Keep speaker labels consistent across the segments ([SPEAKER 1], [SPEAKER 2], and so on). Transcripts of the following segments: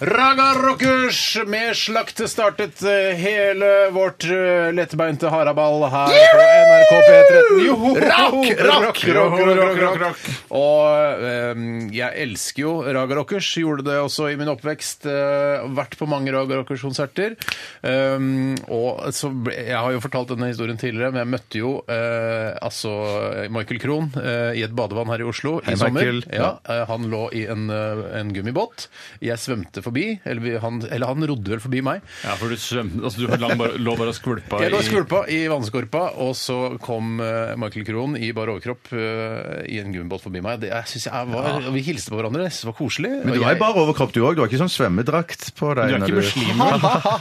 [SPEAKER 1] Raga Rockers med slakt startet eh, hele vårt eh, lettbeinte haraball her på NRK P13. Joho!
[SPEAKER 2] Rock, rock,
[SPEAKER 1] rock, rock, rock, rock,
[SPEAKER 2] rock,
[SPEAKER 1] rock, Og ehm, jeg elsker jo Raga Rockers. Gjorde det også i min oppvekst. eh, vært på mange Raga Rockers-konserter. Ehm, og så ble, jeg har jo fortalt denne historien tidligere, men jeg møtte jo eh, altså Michael Krohn eh, i et badevann her i Oslo i sommer.
[SPEAKER 2] Michael.
[SPEAKER 1] Ja, Eh, Han lå i en, eh, en gummibåt. Jeg svømte forbi, eller, vi- han, eller han rodde vel forbi meg.
[SPEAKER 3] Ja, for du svømte Altså, du lang bare, lå bare og skvulpa
[SPEAKER 1] Jeg lå og
[SPEAKER 3] i-
[SPEAKER 1] skvulpa i vannskorpa, og så kom eh, Michael Krohn i bar overkropp eh, i en gummibåt forbi meg. Det, jeg synes jeg var, og Vi hilste på hverandre, jeg synes det var koselig.
[SPEAKER 2] Men du har
[SPEAKER 1] og
[SPEAKER 2] jo
[SPEAKER 1] jeg,
[SPEAKER 2] bare overkropp, du òg. Du har ikke sånn svømmedrakt på deg.
[SPEAKER 3] Du er
[SPEAKER 2] når
[SPEAKER 3] ikke muslim?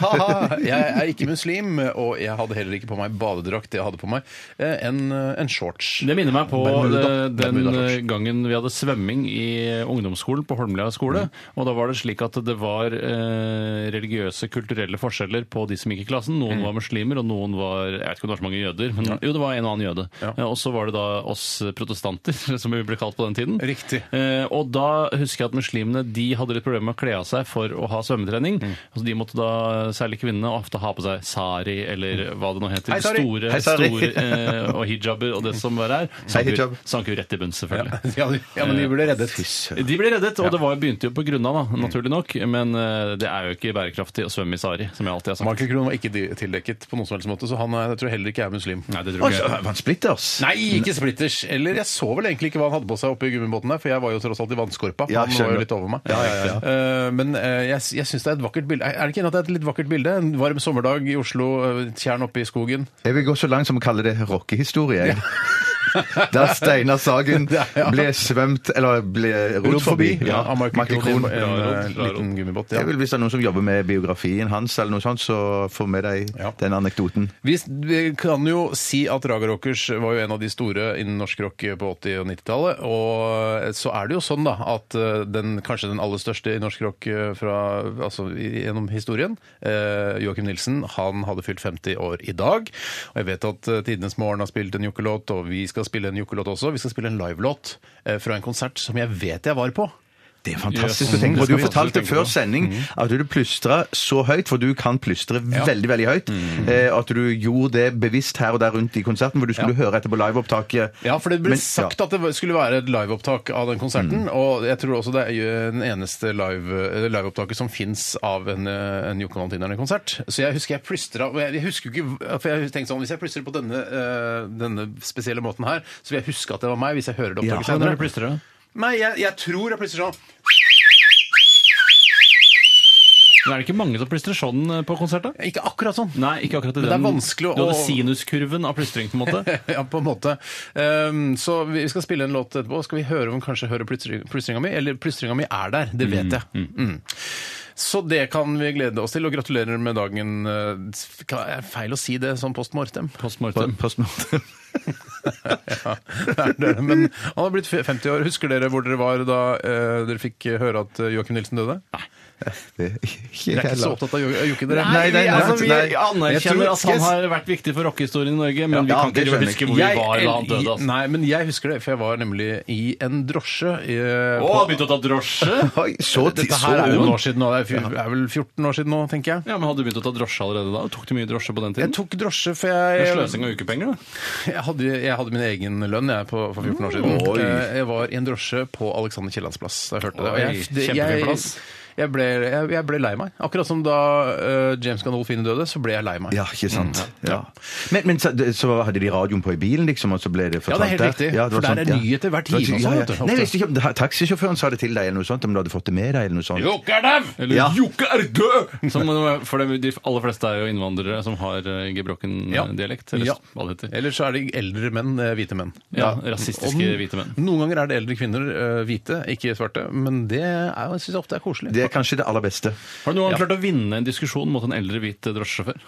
[SPEAKER 1] jeg er ikke muslim, og jeg hadde heller ikke på meg badedrakt. Jeg hadde på meg eh, en, en shorts.
[SPEAKER 3] Det minner meg på
[SPEAKER 1] Bermuda.
[SPEAKER 3] eh, den
[SPEAKER 1] Bermuda,
[SPEAKER 3] eh,
[SPEAKER 1] kanskje.
[SPEAKER 3] gangen vi hadde svømming i ungdomsskolen på Holmlia skole.
[SPEAKER 2] Mm.
[SPEAKER 3] Og da var det slik at det var eh, religiøse, kulturelle forskjeller på de som gikk i klassen.
[SPEAKER 2] Mm.
[SPEAKER 3] Noen var muslimer, og noen var Jeg vet ikke om det var så mange jøder, men jo, det var en og annen jøde. Eh, Og så var det da oss protestanter, som vi ble kalt på den tiden.
[SPEAKER 1] Riktig.
[SPEAKER 3] Eh, og da husker jeg at muslimene de hadde litt problemer med å kle av seg for å ha svømmetrening.
[SPEAKER 2] Mm.
[SPEAKER 3] Så de måtte da, særlig kvinnene, ofte ha på seg sari eller hva det nå heter.
[SPEAKER 2] Mm. Hei, sari.
[SPEAKER 3] Store,
[SPEAKER 2] Hei, sari.
[SPEAKER 3] store eh, og hijaber og det som var her. Sank jo-
[SPEAKER 2] hijab.
[SPEAKER 3] Sank jo rett i bunn, selvfølgelig.
[SPEAKER 1] Ja, de- ja, men de ble reddet.
[SPEAKER 3] De ble reddet, og det var, begynte jo på grunna, da,
[SPEAKER 1] Mm.
[SPEAKER 3] naturlig nok. Men eh, det er jo ikke bærekraftig å svømme i sari, som jeg alltid har sagt.
[SPEAKER 1] Michael Krohn var ikke de- tildekket på noen som helst måte, så han er, jeg tror heller ikke er muslim.
[SPEAKER 3] Nei, det
[SPEAKER 2] Oi,
[SPEAKER 3] tror jeg ikke.
[SPEAKER 2] var han splitters?
[SPEAKER 1] Nei, ikke splitters. Eller jeg så vel egentlig ikke hva han hadde på seg oppe i gummibåten der, for jeg var jo tross alt i vannskorpa.
[SPEAKER 2] Ja,
[SPEAKER 1] han var
[SPEAKER 2] skjønner.
[SPEAKER 1] jo litt over meg.
[SPEAKER 2] Ja, ja, ja.
[SPEAKER 1] Eh, men eh, jeg, jeg syns det er et vakkert bilde. Er det ikke enig at det er et litt vakkert bilde? En varm sommerdag i Oslo, eh, tjern oppe i skogen.
[SPEAKER 2] Jeg vil gå så langt som å kalle det rockehistorie. jeg. Da Steinar Sagen ble svømt, eller ble rodd forbi.
[SPEAKER 1] Ja, av Michael Krohn. En,
[SPEAKER 3] Bra
[SPEAKER 1] eh,
[SPEAKER 3] råd, bra
[SPEAKER 1] liten gummibåt.
[SPEAKER 2] Jeg
[SPEAKER 1] Ja.
[SPEAKER 2] vil, hvis det er noen som jobber med biografien hans, eller noe sånt, så få med deg
[SPEAKER 1] Ja.
[SPEAKER 2] den anekdoten.
[SPEAKER 1] Vi vi kan jo si at Raga Rockers var jo en av de store innen norsk rock på 80- og 90-tallet. Og så er det jo sånn da at eh, den kanskje den aller største i norsk rock eh, fra, altså, i- gjennom historien, eh, Joakim Nilsen, han hadde fylt 50 år i dag. Og jeg vet at eh, Tidenes Morgen har spilt en jokkelåt, og vi skal spille en jokkelåt også. Vi skal spille en livelåt eh, fra en konsert som jeg vet jeg var på.
[SPEAKER 2] Det er fantastisk å
[SPEAKER 3] Yes.
[SPEAKER 2] tenke på.
[SPEAKER 3] Det skal
[SPEAKER 2] Du
[SPEAKER 3] vi
[SPEAKER 2] fortalte
[SPEAKER 3] absolutt tenke
[SPEAKER 2] før
[SPEAKER 3] på.
[SPEAKER 2] sending at du plystra så høyt, for du kan plystre veldig veldig høyt, eh, at du gjorde det bevisst her og der rundt i konserten, for du skulle høre etter på liveopptaket.
[SPEAKER 1] Ja, for det ble
[SPEAKER 2] Men-
[SPEAKER 1] sagt
[SPEAKER 2] ja.
[SPEAKER 1] at det skulle være et liveopptak av den konserten. Og jeg tror også det er jo den eneste live, eller liveopptaket som fins av en, eh, en Jokke Valentinerne-konsert. Så jeg husker jeg plystra og jeg, jeg husker jo ikke, for jeg tenkte sånn, Hvis jeg plystrer på denne, eh, denne spesielle måten her, så vil jeg huske at det var meg hvis jeg hører det opptaket
[SPEAKER 3] Hvordan er det
[SPEAKER 1] senere.
[SPEAKER 3] plystrer, da?
[SPEAKER 1] Nei, jeg, jeg tror jeg plystrer sånn.
[SPEAKER 3] Men Er det ikke mange som plystrer sånn eh, på konsert, da?
[SPEAKER 1] Ikke akkurat sånn.
[SPEAKER 3] Nei, ikke akkurat
[SPEAKER 1] Men
[SPEAKER 3] i
[SPEAKER 1] det er
[SPEAKER 3] den.
[SPEAKER 1] vanskelig å-
[SPEAKER 3] Du hadde sinuskurven av plystring, på en måte.
[SPEAKER 1] Ja, på en måte. Ehm, så vi skal spille en låt etterpå. Skal vi høre om kanskje hører plystring- plystringa mi? Eller plystringa mi er der, det vet jeg. Mm. Så det kan vi glede oss til, og gratulerer med dagen. eh, skal- Er det feil å si det sånn post mortem?
[SPEAKER 3] Post mortem.
[SPEAKER 2] Post mortem.
[SPEAKER 1] Ja, det er det. Men han har blitt 50 år. Husker dere hvor dere var da eh, dere fikk høre at eh, Joakim Nilsen døde?
[SPEAKER 2] Det er
[SPEAKER 1] Dere er ikke så
[SPEAKER 2] heller.
[SPEAKER 1] opptatt av Jo- Joakim, dere?
[SPEAKER 2] Nei, nei,
[SPEAKER 3] vi-
[SPEAKER 2] nei,
[SPEAKER 3] altså, vi
[SPEAKER 2] nei.
[SPEAKER 3] anerkjenner
[SPEAKER 2] Jeg tror-
[SPEAKER 3] at han har vært viktig for rockehistorien i Norge, men vi
[SPEAKER 2] Ja,
[SPEAKER 3] kan
[SPEAKER 2] det
[SPEAKER 3] ikke
[SPEAKER 2] skjønner
[SPEAKER 3] huske
[SPEAKER 2] jeg.
[SPEAKER 3] hvor vi
[SPEAKER 1] Jeg-
[SPEAKER 3] var da han døde. Altså.
[SPEAKER 1] Nei, men jeg husker det, for jeg var nemlig i en drosje. eh,
[SPEAKER 3] Å,
[SPEAKER 1] på-
[SPEAKER 3] han begynte å ta drosje?
[SPEAKER 2] Oi, så
[SPEAKER 1] Dette her er jo
[SPEAKER 2] ung.
[SPEAKER 1] noen år siden nå. Det er fj- er vel 14 år siden nå, tenker jeg.
[SPEAKER 3] Ja, men Hadde du begynt å ta drosje allerede da? Tok du mye drosje på den
[SPEAKER 1] Jeg
[SPEAKER 3] tiden?
[SPEAKER 1] tok drosje, for
[SPEAKER 3] Det er
[SPEAKER 1] jeg,
[SPEAKER 3] Sløsing av ukepenger, da.
[SPEAKER 1] jeg, hadde, jeg hadde min egen lønn jeg, på, for 14 år siden.
[SPEAKER 2] Mm. Oi.
[SPEAKER 1] Eh, Jeg var i en drosje på Alexander Kiellands plass. da Jeg hørte det. Og
[SPEAKER 3] Oi,
[SPEAKER 1] jeg, det
[SPEAKER 3] kjempefin
[SPEAKER 1] jeg,
[SPEAKER 3] plass.
[SPEAKER 1] jeg, ble, jeg, jeg ble lei meg. Akkurat som da eh, James Gandolfini døde, så ble jeg lei meg.
[SPEAKER 2] Ja, ikke sant. Ja. Men, men så, så hadde de radioen på i bilen, liksom, og så ble det
[SPEAKER 1] Ja,
[SPEAKER 2] fortalt
[SPEAKER 1] det er helt riktig, for der er nyheter hver time og sånn, vet du, ofte.
[SPEAKER 2] Nei, jeg visste ikke om det- taxisjåføren sa det til deg, eller noe sånt, om du hadde fått det med deg, eller noe sånt.
[SPEAKER 3] Jokker dem! Eller
[SPEAKER 2] Ja.
[SPEAKER 3] jokker er død! Som, eh, for det, de aller fleste er jo innvandrere som har eh,
[SPEAKER 1] Ja.
[SPEAKER 3] gebrokken-dialekt. Eller
[SPEAKER 1] Ja.
[SPEAKER 3] hva det heter.
[SPEAKER 1] Ellers så er det eldre menn, eh, hvite menn.
[SPEAKER 3] Ja, rasistiske
[SPEAKER 1] Og n-
[SPEAKER 3] hvite menn.
[SPEAKER 1] Noen ganger er det eldre kvinner, eh, hvite, ikke svarte. Men det er- jeg syns jeg ofte er koselig.
[SPEAKER 2] Det er kanskje det aller beste.
[SPEAKER 3] eh, Har du noen gang klart å vinne en diskusjon mot en eldre hvit drosjesjåfør?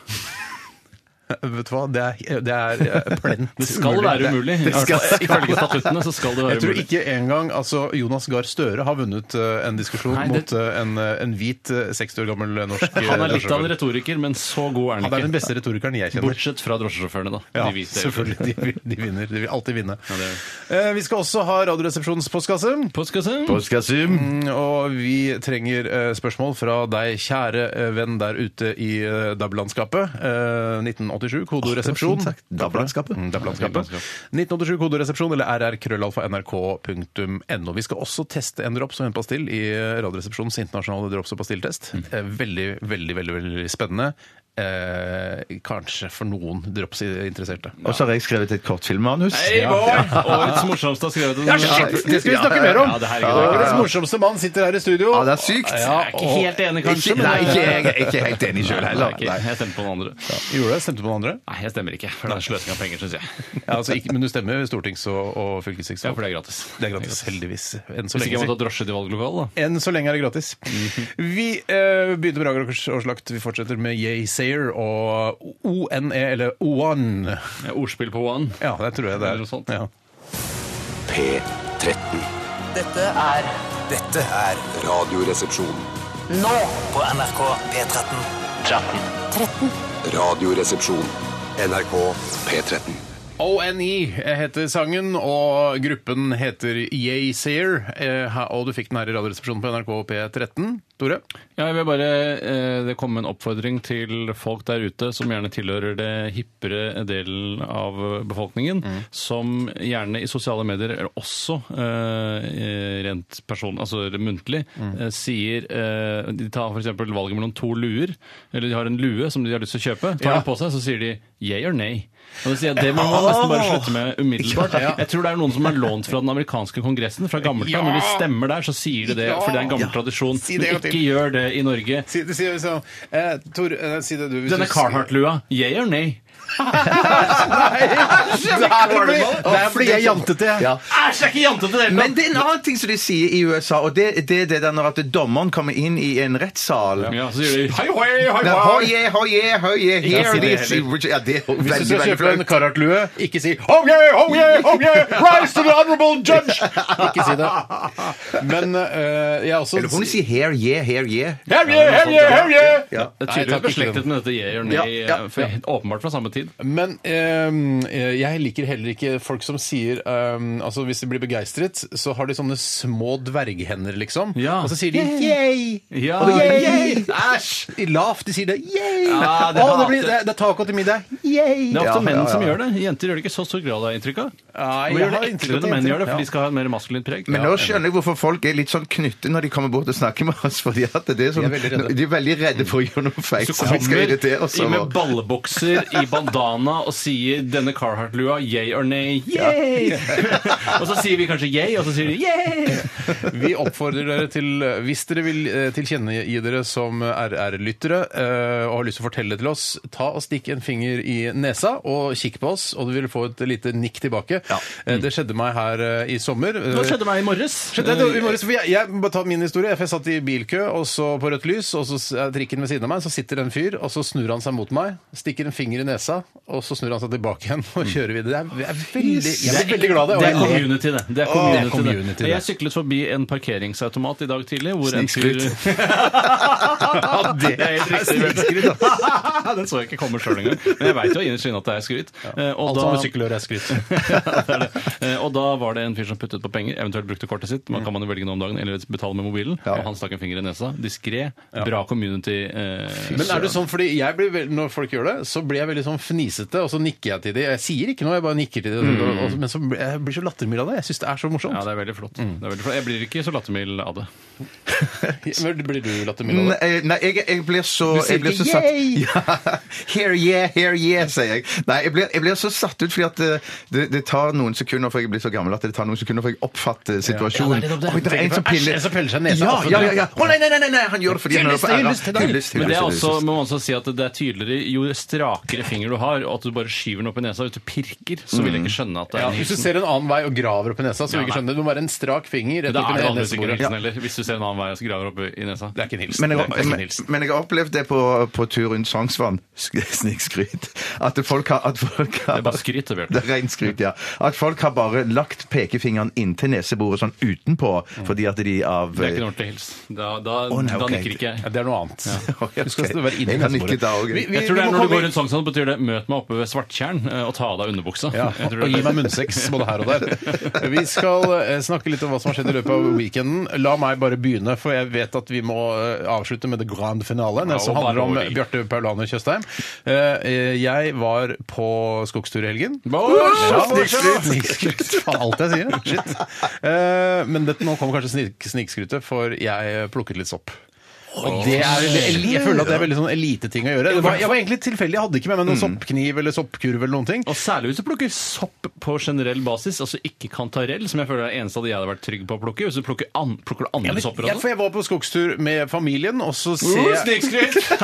[SPEAKER 1] Vet du hva, det er, det er eh, plent
[SPEAKER 3] Det skal være umulig.
[SPEAKER 1] Det
[SPEAKER 3] I hvert
[SPEAKER 1] skal,
[SPEAKER 3] fall Ifølge statuttene så skal det være
[SPEAKER 1] jeg tror
[SPEAKER 3] umulig.
[SPEAKER 1] ikke engang altså, Jonas Gahr Støre har vunnet eh, en diskusjon
[SPEAKER 3] Nei, det-
[SPEAKER 1] mot eh, en, eh, en hvit eh, 60 år gammel eh, norsk eh,
[SPEAKER 3] Han er litt av en
[SPEAKER 1] drosjesjåfør.
[SPEAKER 3] retoriker, men så god
[SPEAKER 1] Han
[SPEAKER 3] er
[SPEAKER 1] er
[SPEAKER 3] han
[SPEAKER 1] den
[SPEAKER 3] ikke.
[SPEAKER 1] beste retorikeren jeg kjenner.
[SPEAKER 3] Bortsett fra drosjesjåførene, da.
[SPEAKER 1] Ja,
[SPEAKER 3] De viser det.
[SPEAKER 1] selvfølgelig. De, vil- de vinner. De vil alltid vinne.
[SPEAKER 3] det
[SPEAKER 1] Eh, vi skal også ha Radioresepsjonens postkasse.
[SPEAKER 3] Postkasse.
[SPEAKER 2] Postkassum.
[SPEAKER 1] Mm, Og vi trenger eh, spørsmål fra deg, kjære eh, venn der ute i eh, DAB-landskapet. Eh, 1987, kodoresepsjon.
[SPEAKER 2] Takk. DAB-landskapet.
[SPEAKER 1] Mm, DAB-landskapet. 1987, kodoresepsjon eller rrkrøllalfa.nrk.no. Vi skal også teste en drops og en pastill i eh, Radioresepsjonens internasjonale drops- og pastilltest. Eh, Veldig, veldig, veldig, veldig spennende. Eh, kanskje for noen drops-interesserte.
[SPEAKER 2] Og så har jeg skrevet et kortfilmmanus.
[SPEAKER 3] Hei, boy! Årets morsomste har skrevet en
[SPEAKER 1] Ja, shit, det skal vi snakke mer om!
[SPEAKER 3] Ja, det her er gøy.
[SPEAKER 1] Årets morsomste mann sitter her i studio.
[SPEAKER 2] Ja, det er sykt.
[SPEAKER 1] Ja,
[SPEAKER 3] Jeg er ikke helt enig, kanskje.
[SPEAKER 2] Ikke, nei, ikke jeg er ikke helt enig sjøl heller.
[SPEAKER 3] Nei, jeg stemmer på den andre.
[SPEAKER 1] Gjorde det? Stemte på den andre?
[SPEAKER 3] Nei, jeg stemmer ikke. For det er sløsing av penger, syns jeg.
[SPEAKER 1] Ja, altså, ikke, men du stemmer stortings- og, og fylkesting.
[SPEAKER 3] Ja, for det er gratis.
[SPEAKER 1] Det er gratis, heldigvis. Enn så
[SPEAKER 3] Hvis ikke
[SPEAKER 1] lenge,
[SPEAKER 3] Mhm. jeg må ta drosje til valglokalet, da.
[SPEAKER 1] enn så lenge er det gratis. Vi eh, begynte med Ragerokers årslakt. Vi fortsetter med Yaysayer og ONE, eller OAN.
[SPEAKER 3] Ja, Ordspill på one.
[SPEAKER 1] Ja, det tror jeg det
[SPEAKER 3] Eller noe
[SPEAKER 1] er.
[SPEAKER 3] sånt.
[SPEAKER 1] Ja.
[SPEAKER 4] P13.
[SPEAKER 5] Dette er
[SPEAKER 6] Dette er Radioresepsjon.
[SPEAKER 5] nå på NRK P13.
[SPEAKER 6] Radioresepsjon. NRK P13.
[SPEAKER 1] ONE heter sangen, og gruppen heter Yaysayer. Eh, ha- og du fikk den her i Radioresepsjonen på NRK P13. Tore?
[SPEAKER 3] Ja, jeg vil bare eh, Det kom en oppfordring til folk der ute som gjerne tilhører det hippere delen av befolkningen, som gjerne i sosiale medier, eller også eh, rent person, altså muntlig, eh, sier eh, De tar f.eks. valget mellom to luer, eller de har en lue som de har lyst til å kjøpe. Tar
[SPEAKER 1] Ja.
[SPEAKER 3] den på seg, så sier de yeah or nay. Og da sier jeg, Det må man nesten bare slutte med umiddelbart. Jeg tror det er noen som er lånt fra den amerikanske kongressen, fra gammelt av. Når de stemmer der, så sier de det, for det er en gammel tradisjon.
[SPEAKER 1] Si det en gang
[SPEAKER 3] Men
[SPEAKER 1] til.
[SPEAKER 3] ikke gjør det i Norge.
[SPEAKER 1] Si, si, si, eh, Tor, eh, si det du. hvis
[SPEAKER 3] Denne
[SPEAKER 1] du-
[SPEAKER 3] Carhartt-lua, yeah or nay?
[SPEAKER 1] Der blir jeg jantete, jeg.
[SPEAKER 3] Æsj, jeg er ikke jantete i det hele
[SPEAKER 2] Men det er en annen ting som de sier i USA, og det, det er det der når at dommeren kommer inn i en rettssal.
[SPEAKER 3] tatt. Ja, så sier de hei, hoi, hoi,
[SPEAKER 2] Men,
[SPEAKER 3] hoi.
[SPEAKER 2] Hoie, hoie, hoie, here
[SPEAKER 3] si det
[SPEAKER 2] it is. Ja, det er jo
[SPEAKER 1] Hvis du
[SPEAKER 2] veldig,
[SPEAKER 1] skal
[SPEAKER 2] veldig
[SPEAKER 1] kjøpe en
[SPEAKER 2] flaut.
[SPEAKER 1] Carhartt-lue, ikke si «Oh yeah, oh yeah, oh yeah, rise to the honorable judge! Ikke si det. Men eh, jeg er også
[SPEAKER 2] Eller får du si here, yeah, here, yeah?
[SPEAKER 1] Hell yeah, hell yeah, hell yeah!
[SPEAKER 2] Ja.
[SPEAKER 1] Nei,
[SPEAKER 3] Det er
[SPEAKER 1] takk,
[SPEAKER 3] tydeligvis
[SPEAKER 1] ikke
[SPEAKER 3] beslektet med dette yeah or nay,
[SPEAKER 2] Ja, ja,
[SPEAKER 3] eh, for- åpenbart fra samme tid.
[SPEAKER 1] Men ehm, eh, jeg liker heller ikke folk som sier ehm, Altså Hvis de blir begeistret, så har de sånne små dverghender, liksom.
[SPEAKER 3] Ja.
[SPEAKER 1] Og så sier de yay!
[SPEAKER 3] Ja,
[SPEAKER 1] Og det-
[SPEAKER 3] yay!
[SPEAKER 1] Æsj! I Lavt. De sier det yay!
[SPEAKER 3] Ja, det
[SPEAKER 1] Å, det,
[SPEAKER 3] hater
[SPEAKER 1] blir,
[SPEAKER 3] jeg.
[SPEAKER 1] det, det er taco til middag. Yay!
[SPEAKER 3] Det er
[SPEAKER 2] Ja,
[SPEAKER 3] ofte
[SPEAKER 2] ja,
[SPEAKER 3] menn
[SPEAKER 2] ja,
[SPEAKER 3] som
[SPEAKER 2] ja.
[SPEAKER 3] gjør det. Jenter gjør det ikke i så stor grad, har jeg inntrykk av.
[SPEAKER 1] Nei,
[SPEAKER 3] Men
[SPEAKER 1] jeg
[SPEAKER 3] gjør det
[SPEAKER 1] har inntrykk
[SPEAKER 3] eklere
[SPEAKER 1] av det,
[SPEAKER 3] når menn gjør det,
[SPEAKER 1] ja.
[SPEAKER 3] for de skal ha et mer maskulint preg.
[SPEAKER 2] Men
[SPEAKER 3] Ja.
[SPEAKER 2] nå skjønner jeg hvorfor folk er litt sånn knytte når de kommer bort og snakker med oss. fordi at det er sånn,
[SPEAKER 1] De er veldig redde.
[SPEAKER 2] de er veldig redde for å gjøre noe feil.
[SPEAKER 3] Så
[SPEAKER 2] som vi skal
[SPEAKER 3] kommer
[SPEAKER 2] irritere oss
[SPEAKER 3] i med
[SPEAKER 2] over.
[SPEAKER 3] ballebokser i bandana og sier denne Carhartt-lua yay or nay. Yay! og så sier vi kanskje yay, og så sier de yay!
[SPEAKER 1] Vi oppfordrer dere til, hvis dere vil eh, tilkjennegi dere som RR-lyttere eh, og har lyst til å fortelle til oss, ta og stikk en finger i nesa og kikk på oss, og du vil få et lite nikk tilbake. Eh, Det skjedde meg her eh, i sommer. Eh,
[SPEAKER 3] Nå skjedde meg i morges.
[SPEAKER 1] Skjedde det i morges, for jeg, jeg må bare ta min historie. for Jeg satt i bilkø og så på rødt lys, og så s- er trikken ved siden av meg, så sitter det en fyr, og så snur han seg mot meg, stikker en finger i nesa, og så snur han seg tilbake igjen og kjører videre. Det er, det er veldig, jeg blir veldig glad av
[SPEAKER 3] Det
[SPEAKER 1] det.
[SPEAKER 3] er
[SPEAKER 1] og jeg ler.
[SPEAKER 3] community, det. det, er
[SPEAKER 1] Åh,
[SPEAKER 3] community,
[SPEAKER 1] det er community,
[SPEAKER 3] det.
[SPEAKER 1] det.
[SPEAKER 3] Jeg syklet forbi en parkeringsautomat i dag tidlig. Hvor en fyr
[SPEAKER 2] Snikskryt.
[SPEAKER 3] Ja, det er helt riktig. Den så jeg ikke komme sjøl engang. Men jeg veit jo innerst inne at det er skryt. Eh, og
[SPEAKER 1] Alt
[SPEAKER 3] da-
[SPEAKER 1] som har sykkeløre er skryt.
[SPEAKER 3] Ja, det er det. Eh, Og da var det en fyr som puttet på penger, eventuelt brukte kortet sitt. Man kan man jo velge noe om dagen, eller betale med mobilen. Og han stakk en finger i nesa. Diskré. Bra community. Eh,
[SPEAKER 1] Men er det sånn, fordi jeg blir vel- Når folk gjør det, så blir jeg veldig sånn fnisete, og så nikker jeg til dem. Jeg sier ikke noe, jeg bare nikker til dem. Og, men så, blir- jeg blir så lattermild av det. Jeg syns Mm. det er så morsomt.
[SPEAKER 3] ja, det er veldig flott.
[SPEAKER 1] Mm.
[SPEAKER 3] Det er veldig flott. Jeg blir ikke så lattermild av det.
[SPEAKER 1] Men Blir du lattermild av det?
[SPEAKER 2] eh, Nei, nei, jeg, jeg blir så
[SPEAKER 1] Du sier
[SPEAKER 2] jeg blir
[SPEAKER 1] ikke
[SPEAKER 2] så satt, ja, Here yeah, here yeah, sier jeg. Nei, jeg blir, jeg blir så satt ut fordi at eh, det, det tar noen sekunder for jeg blir så gammel at det tar noen sekunder for jeg oppfatter situasjonen.
[SPEAKER 3] Ja, det er nettopp det.
[SPEAKER 2] Oi, det er en som
[SPEAKER 1] Æsj,
[SPEAKER 2] piller
[SPEAKER 1] en som peller seg i nesa.
[SPEAKER 2] Ja,
[SPEAKER 1] Altså,
[SPEAKER 2] ja, ja, ja. Å nei, nei, nei, nei, nei, han gjør det fordi han hører
[SPEAKER 1] Hyllest,
[SPEAKER 2] på æra.
[SPEAKER 1] hyllest til deg.
[SPEAKER 3] Men det er
[SPEAKER 2] hyllest,
[SPEAKER 3] også,
[SPEAKER 2] hyllest.
[SPEAKER 3] må man også si at det er tydeligere jo strakere finger du har, og at du bare skyver den opp i nesa hvis du pirker, så vil jeg ikke skjønne at det er
[SPEAKER 1] Ja,
[SPEAKER 3] en
[SPEAKER 1] hvis du
[SPEAKER 3] hilsen.
[SPEAKER 1] ser en annen vei og graver opp i nesa, så vil
[SPEAKER 3] Ja,
[SPEAKER 1] du ikke
[SPEAKER 3] nei.
[SPEAKER 1] skjønne det. Du må være en strak finger rett
[SPEAKER 3] Da
[SPEAKER 1] opp
[SPEAKER 3] er
[SPEAKER 1] i
[SPEAKER 3] det vanligvis ikke
[SPEAKER 1] neseboret.
[SPEAKER 3] hilsen heller, hvis du ser en annen vei og så graver opp i nesa.
[SPEAKER 1] Det er ikke en hilsen.
[SPEAKER 2] Men
[SPEAKER 1] Det
[SPEAKER 2] jeg,
[SPEAKER 1] er ikke en
[SPEAKER 2] men,
[SPEAKER 1] hilsen.
[SPEAKER 2] men jeg har opplevd det på, på tur rundt Sognsvann. Sk- Snikskryt. at folk har, at folk har
[SPEAKER 3] Det er bare skryt, det, Bjørte.
[SPEAKER 2] Det er rent skryt, ja. At folk har bare lagt pekefingeren inntil nesebordet sånn utenpå,
[SPEAKER 1] Mm.
[SPEAKER 2] fordi at de av eh,
[SPEAKER 3] Det er ikke en ordentlig hils. Da, da,
[SPEAKER 2] Å, nei,
[SPEAKER 3] da
[SPEAKER 2] ok.
[SPEAKER 3] nikker ikke jeg.
[SPEAKER 1] Ja, det er noe annet.
[SPEAKER 2] Ok.
[SPEAKER 1] Du skal være inne
[SPEAKER 2] Jeg
[SPEAKER 1] i
[SPEAKER 2] har
[SPEAKER 1] nesebordet.
[SPEAKER 2] nikket da også.
[SPEAKER 1] Vi- vi-
[SPEAKER 3] Jeg tror det
[SPEAKER 1] vi
[SPEAKER 3] er
[SPEAKER 1] må
[SPEAKER 3] når du
[SPEAKER 1] komme
[SPEAKER 3] går
[SPEAKER 1] inn-
[SPEAKER 3] rundt Sognsvann, betyr det 'møt meg oppe ved Svarttjern' eh, og ta av deg underbuksa.
[SPEAKER 1] Ja,
[SPEAKER 3] Jeg tror
[SPEAKER 1] og
[SPEAKER 3] det er-
[SPEAKER 1] gi meg munnsex både her og der. Vi skal eh, snakke litt om hva som har skjedd i løpet av weekenden. La meg bare begynne, for jeg vet at vi må eh, avslutte med the grand finale,
[SPEAKER 3] Ja,
[SPEAKER 1] ja, som
[SPEAKER 3] og
[SPEAKER 1] handler om
[SPEAKER 3] bare over.
[SPEAKER 1] Bjarte Paulaner Tjøstheim. Eh, eh, Jeg var på skogstur i helgen. Ja, Snikskryt! Faen, alt jeg sier. Shit. Eh, Men dette, nå kommer kanskje snik- snikskrytet, for jeg plukket litt sopp. Og det er, veldig- jeg føler at det er veldig sånn eliteting å gjøre. Det var, jeg var egentlig tilfeldig, jeg hadde ikke med meg noen soppkniv eller soppkurv eller noen ting.
[SPEAKER 3] Mm. Og særlig hvis du plukker sopp på generell basis, altså ikke kantarell, som jeg føler er det eneste av de jeg hadde vært trygg på å plukke. Hvis du plukker, an plukker du andre
[SPEAKER 1] Ja, men-
[SPEAKER 3] sopper
[SPEAKER 1] ja,
[SPEAKER 3] også.
[SPEAKER 1] for jeg var på skogstur med familien, og så ser jeg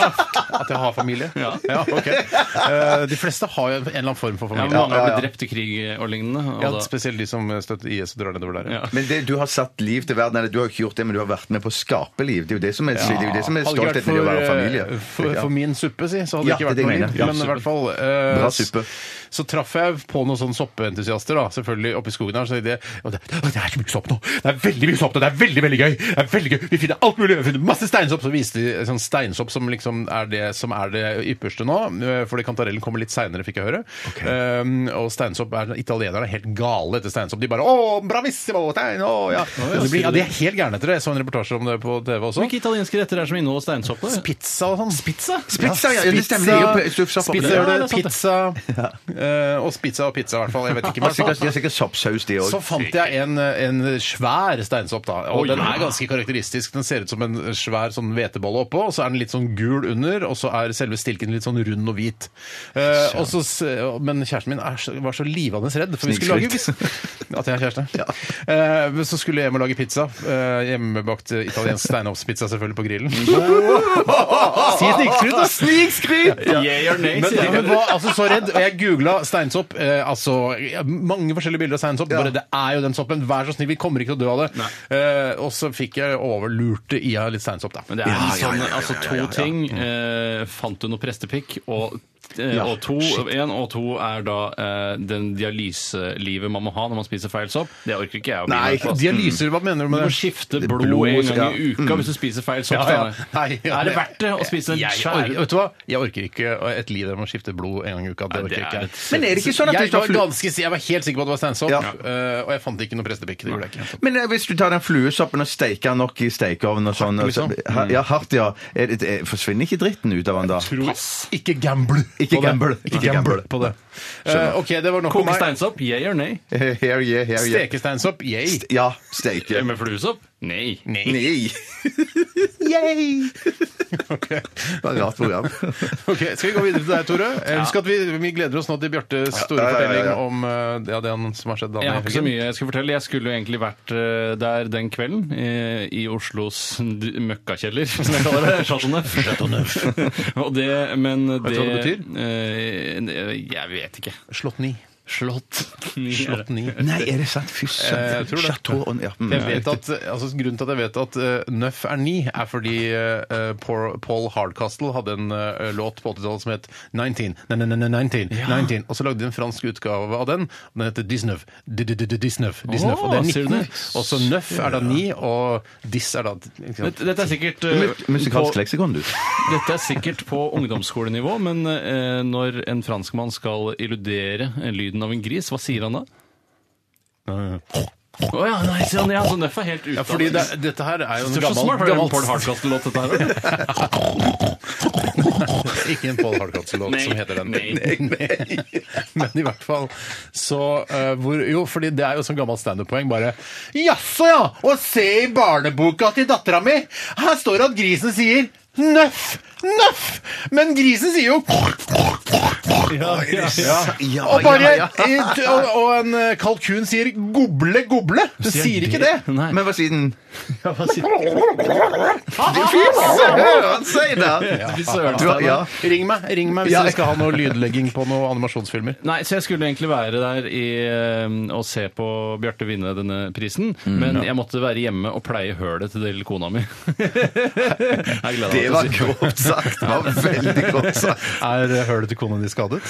[SPEAKER 1] At jeg har familie?
[SPEAKER 3] Ja.
[SPEAKER 1] ok. Eh, de fleste har jo en eller annen form for
[SPEAKER 3] Ja,
[SPEAKER 1] familie.
[SPEAKER 3] men mange har blitt drept i krig eh, og lignende. Og
[SPEAKER 1] Ja,
[SPEAKER 3] da-
[SPEAKER 1] spesielt de som støtter IS og drar nedover der.
[SPEAKER 3] Ja.
[SPEAKER 2] Men det, du har satt liv til verden, eller du har ikke gjort det, men du har vært med på å skape liv. Det er jo det som er, det er, jo det som er
[SPEAKER 1] Hadde ikke vært
[SPEAKER 2] stoltheten i å være
[SPEAKER 1] for,
[SPEAKER 2] familie.
[SPEAKER 1] eh, For,
[SPEAKER 2] Ja.
[SPEAKER 1] for min suppe, si, så hadde
[SPEAKER 2] Ja,
[SPEAKER 1] det
[SPEAKER 2] det
[SPEAKER 1] ikke vært
[SPEAKER 2] er det jeg
[SPEAKER 1] noe liv.
[SPEAKER 2] mener.
[SPEAKER 3] Ja,
[SPEAKER 1] Men i
[SPEAKER 3] suppe.
[SPEAKER 1] hvert fall eh,
[SPEAKER 2] Bra suppe.
[SPEAKER 1] Så traff jeg på noen sånne soppeentusiaster, da, selvfølgelig, oppe i skogen her. Så tenkte jeg «Å, det, å, det er så mye sopp nå! Det er veldig mye sopp nå! Det er veldig, veldig gøy! Det er veldig gøy! Vi finner alt mulig! Vi finner masse steinsopp! Så viste de sånn steinsopp som liksom er det som er det ypperste nå, eh, fordi kantarellen kommer litt seinere, fikk jeg høre. Um, og steinsopp er Italienerne er helt gale etter steinsopp. De bare Å, bravissimo! Stein! Å, ja. De, blir, ja, de er helt gærne etter det. Jeg så en reportasje om det på TV også.
[SPEAKER 3] Hvilke italienske retter er det som inneholder steinsoppe?
[SPEAKER 1] Pizza og sånn. Spizza?
[SPEAKER 2] Spizza, ja, det stemmer. Det er jo stuffsopp oppi
[SPEAKER 1] Spizza,
[SPEAKER 2] der.
[SPEAKER 1] gjør det.
[SPEAKER 3] Ja, det er sant det.
[SPEAKER 1] Pizza eh, og spizza og pizza, i hvert fall. Jeg vet ikke.
[SPEAKER 2] De har
[SPEAKER 1] men
[SPEAKER 2] sikkert-
[SPEAKER 1] Altså, så-
[SPEAKER 2] de har sikkert soppsaus, de
[SPEAKER 1] Så
[SPEAKER 2] òg.
[SPEAKER 1] fant jeg en, en svær steinsopp, da. Og
[SPEAKER 3] Oi,
[SPEAKER 1] den
[SPEAKER 3] ja.
[SPEAKER 1] er ganske karakteristisk. Den ser ut som en svær sånn hvetebolle oppå, og så er den litt sånn gul under, og så er selve stilken litt sånn rund og hvit. Eh, og så, s- men kjæresten min er så, var så livende redd, for vi skulle lage
[SPEAKER 2] Snikskryt.
[SPEAKER 1] At jeg har kjæreste? Eh, men så skulle jeg hjem og lage pizza. Eh, hjemmebakt italiensk steinsoppspizza, selvfølgelig, på grillen. si snikskryt, da!
[SPEAKER 2] Snikskryt!
[SPEAKER 3] Yeah or nay,
[SPEAKER 1] Men
[SPEAKER 3] sier
[SPEAKER 1] jeg
[SPEAKER 3] jeg.
[SPEAKER 1] var altså så redd, og jeg googla steinsopp. Eh, altså, ja, mange forskjellige bilder av steinsopp. Bare det er jo den soppen. Vær så snill, vi kommer ikke til å dø av det. Eh, og så fikk jeg overlurt det i av litt steinsopp, da.
[SPEAKER 3] Men det er sånn, altså to ting. Eh, fant du noe prestepikk? Og, eh, og to, en, og to er da eh, den dialyselivet man må ha når man spiser feil sopp. Det orker ikke jeg å bli
[SPEAKER 1] Nei,
[SPEAKER 3] med på, ass.
[SPEAKER 1] dialyser, hva mener du
[SPEAKER 3] Du
[SPEAKER 1] med
[SPEAKER 3] må
[SPEAKER 1] det? Altså,
[SPEAKER 3] skifte
[SPEAKER 2] Det
[SPEAKER 3] blod, mm.
[SPEAKER 2] blod,
[SPEAKER 3] en
[SPEAKER 2] ja.
[SPEAKER 3] gang i uka hvis du spiser feil sopp.
[SPEAKER 1] Ja, ja.
[SPEAKER 3] Steinar.
[SPEAKER 1] Nei, ja,
[SPEAKER 3] Er det verdt det å spise en
[SPEAKER 1] Jeg
[SPEAKER 3] skjær?
[SPEAKER 1] orker- Vet du hva? Jeg orker ikke et liv der man skifter blod en gang i uka. Det
[SPEAKER 3] Nei, det
[SPEAKER 1] orker jeg ikke.
[SPEAKER 3] er et-
[SPEAKER 2] Men er det ikke sånn at
[SPEAKER 1] jeg,
[SPEAKER 2] hvis du har
[SPEAKER 1] var
[SPEAKER 2] flu...
[SPEAKER 1] ganske, si- jeg var helt sikker på at det var steinsopp,
[SPEAKER 2] Ja.
[SPEAKER 1] eh, og jeg fant ikke noe prestepikk. Det gjorde jeg ikke.
[SPEAKER 2] Men eh, hvis du tar den fluesoppen og steiker den nok i stekeovnen og sånn og så-
[SPEAKER 1] liksom.
[SPEAKER 2] Ha- Ja, hardt, ja. Er det, er, forsvinner ikke dritten ut av den da?
[SPEAKER 1] Ikke gamble
[SPEAKER 2] Ikke
[SPEAKER 1] på det.
[SPEAKER 2] gamble.
[SPEAKER 1] Ikke
[SPEAKER 2] Ikke gamble.
[SPEAKER 1] gamble på det. Eh, ok, det var nok om
[SPEAKER 3] Koke
[SPEAKER 1] meg.
[SPEAKER 3] steinsopp? Yeah or nay?
[SPEAKER 2] Here, yeah, here, yeah.
[SPEAKER 1] Stekesteinsopp, yay.
[SPEAKER 2] St- Ja, steike.
[SPEAKER 3] Med fluesopp? Nei.
[SPEAKER 2] Nei. Yay! Det var et rart program.
[SPEAKER 1] Ok, Skal vi gå videre til deg, Tore? Eh, Husk at vi, vi gleder oss nå til Bjartes store
[SPEAKER 2] Ja, ja, ja, ja,
[SPEAKER 1] fortelling
[SPEAKER 2] ja.
[SPEAKER 1] om eh, ja, det han som har skjedd da.
[SPEAKER 3] Jeg har ikke så mye jeg skal fortelle. Jeg skulle jo egentlig vært eh, der den kvelden, eh, i Oslos d- møkkakjeller, som jeg kaller det. Chateauneuf. Og det, men det
[SPEAKER 1] Vet du hva det
[SPEAKER 3] betyr? Jeg vet ikke.
[SPEAKER 1] Slått ni.
[SPEAKER 3] Slått.
[SPEAKER 1] Slått ni.
[SPEAKER 2] Nei, er det sant? Fy
[SPEAKER 3] Eh,
[SPEAKER 2] søren.
[SPEAKER 1] jeg tror det.
[SPEAKER 2] Chateau on- ja, mm.
[SPEAKER 1] Jeg vet at, eh, altså, grunnen til at jeg vet at eh, Nøff er ni, er fordi eh, Paul Paul Hardcastle hadde en eh, låt på 80-tallet som het 19. Nei, nei, nei, nei, 19, 19. Og så lagde de en fransk utgave av den, og den heter Disnøff. Disnøff. Disnøff. Og det
[SPEAKER 3] Å, ser
[SPEAKER 1] er
[SPEAKER 3] du
[SPEAKER 1] 19.
[SPEAKER 3] det?
[SPEAKER 1] Og så Nøff er da ni, og Diss er da ikke sant?
[SPEAKER 3] Dette dette er sikkert eh,
[SPEAKER 2] Mm. Mu- Musikalsk
[SPEAKER 3] på-
[SPEAKER 2] leksikon, du.
[SPEAKER 3] Dette er sikkert på ungdomsskolenivå, men eh, når en franskmann skal illudere lyden av en gris, hva sier han da? Å ja, nei, sier han, ja, så Nøff er helt ute
[SPEAKER 1] Ja,
[SPEAKER 3] av
[SPEAKER 1] fordi
[SPEAKER 3] det.
[SPEAKER 1] det, dette her er jo en
[SPEAKER 3] Det er så
[SPEAKER 1] gammel,
[SPEAKER 3] smart, for det er en
[SPEAKER 1] gammel
[SPEAKER 3] Paul Hardcastle-låt, dette her. vet du.
[SPEAKER 1] Ikke en Paul Hardcastle-låt
[SPEAKER 3] Nei,
[SPEAKER 1] som heter den.
[SPEAKER 3] nei.
[SPEAKER 1] Nei. Men i hvert fall så eh, hvor, Jo, fordi det er jo sånn gammelt standup-poeng. Bare Jaså, ja! Og se i barneboka til dattera mi! Her står det at grisen sier Nøff! Nøff! Men grisen sier jo ja, ja, ja.
[SPEAKER 2] Ah,
[SPEAKER 1] Og bare eh, Og, og en eh, kalkun sier goble, goble. Den sier ikke det.
[SPEAKER 3] Nei. Eh,
[SPEAKER 2] Men hva sier den?
[SPEAKER 3] Fy søren,
[SPEAKER 2] Du har-
[SPEAKER 3] Steinar.
[SPEAKER 2] ja.
[SPEAKER 1] Ring meg, ring meg hvis
[SPEAKER 2] Ja.
[SPEAKER 1] dere skal ha noe lydlegging på noen animasjonsfilmer.
[SPEAKER 3] Nei, så jeg skulle egentlig være der i, eh, og se på Bjarte vinne denne prisen, men jeg måtte være hjemme og pleie hølet til del kona mi. jeg gleder meg.
[SPEAKER 2] Det Det var godt sagt. Det var veldig godt sagt.
[SPEAKER 1] Er eh, hølet til kona di skadet?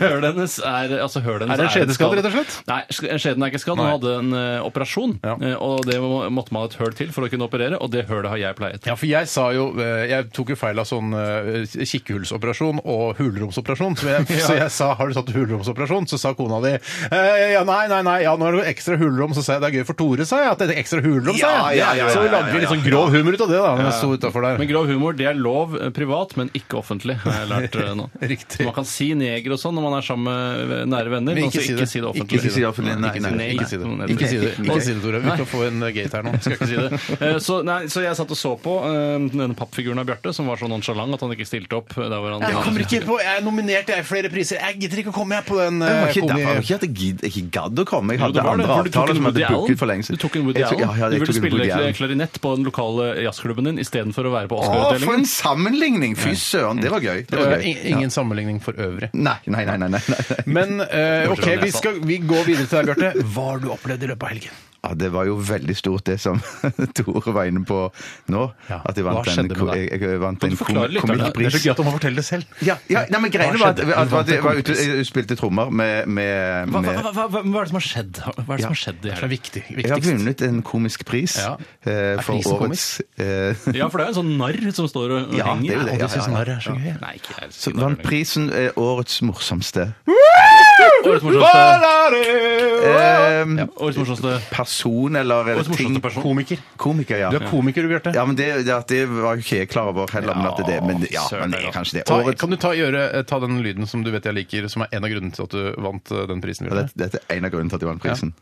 [SPEAKER 3] Hølet hennes er altså hølet hennes
[SPEAKER 1] Er det en skjedeskadd,
[SPEAKER 3] skade.
[SPEAKER 1] rett og slett?
[SPEAKER 3] Nei, sk- skjeden er ikke skadd. Hun
[SPEAKER 1] Nei.
[SPEAKER 3] hadde en eh, operasjon,
[SPEAKER 1] Ja.
[SPEAKER 3] eh, og det må- måtte man ha et høl til for å kunne operere, og det hølet har jeg pleiet.
[SPEAKER 1] Ja, for jeg sa jo eh, Jeg tok jo feil av sånn eh, kikkehullsoperasjon og hulromsoperasjon. Så jeg, så jeg sa 'har du tatt hulromsoperasjon?' Så sa kona di eh, ja, 'nei, nei, nei, ja, nå er det ekstra hulrom'. Så sa jeg 'det er gøy for Tore', sa jeg. At det er ekstra hulrom, sa jeg.
[SPEAKER 2] Ja, ja, ja, ja,
[SPEAKER 1] så
[SPEAKER 2] ja,
[SPEAKER 1] lagde
[SPEAKER 2] ja,
[SPEAKER 1] vi litt
[SPEAKER 2] ja.
[SPEAKER 1] sånn grov humor ut av det da når jeg sto utafor der.
[SPEAKER 3] Men grov humor det er lov eh, privat, men ikke offentlig, har jeg lært eh, nå.
[SPEAKER 1] Riktig.
[SPEAKER 3] Man kan si neger og sånn når man er sammen med eh, nære venner, men altså ikke si det offentlig.
[SPEAKER 2] Ikke si det offentlig, nei, nei,
[SPEAKER 3] nei,
[SPEAKER 1] Ikke si det,
[SPEAKER 3] nei,
[SPEAKER 1] ikke si det,
[SPEAKER 3] nei.
[SPEAKER 1] ikke si det Tore. Vi skal få en gate her nå. Skal ikke si det.
[SPEAKER 3] Eh, Så, nei, så jeg satt og så på eh, denne pappfiguren av Bjarte, som var så nonchalant at han ikke stilte opp. eh, Der hvor han,
[SPEAKER 1] Jeg kommer ikke på, jeg er nominert jeg i flere priser. Jeg gidder ikke å komme jeg på den.
[SPEAKER 2] Det var
[SPEAKER 1] eh,
[SPEAKER 2] ikke,
[SPEAKER 1] kom
[SPEAKER 2] derfor,
[SPEAKER 1] i-
[SPEAKER 2] det var ikke at jeg gidd, ikke gadd å komme. Jeg
[SPEAKER 3] Jo, det
[SPEAKER 2] hadde
[SPEAKER 3] var det,
[SPEAKER 2] andre
[SPEAKER 3] for du tok
[SPEAKER 2] avtaler som
[SPEAKER 3] en Woody
[SPEAKER 2] hadde
[SPEAKER 3] Allen.
[SPEAKER 2] booket for lenge siden.
[SPEAKER 3] Du tok en Woody
[SPEAKER 2] Jeg tok-
[SPEAKER 3] Allen.
[SPEAKER 2] Ja, ja, jeg
[SPEAKER 3] du ville
[SPEAKER 2] tok en
[SPEAKER 3] spille
[SPEAKER 2] Woody Allen.
[SPEAKER 3] kl- klarinett på den lokale jazzklubben din istedenfor å være på
[SPEAKER 2] Å, for en
[SPEAKER 3] Oscar-utdelingen.
[SPEAKER 2] sammenligning! Fy søren, det var gøy. Det var
[SPEAKER 1] Eh,
[SPEAKER 2] gøy.
[SPEAKER 1] in- Ingen sammenligning for øvrig.
[SPEAKER 2] Nei, nei, nei. nei, nei, nei.
[SPEAKER 1] Men eh,
[SPEAKER 3] Bortsett
[SPEAKER 1] ok,
[SPEAKER 3] fra
[SPEAKER 1] vi,
[SPEAKER 3] nesa.
[SPEAKER 1] skal, vi går videre til deg, Bjarte. Hva har du opplevd i løpet av helgen?
[SPEAKER 2] Ja, det var jo veldig stort, det som Tore var inne på nå.
[SPEAKER 1] Ja,
[SPEAKER 2] At jeg
[SPEAKER 1] hva
[SPEAKER 2] vant
[SPEAKER 1] skjedde
[SPEAKER 2] en,
[SPEAKER 1] med
[SPEAKER 2] ko-
[SPEAKER 1] deg?
[SPEAKER 2] jeg, jeg vant en kom,
[SPEAKER 3] forklare litt, da?
[SPEAKER 1] Det er så
[SPEAKER 2] komikkpris.
[SPEAKER 1] gøy at du må fortelle det selv.
[SPEAKER 2] Ja, ja, nei, men greiene
[SPEAKER 1] Hva
[SPEAKER 2] var at,
[SPEAKER 1] skjedde?
[SPEAKER 2] at,
[SPEAKER 1] Du vant
[SPEAKER 2] at jeg
[SPEAKER 1] en
[SPEAKER 2] var ute
[SPEAKER 1] komikkpris.
[SPEAKER 2] jeg spilte trommer med, med,
[SPEAKER 3] Hva, hva,
[SPEAKER 2] med
[SPEAKER 3] hva, hva, hva er det som har skjedd? Hva er det som har skjedd i
[SPEAKER 1] Det er
[SPEAKER 3] helgen?
[SPEAKER 1] viktig.
[SPEAKER 2] Jeg har
[SPEAKER 1] Viktigst.
[SPEAKER 2] vunnet en komisk pris
[SPEAKER 1] Ja.
[SPEAKER 2] eh,
[SPEAKER 1] Er
[SPEAKER 2] for
[SPEAKER 1] prisen
[SPEAKER 2] årets eh,
[SPEAKER 3] Ja, for det er jo en sånn narr som står og, og
[SPEAKER 2] Ja, det er jo
[SPEAKER 3] henger.
[SPEAKER 2] det, ja, ja, ja.
[SPEAKER 1] narr er så gøy.
[SPEAKER 3] Nei, ikke jeg.
[SPEAKER 2] Så vant prisen eh, Årets morsomste.
[SPEAKER 3] Årets morsomste,
[SPEAKER 2] Eh,
[SPEAKER 3] årets morsomste
[SPEAKER 2] Person eller
[SPEAKER 3] Årets morsomste
[SPEAKER 2] ting
[SPEAKER 3] person.
[SPEAKER 1] Komiker.
[SPEAKER 2] Komiker, ja.
[SPEAKER 1] Du er komiker, du, Bjarte.
[SPEAKER 2] Ja, men det, det, at det var ikke jeg klar over heller. Men at det, men, det- ja,
[SPEAKER 3] søren,
[SPEAKER 2] men det
[SPEAKER 3] ja.
[SPEAKER 2] er kanskje det.
[SPEAKER 1] Ta,
[SPEAKER 2] Årets,
[SPEAKER 1] kan du ta, gjøre, eh, ta den lyden som du vet jeg liker, som er en av grunnene til at du vant eh, den prisen?
[SPEAKER 2] Ja,
[SPEAKER 1] Bjarte?
[SPEAKER 2] dette, dette er en av grunnene til at jeg vant prisen.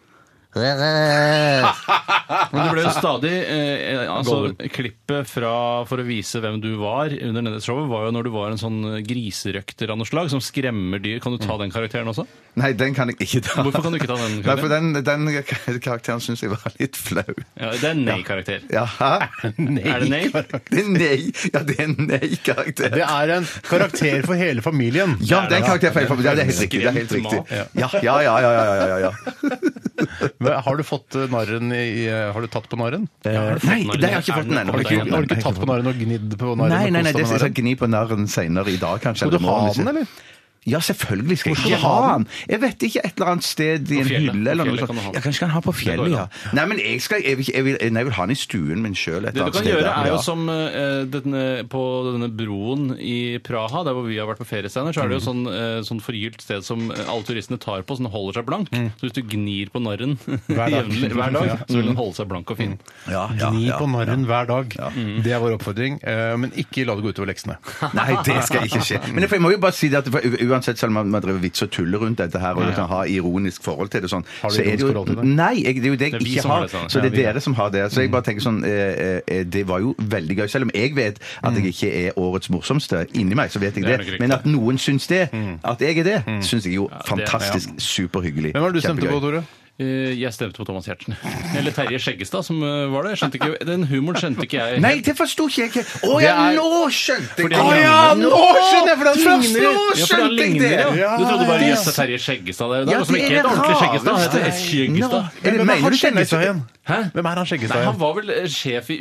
[SPEAKER 3] Men det ble jo stadig eh, altså,
[SPEAKER 1] Gollum.
[SPEAKER 3] Klippet fra, for å vise hvem du var under dette showet, var jo når du var en sånn griserøkter av noe slag som skremmer dyr. Kan du ta den karakteren også?
[SPEAKER 2] Nei, den kan jeg ikke ta.
[SPEAKER 3] Hvorfor kan du ikke ta den?
[SPEAKER 2] Nei, for
[SPEAKER 3] karakteren?
[SPEAKER 2] den, den karakteren syns jeg var litt flau.
[SPEAKER 3] Ja, det er en nei-karakter.
[SPEAKER 2] Ja, hæ?
[SPEAKER 3] Er det nei?
[SPEAKER 2] Det er nei. Ja, det er en nei-karakter.
[SPEAKER 1] Det er en karakter for hele familien.
[SPEAKER 2] Ja, det er en karakterfeil. for- Ja, det er helt riktig. Det er helt riktig. Ja, ja, ja, ja, ja, ja, ja, ja.
[SPEAKER 1] Men Har du fått eh, narren i eh, Har du tatt på narren?
[SPEAKER 2] Nei, det har jeg ikke fått den ennå.
[SPEAKER 1] Har du ikke, har du
[SPEAKER 2] Nei,
[SPEAKER 1] ikke tatt på narren og gnidd på narren?
[SPEAKER 2] Nei,
[SPEAKER 1] og
[SPEAKER 2] nei, nei, det
[SPEAKER 1] kost deg med
[SPEAKER 2] jeg skal
[SPEAKER 1] narren?
[SPEAKER 2] gni på narren senere i dag, kanskje.
[SPEAKER 1] Skal du
[SPEAKER 2] eller i morgen,
[SPEAKER 1] ha
[SPEAKER 2] hvis
[SPEAKER 1] den,
[SPEAKER 2] jeg-
[SPEAKER 1] eller?
[SPEAKER 2] Ja, selvfølgelig skal
[SPEAKER 1] Hvor skal
[SPEAKER 2] jeg
[SPEAKER 1] du ha
[SPEAKER 2] ha den. Jeg vet ikke, et eller annet sted i en
[SPEAKER 3] fjellet.
[SPEAKER 2] hylle eller
[SPEAKER 3] På
[SPEAKER 2] noe
[SPEAKER 3] fjellet kan du ha
[SPEAKER 2] sånt.
[SPEAKER 3] den.
[SPEAKER 2] Ja, kanskje jeg kan ha på
[SPEAKER 3] går
[SPEAKER 2] fjellet,
[SPEAKER 3] jo.
[SPEAKER 2] ja. Nei, men jeg, skal, jeg, vil, ikke- jeg, vil, nei, jeg vil ha den i stuen min sjøl et eller
[SPEAKER 3] Det du
[SPEAKER 2] annet
[SPEAKER 3] kan
[SPEAKER 2] sted.
[SPEAKER 3] gjøre,
[SPEAKER 2] ja.
[SPEAKER 3] er jo
[SPEAKER 2] Ja.
[SPEAKER 3] som eh, denne, på denne broen i Praha, der hvor vi har vært på ferie, Steinar, så er det jo sånn, eh, sånn forgylt sted som eh, alle turistene tar på, så den holder seg blank. Så hvis du gnir på narren
[SPEAKER 1] dag.
[SPEAKER 3] jevnlig Mm. hver dag, Mm. så vil den holde seg blank og fin.
[SPEAKER 2] ja, ja,
[SPEAKER 1] Gni
[SPEAKER 2] ja.
[SPEAKER 1] på narren hver dag. Mm. Det er vår oppfordring. eh, Men ikke la det gå utover leksene.
[SPEAKER 2] Nei, det skal ikke skje. Men jeg må jo bare si det at for u- uansett selv om man, man driver vits og tuller rundt dette her, og liksom har ironisk forhold til det og sånn
[SPEAKER 1] Har du
[SPEAKER 2] så er det
[SPEAKER 1] ironisk forhold til det?
[SPEAKER 2] Nei, jeg, det er jo det jeg
[SPEAKER 3] Det er vi
[SPEAKER 2] ikke
[SPEAKER 3] som har
[SPEAKER 2] har.
[SPEAKER 3] det, Sanne.
[SPEAKER 2] Så det
[SPEAKER 3] Ja, vi
[SPEAKER 2] er dere som har det. Så jeg bare tenker sånn eh, eh, Det var jo veldig gøy. Selv om jeg vet at jeg ikke er årets morsomste inni meg, så vet jeg
[SPEAKER 3] Det er
[SPEAKER 2] det.
[SPEAKER 3] nok riktig.
[SPEAKER 2] Men at noen syns det, at jeg er det, syns jeg jo fantastisk superhyggelig.
[SPEAKER 1] Hvem var det du stemte på,
[SPEAKER 2] Kjempegøy.
[SPEAKER 1] Tore?
[SPEAKER 3] Eh, Jeg stemte på Thomas Giertsen. Eller Terje Skjeggestad, som eh, var det. Jeg Skjønte ikke, den humoren skjønte ikke jeg.
[SPEAKER 2] Nei, det forsto ikke jeg! ikke. Å ja,
[SPEAKER 1] Det er-
[SPEAKER 2] nå skjønte jeg
[SPEAKER 3] Fordi han
[SPEAKER 2] Å ja,
[SPEAKER 3] ligner.
[SPEAKER 2] nå skjønner jeg! For det
[SPEAKER 1] Først
[SPEAKER 2] ligner!
[SPEAKER 1] nå
[SPEAKER 3] Ja, for han
[SPEAKER 2] skjønte jeg
[SPEAKER 3] ligner,
[SPEAKER 2] det!
[SPEAKER 3] ja. Du trodde bare
[SPEAKER 2] det er
[SPEAKER 3] jøss, det er Terje Skjeggestad. Det er noe som
[SPEAKER 2] det
[SPEAKER 3] ikke heter ordentlig Skjeggestad. Han heter
[SPEAKER 2] rareste.
[SPEAKER 3] S. Skjeggestad.
[SPEAKER 2] Nå, er det- Mener du Skjeggestad igjen?
[SPEAKER 3] Hæ?
[SPEAKER 1] Hvem er han
[SPEAKER 3] Nei,
[SPEAKER 1] Skjeggestad
[SPEAKER 3] han
[SPEAKER 1] igjen?
[SPEAKER 3] var vel eh, sjef i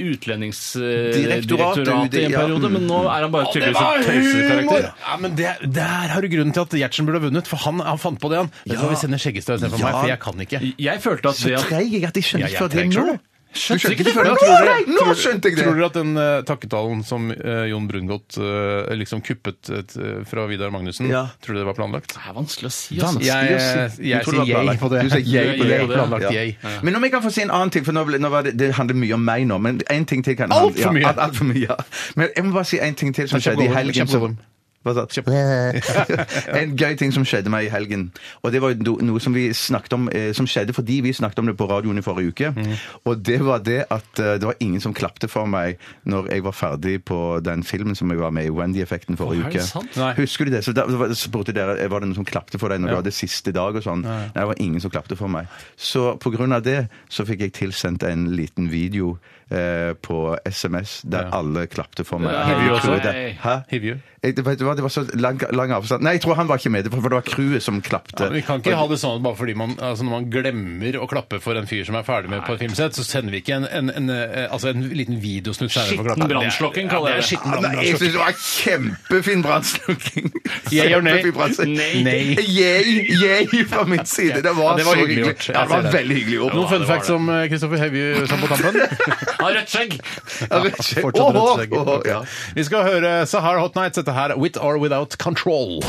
[SPEAKER 2] Direktoratet,
[SPEAKER 3] Utlendingsdirektoratet i en
[SPEAKER 2] UDI, ja.
[SPEAKER 3] periode, men nå er han bare tydeligvis en tøysekarakter.
[SPEAKER 1] Ja, men det, Der har du grunnen til at Gjertsen burde ha vunnet, for han, han fant på det, han. Vet du hva, vi sender Skjeggestad istedenfor
[SPEAKER 2] Ja.
[SPEAKER 1] meg, for jeg kan ikke.
[SPEAKER 3] Jeg følte at det at
[SPEAKER 2] Treig jeg at jeg skjønte
[SPEAKER 1] Ja, jeg
[SPEAKER 2] ikke før det
[SPEAKER 1] treig
[SPEAKER 2] nå.
[SPEAKER 1] selv, jeg.
[SPEAKER 2] Skjønte
[SPEAKER 3] ikke det
[SPEAKER 2] før
[SPEAKER 3] før
[SPEAKER 2] nå.
[SPEAKER 3] nå.
[SPEAKER 2] Tror dere- Nå skjønte jeg
[SPEAKER 1] Tror
[SPEAKER 2] det!
[SPEAKER 1] dere at den eh, takketalen som eh, Jon Brungot eh, liksom kuppet et, eh, fra Vidar Magnussen,
[SPEAKER 2] Ja.
[SPEAKER 1] tror du det var planlagt?
[SPEAKER 3] Det er vanskelig å si, altså.
[SPEAKER 1] Jeg,
[SPEAKER 2] å si.
[SPEAKER 1] jeg,
[SPEAKER 2] Du tror det
[SPEAKER 1] sier
[SPEAKER 2] var
[SPEAKER 1] yay
[SPEAKER 2] planlagt.
[SPEAKER 1] på det.
[SPEAKER 2] Du sier yay
[SPEAKER 3] på det.
[SPEAKER 1] Planlagt
[SPEAKER 2] Ja.
[SPEAKER 1] yay.
[SPEAKER 2] Men om jeg kan få si en annen ting, for nå, ble- nå var det, det handler mye om meg nå, men en ting til kan
[SPEAKER 1] Alt for mye.
[SPEAKER 2] Ja, alt, alt for mye, ja. Men jeg må bare si en ting til som
[SPEAKER 1] Men kjapp
[SPEAKER 2] skjedde i
[SPEAKER 1] over,
[SPEAKER 2] helgen.
[SPEAKER 1] kjapp
[SPEAKER 2] som-
[SPEAKER 1] over.
[SPEAKER 2] Hva sa du? en gøy ting som skjedde meg i helgen. Og det var jo no- noe som vi snakket om eh, Som skjedde fordi vi snakket om det på radioen i forrige uke.
[SPEAKER 3] Mm.
[SPEAKER 2] Og det var det at eh, det var ingen som klapte for meg når jeg var ferdig på den filmen som jeg var med i, Wendy-effekten, forrige
[SPEAKER 3] Å, er det
[SPEAKER 2] uke.
[SPEAKER 3] sant?
[SPEAKER 1] Nei.
[SPEAKER 2] Husker du det? Så da så var- så spurte dere eh, var det noen som klapte for deg når du hadde siste dag og sånn. Nei, det var ingen som klapte for meg. Så på grunn av det så fikk jeg tilsendt en liten video eh, på SMS der alle klapte for meg.
[SPEAKER 3] Nei,
[SPEAKER 2] Helt
[SPEAKER 3] vi
[SPEAKER 2] utrolig.
[SPEAKER 3] også.
[SPEAKER 2] Hæ?
[SPEAKER 1] Hivju.
[SPEAKER 2] Jeg, vet du hva, var, det var så lang, lang avstand Nei, jeg tror han var ikke med, det var- for det var crewet som klapte.
[SPEAKER 1] Ja, vi kan ikke ha det sånn at bare fordi man, altså når man glemmer å klappe for en fyr som er ferdig med på et filmsett, så sender vi ikke en, en, en, eh, altså en liten videosnutt senere for å klappe.
[SPEAKER 3] Skitten brannslokking, kaller jeg det.
[SPEAKER 1] Skitten
[SPEAKER 2] Ah, Nei, jeg
[SPEAKER 1] brannslokking.
[SPEAKER 2] syns det var kjempefin brannslukking.
[SPEAKER 1] altså. Jeg gjør nei.
[SPEAKER 2] Kjempefin brannslukking.
[SPEAKER 1] Nei.
[SPEAKER 2] Yay, yay fra min side. Det var,
[SPEAKER 1] Ja, det
[SPEAKER 2] så
[SPEAKER 1] var hyggelig
[SPEAKER 2] hyggelig.
[SPEAKER 1] gjort. Jeg
[SPEAKER 2] Ja, det
[SPEAKER 1] ser
[SPEAKER 2] var
[SPEAKER 1] det.
[SPEAKER 2] veldig hyggelig gjort.
[SPEAKER 1] Noen fun facts om eh, Kristoffer Hevju sa på tampen?
[SPEAKER 3] Har rødt skjegg!
[SPEAKER 2] Ja, rett skjegg.
[SPEAKER 1] Fortsatt
[SPEAKER 2] Åhå,
[SPEAKER 1] rødt skjegg.
[SPEAKER 2] åhå,
[SPEAKER 1] Ok.
[SPEAKER 2] ja.
[SPEAKER 1] Vi skal høre Sahar Hot Nights. Dette her er With or Without Control.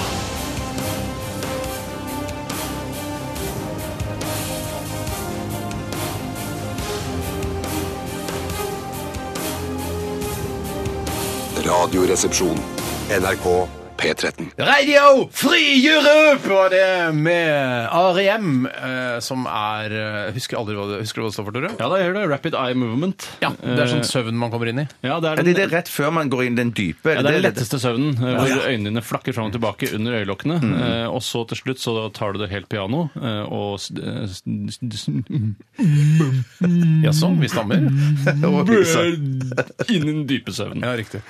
[SPEAKER 6] Radioresepsjon. NRK P13.
[SPEAKER 1] Radio Fri Europe var det med R.E.M., eh, som er eh, Husker aldri hva det, husker du hva det står for, Tore?
[SPEAKER 3] Ja, da gjør det. Rapid eye movement.
[SPEAKER 1] Ja, det er sånn
[SPEAKER 3] Eh,
[SPEAKER 1] søvn man kommer inn i.
[SPEAKER 3] ja, det er
[SPEAKER 2] Er
[SPEAKER 3] den,
[SPEAKER 2] det det rett før man går inn i den dype?
[SPEAKER 3] ja, det er den
[SPEAKER 2] det-
[SPEAKER 3] letteste søvnen, eh, hvor øynene dine flakker fram og tilbake under øyelokkene.
[SPEAKER 1] Mm.
[SPEAKER 3] eh, Og så til slutt så tar du det helt piano eh, og s- eh, s- s-
[SPEAKER 1] Jaså, sånn, vi stammer?
[SPEAKER 3] eh, Innen dype søvnen.
[SPEAKER 1] Ja, riktig.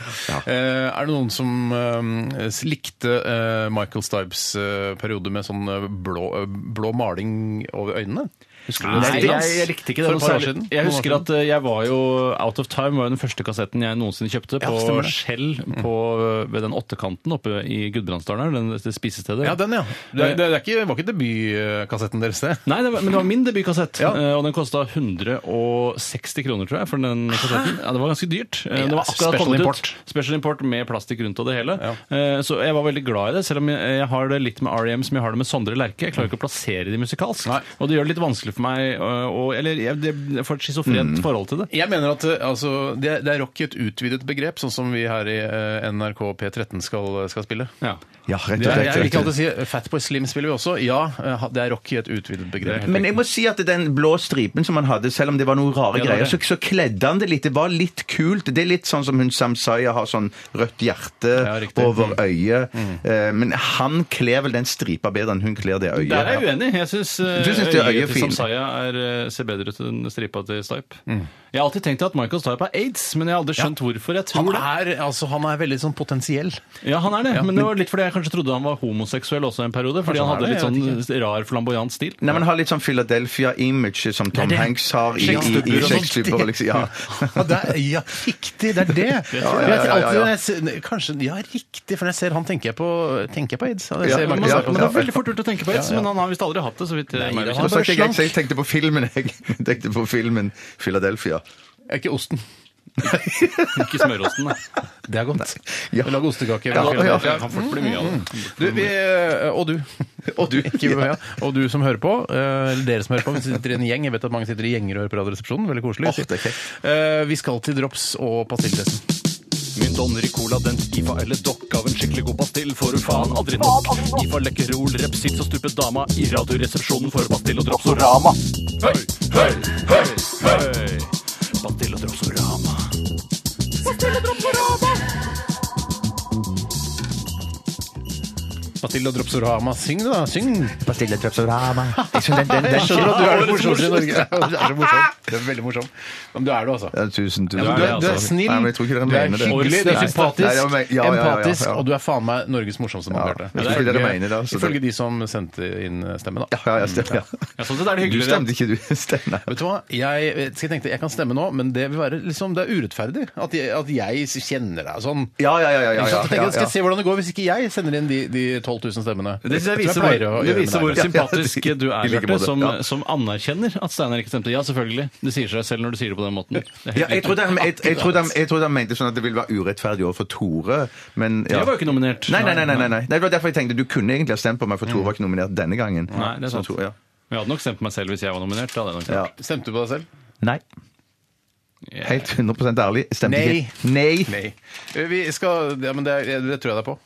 [SPEAKER 1] Eh, er det noen som eh, s- likte eh, Michael Stibes eh, periode med sånn eh, blå, eh, blå maling over øynene? Husker du
[SPEAKER 3] Nei,
[SPEAKER 1] det?
[SPEAKER 3] jeg, jeg likte ikke det.
[SPEAKER 1] For et
[SPEAKER 3] noe
[SPEAKER 1] par år
[SPEAKER 3] særlig.
[SPEAKER 1] siden.
[SPEAKER 3] Jeg
[SPEAKER 1] Noen år
[SPEAKER 3] husker
[SPEAKER 1] siden.
[SPEAKER 3] at eh, jeg var jo Out of Time var jo den første kassetten jeg noensinne kjøpte på
[SPEAKER 1] stemmer det. Mm.
[SPEAKER 3] Skjell på, ved den åttekanten oppe i Gudbrandsdalen her, den- det spisestedet.
[SPEAKER 1] Ja, den, ja. Det, det, det er ikke, var ikke debutkassetten deres, det.
[SPEAKER 3] Nei, det var, men det var min debutkassett,
[SPEAKER 1] Ja.
[SPEAKER 3] eh, og den kosta 160 kroner, tror jeg. for den kassetten. Ja, Det var ganske dyrt. Eh,
[SPEAKER 1] Ja,
[SPEAKER 3] det var akkurat
[SPEAKER 1] special
[SPEAKER 3] kommet
[SPEAKER 1] import.
[SPEAKER 3] ut. Special import med plastikk rundt og det hele.
[SPEAKER 1] Ja.
[SPEAKER 3] Eh, Så jeg var veldig glad i det, selv om jeg, jeg har det litt med R.E.M. som jeg har det med Sondre Lerche. Jeg klarer ikke å plassere de musikalsk,
[SPEAKER 1] Nei.
[SPEAKER 3] og det gjør det litt vanskelig for meg eh, å Eller jeg, det- jeg får et schizofrent
[SPEAKER 1] Mm.
[SPEAKER 3] forhold til det.
[SPEAKER 1] Jeg mener at eh, altså, det, er- det er rock i et utvidet begrep, sånn som vi her i eh, NRK P13 skal, skal spille.
[SPEAKER 3] Ja.
[SPEAKER 2] Ja, rett og
[SPEAKER 1] Det er,
[SPEAKER 2] slett. rett
[SPEAKER 1] jeg vil
[SPEAKER 2] og
[SPEAKER 1] ikke alltid
[SPEAKER 2] slett.
[SPEAKER 1] si eh, Fatboy Slim spiller vi også. Ja, eh, det er rock i et utvidet begrep.
[SPEAKER 2] Men jeg må si at den blå stripen som han hadde, selv om det var noen rare
[SPEAKER 3] Ja, det var
[SPEAKER 2] greier, så,
[SPEAKER 3] det.
[SPEAKER 2] så kledde han det litt. Det var litt kult. Det er litt sånn som hun Samsaya har sånn rødt hjerte
[SPEAKER 1] Ja, riktig. Mm.
[SPEAKER 2] over øyet. Eh, Men han kler vel den stripa bedre enn hun kler det øyet.
[SPEAKER 3] Der er jeg uenig. Jeg syns
[SPEAKER 2] Du synes det er øyet fint.
[SPEAKER 3] Samsaya er, eh, ser bedre ut enn stripa til Stipe.
[SPEAKER 1] Mm.
[SPEAKER 3] Jeg har alltid tenkt at Michael Stipe har aids, men jeg har aldri skjønt hvorfor. Jeg
[SPEAKER 1] Han
[SPEAKER 3] tror det.
[SPEAKER 1] er, altså, han er veldig sånn potensiell.
[SPEAKER 3] Ja, han er det. men det var litt fordi jeg kanskje trodde han var homoseksuell også en periode. Fordi
[SPEAKER 1] Kanskje
[SPEAKER 3] han
[SPEAKER 1] han er
[SPEAKER 3] hadde
[SPEAKER 1] det,
[SPEAKER 3] litt sånn rar, flamboyant stil.
[SPEAKER 2] Nei, men har litt sånn Philadelphia-image som Tom
[SPEAKER 3] det.
[SPEAKER 2] Hanks har i, i,
[SPEAKER 1] Sjekkstubber
[SPEAKER 2] i
[SPEAKER 1] og sånt.
[SPEAKER 2] sexklubber. Liksom. Ja.
[SPEAKER 1] Ja, det er, ja, riktig, det er det!
[SPEAKER 2] ja,
[SPEAKER 1] Jeg
[SPEAKER 2] ja,
[SPEAKER 1] vet
[SPEAKER 2] ja,
[SPEAKER 1] alltid
[SPEAKER 2] ja.
[SPEAKER 1] når jeg ser- Kanskje, ja, riktig, for når jeg ser han, tenker jeg på, tenker jeg på aids. Ja,
[SPEAKER 2] Ja,
[SPEAKER 1] jeg ser
[SPEAKER 3] Men,
[SPEAKER 2] ja,
[SPEAKER 1] Michael Stipe
[SPEAKER 3] men det
[SPEAKER 1] også.
[SPEAKER 3] var veldig fort gjort å tenke på aids,
[SPEAKER 1] Ja, ja.
[SPEAKER 3] men han har visst aldri hatt det. så vidt jeg
[SPEAKER 1] Nei,
[SPEAKER 3] meg
[SPEAKER 1] det
[SPEAKER 3] bekjent.
[SPEAKER 1] har
[SPEAKER 2] Nå sa ikke jeg,
[SPEAKER 1] slank.
[SPEAKER 2] jeg tenkte på filmen, jeg. Jeg tenkte på filmen Philadelphia.
[SPEAKER 1] Ikke osten.
[SPEAKER 3] Ikke smørosten, da.
[SPEAKER 1] Det er godt.
[SPEAKER 2] Ja.
[SPEAKER 1] Lag ostekake.
[SPEAKER 2] Ja, ja, ja.
[SPEAKER 3] Kan fort bli mye av det.
[SPEAKER 1] Du, vi, eh, og du. Og du, ikke, ja. og du som hører på. eh, Eller dere som hører på. Vi sitter i en gjeng. Jeg vet at mange sitter i gjenger og hører på Radioresepsjonen. Veldig koselig.
[SPEAKER 2] Åh, det er kjekt.
[SPEAKER 1] Eh, vi skal til drops og pastilltesten.
[SPEAKER 3] Min donner i cola, den IFA eller dokk av en skikkelig god pastill får du faen aldri nok. IFA lekkerol, repsits og stupet dama i radioresepsjonen for pastill og dropsorama. Høy, høy, høy, høy! Pastill og dropsorama.
[SPEAKER 1] Pastill og dropsorama. Syng, da. Syng.
[SPEAKER 2] Pastille Trapsorama. Jeg synes den- den- den-
[SPEAKER 1] Skjønner at du er det morsomste i Norge. Du er så morsom. Du er veldig morsom. Men du er det, altså.
[SPEAKER 2] Ja, Tusen, tusen
[SPEAKER 1] Du er, du er
[SPEAKER 2] takk.
[SPEAKER 1] snill,
[SPEAKER 2] Nei, men jeg tror ikke dere
[SPEAKER 1] du er
[SPEAKER 2] mener det.
[SPEAKER 1] hyggelig, du er
[SPEAKER 2] Nei,
[SPEAKER 1] sympatisk,
[SPEAKER 2] nei, jeg mener- ja, ja, ja, ja,
[SPEAKER 1] empatisk,
[SPEAKER 2] ja.
[SPEAKER 1] og du er faen meg Norges morsomste mann,
[SPEAKER 2] Ja,
[SPEAKER 1] Bjarte.
[SPEAKER 2] jeg tror ikke dere mener det, altså.
[SPEAKER 1] Ifølge de som sendte inn stemmen, da.
[SPEAKER 2] Ja, ja, stemmer. Ja.
[SPEAKER 3] Ja, sånn sett er det
[SPEAKER 2] Du
[SPEAKER 3] hyggelig. det.
[SPEAKER 2] stemte ikke, du. Steinar.
[SPEAKER 1] Vet du hva? Jeg, eh, skal jeg, tenkte, jeg kan stemme nå, men det vil være liksom, det er urettferdig. At jeg, at jeg kjenner deg sånn.
[SPEAKER 2] Ja, ja, ja. ja, ja,
[SPEAKER 1] Ikke
[SPEAKER 2] ja,
[SPEAKER 1] sant? Jeg tenker,
[SPEAKER 2] ja,
[SPEAKER 1] Skal jeg se hvordan det går hvis ikke jeg sender inn de, de 12 000 stemmene?
[SPEAKER 3] Det synes jeg
[SPEAKER 1] tror
[SPEAKER 3] viser,
[SPEAKER 1] pleier å
[SPEAKER 3] hvor,
[SPEAKER 1] gjøre
[SPEAKER 3] det
[SPEAKER 1] med
[SPEAKER 3] viser
[SPEAKER 1] deg.
[SPEAKER 3] hvor
[SPEAKER 2] Ja, ja,
[SPEAKER 3] sympatisk
[SPEAKER 2] i-
[SPEAKER 3] du
[SPEAKER 2] i
[SPEAKER 3] er,
[SPEAKER 2] like
[SPEAKER 3] Bjarte,
[SPEAKER 2] måte,
[SPEAKER 3] som,
[SPEAKER 2] ja.
[SPEAKER 3] som anerkjenner at Steinar ikke stemte. Ja, selvfølgelig. Det sier seg selv når du sier det på den måten. Det er helt
[SPEAKER 2] Ja, jeg
[SPEAKER 3] riktig.
[SPEAKER 2] trodde han, jeg, jeg, trodde han, jeg trodde han mente sånn at det ville være urettferdig overfor Tore, men ja.
[SPEAKER 3] Jeg var jo ikke nominert.
[SPEAKER 2] Nei, nei, nei, nei, nei, nei. Det var derfor jeg tenkte du kunne egentlig ha stemt på meg, for Tore var ikke nominert denne gangen.
[SPEAKER 3] Nei, det er sant.
[SPEAKER 2] Så Tore, ja.
[SPEAKER 3] Men Jeg hadde nok stemt på meg selv hvis jeg var nominert. Det hadde jeg nok
[SPEAKER 2] Ja.
[SPEAKER 3] gjort.
[SPEAKER 1] Stemte du på deg selv?
[SPEAKER 2] Nei. Helt 100 ærlig. Stemte
[SPEAKER 1] Nei.
[SPEAKER 2] ikke. Nei.
[SPEAKER 1] Eh, Vi skal, ja, men det, er- det tror jeg deg på.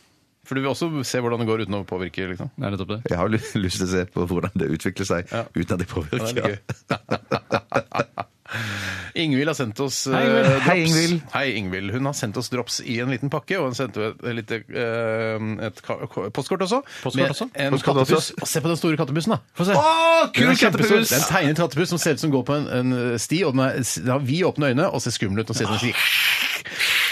[SPEAKER 1] For du vil også se hvordan det går uten å påvirke, liksom.
[SPEAKER 3] Det er nettopp det.
[SPEAKER 2] Jeg har ly- lyst til å se på hvordan det utvikler seg
[SPEAKER 1] Ja.
[SPEAKER 2] uten at det
[SPEAKER 1] Ja,
[SPEAKER 2] påvirker.
[SPEAKER 1] det er gøy. Ingvild har sendt oss eh,
[SPEAKER 3] Hei, Ingvild.
[SPEAKER 1] drops.
[SPEAKER 2] Hei, Ingvild.
[SPEAKER 1] Hei, Ingvild. Hun har sendt oss drops i en liten pakke, og hun sendte et, et, lite, eh, et ka- ko- postkort også.
[SPEAKER 3] Postkort også?
[SPEAKER 1] Med en
[SPEAKER 2] Postkort
[SPEAKER 1] kattepuss.
[SPEAKER 2] også.
[SPEAKER 1] Og se på den store kattepussen, da!
[SPEAKER 3] Få se.
[SPEAKER 2] Å,
[SPEAKER 1] Den
[SPEAKER 2] kul
[SPEAKER 1] er kjempestor.
[SPEAKER 2] kattepus!
[SPEAKER 1] Det er en tegnet kattepuss som ser ut som går på en, en sti, og den, er, den har vidåpne øyne og ser skummel ut. Og ser ut som den sier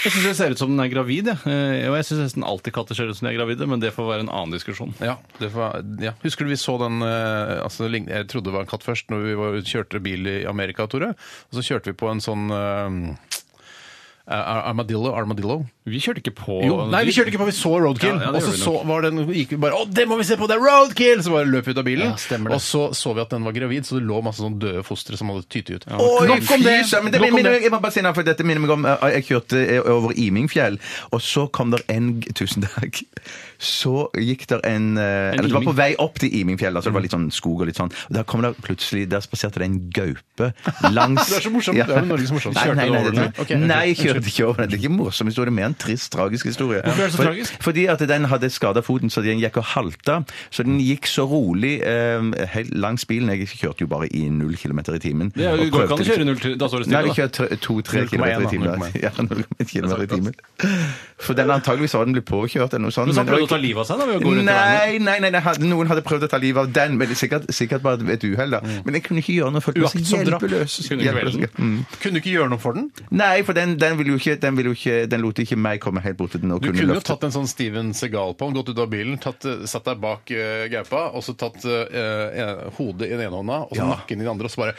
[SPEAKER 3] Jeg syns det ser ut som den er gravid, jeg. Eh, Og jeg syns nesten alltid katter ser ut som de er gravide, men det får være en annen diskusjon.
[SPEAKER 1] Ja, det var, ja. Husker du vi så den eh, altså, lign- Jeg trodde det var en katt først når vi var, kjørte bil i Amerika, Tore. Og så kjørte vi på en sånn eh, ar- Armadillo. armadillo.
[SPEAKER 3] Vi kjørte ikke på
[SPEAKER 1] Jo, nei, vi kjørte ikke på, vi så Roadkill.
[SPEAKER 3] Ja, ja, det
[SPEAKER 1] og så,
[SPEAKER 3] gjorde vi
[SPEAKER 1] så var den, gikk vi bare Å, det må vi se på! Det er Roadkill! Så bare løp vi ut av bilen.
[SPEAKER 3] Ja, stemmer det.
[SPEAKER 1] og så så vi at den var gravid, så det lå masse sånn døde fostre som hadde tytet ut.
[SPEAKER 2] Oi,
[SPEAKER 1] Nok om det!
[SPEAKER 2] fy søren, Men det
[SPEAKER 1] Nok om
[SPEAKER 2] minner
[SPEAKER 1] det.
[SPEAKER 2] meg, jeg må bare si noe, for dette minner meg om eh, Jeg kjørte eh, over Imingfjell, og så kom der en g- Tusen takk. Så gikk der en, eh, eller Det var
[SPEAKER 3] iming.
[SPEAKER 2] på vei opp til Imingfjell, altså det var litt sånn skog og litt sånn. Og der kom der plutselig Der spaserte det en gaupe langs
[SPEAKER 1] Det er så morsomt. Det er jo Norges morsomste.
[SPEAKER 2] Nei,
[SPEAKER 1] Kjørte
[SPEAKER 2] nei,
[SPEAKER 1] den
[SPEAKER 2] nei,
[SPEAKER 1] over
[SPEAKER 2] det-
[SPEAKER 1] den? Ok, unnskyld.
[SPEAKER 2] nei, jeg kjørte ikke over den. Det er ikke en morsom historie, mer en trist, tragisk historie.
[SPEAKER 3] Hvorfor er det så
[SPEAKER 2] For-
[SPEAKER 3] tragisk?
[SPEAKER 2] Fordi at den hadde skada foten, så den gikk og halta. Så den gikk så rolig eh, helt langs bilen. Jeg kjørte jo bare i null kilometer i timen.
[SPEAKER 3] Det er jo-
[SPEAKER 2] og
[SPEAKER 3] går ikke
[SPEAKER 2] prøvde
[SPEAKER 3] an å
[SPEAKER 2] litt-
[SPEAKER 3] kjøre null til- da står det stille,
[SPEAKER 2] Nei, vi
[SPEAKER 3] da.
[SPEAKER 2] kjører 2-3
[SPEAKER 1] 0,1
[SPEAKER 2] km i
[SPEAKER 1] da,
[SPEAKER 2] timen.
[SPEAKER 1] 0,1.
[SPEAKER 2] Ja, 0,1 kilometer i timen. For den antageligvis var den blitt påkjørt eller noe sånt.
[SPEAKER 3] Men så
[SPEAKER 2] det var
[SPEAKER 3] prøvde å ta
[SPEAKER 2] ikke-
[SPEAKER 3] livet av seg da, ved å gå rundt i
[SPEAKER 2] Nei, nei, nei, nei, had- noen hadde prøvd å ta livet av den, men det er sikkert, sikkert bare et uhell. da. Men jeg kunne ikke gjøre noe, jeg følte meg så
[SPEAKER 1] Uaktsomt drap.
[SPEAKER 2] hjelpeløs.
[SPEAKER 3] Mm. Kunne du ikke velge den?
[SPEAKER 2] Hjelpeløs, ja. Mm.
[SPEAKER 1] Kunne du ikke gjøre noe for den?
[SPEAKER 2] Nei, for den, den ville jo ikke Den, ville jo ikke, den lot ikke meg komme helt bort til den. Og
[SPEAKER 1] Du kunne jo
[SPEAKER 2] løfte.
[SPEAKER 1] tatt en sånn Steven Segal på han, gått ut av bilen, tatt, eh, satt deg bak eh, gaupa, og så tatt eh, eh, hodet i den ene hånda, og så nakken i den andre, og så bare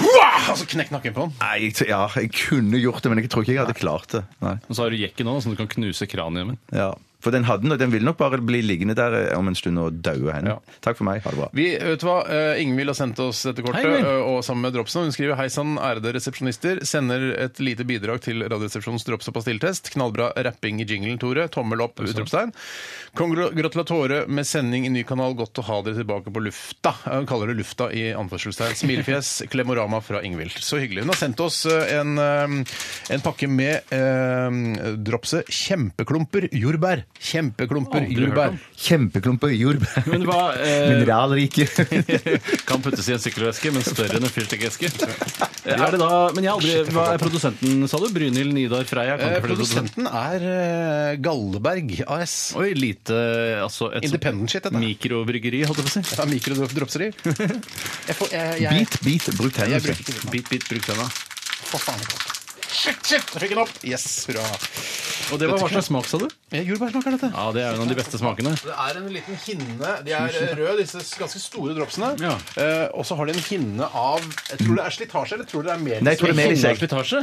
[SPEAKER 1] Hua! Og så knekk nakken på han.
[SPEAKER 2] Nei, så- ja, jeg kunne gjort det, men jeg tror ikke jeg hadde klart det. Nei.
[SPEAKER 3] Og så har du jekken òg, sånn at du kan knuse kraniet mitt.
[SPEAKER 2] Ja. For den hadde den, og den ville nok bare bli liggende der eh, om en stund og daue henne.
[SPEAKER 1] Ja.
[SPEAKER 2] Takk for meg. Ha det bra.
[SPEAKER 1] Vi, vet du hva, Eh, Ingvild har sendt oss dette kortet,
[SPEAKER 3] Hei, Ingvild.
[SPEAKER 1] eh, og sammen med Dropsen. Hun skriver Hei sann, ærede resepsjonister. Sender et lite bidrag til Radioresepsjonens drops- og pastilltest. Knallbra rapping i jinglen, Tore. Tommel opp, utropstegn. Kongratulatore med sending i ny kanal. Godt å ha dere tilbake på lufta. Eh, Hun kaller det lufta i anførselstegn. Smilefjes, klemorama fra Ingvild. Så hyggelig. Hun har sendt oss eh, en, eh, en pakke med eh, dropset Kjempeklumper jordbær. Kjempeklumper
[SPEAKER 3] Aldri hørt
[SPEAKER 1] jordbær.
[SPEAKER 3] om.
[SPEAKER 2] Kjempeklumper jordbær.
[SPEAKER 3] Men hva, eh,
[SPEAKER 2] Mineralrike.
[SPEAKER 3] Kan puttes i en sykkelveske, men større enn en fyrstikkeske. Er det da Men jeg har aldri Hva er produsenten, sa du? Brynhild Nidar Freia? Kan
[SPEAKER 1] Eh,
[SPEAKER 3] ikke flere produsent-
[SPEAKER 1] Produsenten er eh, Galleberg AS.
[SPEAKER 3] Oi, lite Altså et sånt
[SPEAKER 1] Independent shit, dette.
[SPEAKER 3] mikrobryggeri, holdt jeg på å si.
[SPEAKER 1] Ja, Mikrodropseri. Jeg får jeg, jeg,
[SPEAKER 2] Bit, bit, bruk hendene.
[SPEAKER 1] jeg, bruker ikke det.
[SPEAKER 3] Bit, bit, bruk tenna.
[SPEAKER 1] Å, faen. Shit, shit! Jeg fikk den opp! Yes, hurra.
[SPEAKER 3] Og det var hva slags smak, sa du?
[SPEAKER 1] Eh, Jordbærsmak er dette.
[SPEAKER 3] Ja, det er jo en av de beste smakene.
[SPEAKER 1] Det er en liten hinne. De er eh, røde, disse ganske store dropsene.
[SPEAKER 3] Ja.
[SPEAKER 1] Eh, og så har de en hinne av Jeg tror det er slitasje, eller tror du det er mer
[SPEAKER 2] Nei, jeg tror det er mer i
[SPEAKER 3] Hva er
[SPEAKER 2] seg.
[SPEAKER 3] slitasje?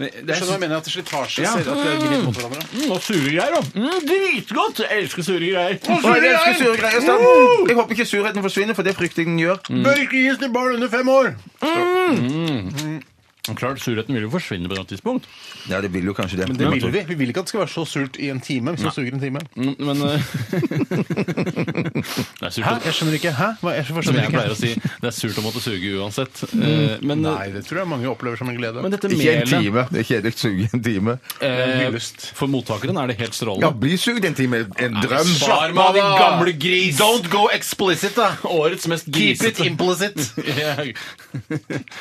[SPEAKER 3] Det er-
[SPEAKER 1] Skjønner du hva jeg mener? At slitasje
[SPEAKER 3] Ja.
[SPEAKER 1] ser at det gnir mot hverandre.
[SPEAKER 3] Mm, og sure greier, da. Mm, dritgodt! Jeg elsker sure greier.
[SPEAKER 2] Å, jeg elsker sure greier. Stan. Jeg håper ikke surheten forsvinner, for det frykter jeg den gjør.
[SPEAKER 1] Bør ikke gis til barn under fem år!
[SPEAKER 3] Og Klart, Surheten vil jo forsvinne på et eller annet tidspunkt.
[SPEAKER 2] Ja, det vil jo kanskje det.
[SPEAKER 1] Det vil vi. Vi vil ikke at det skal være så surt i en time hvis du suger en time.
[SPEAKER 3] Mm, Men eh, Det er surt
[SPEAKER 1] Hæ?
[SPEAKER 3] å-
[SPEAKER 1] Jeg skjønner ikke. Hæ? Hva, jeg
[SPEAKER 3] Som
[SPEAKER 1] forstår
[SPEAKER 3] jeg
[SPEAKER 1] ikke.
[SPEAKER 3] pleier å si, det er surt å måtte suge uansett. Eh, Men,
[SPEAKER 1] Nei, det tror jeg mange opplever som en glede.
[SPEAKER 3] men dette
[SPEAKER 2] Ikke en
[SPEAKER 3] melet
[SPEAKER 2] time. Det er kjedelig å suge en time.
[SPEAKER 3] eh,
[SPEAKER 1] Hyllest.
[SPEAKER 3] For mottakeren er det helt
[SPEAKER 2] Ja,
[SPEAKER 3] strålende.
[SPEAKER 2] bli sugd en time. En drøm.
[SPEAKER 3] Slapp av, din gamle gris!
[SPEAKER 1] go explicit, da!
[SPEAKER 3] Årets mest grisete
[SPEAKER 1] implicit!
[SPEAKER 3] Jeg-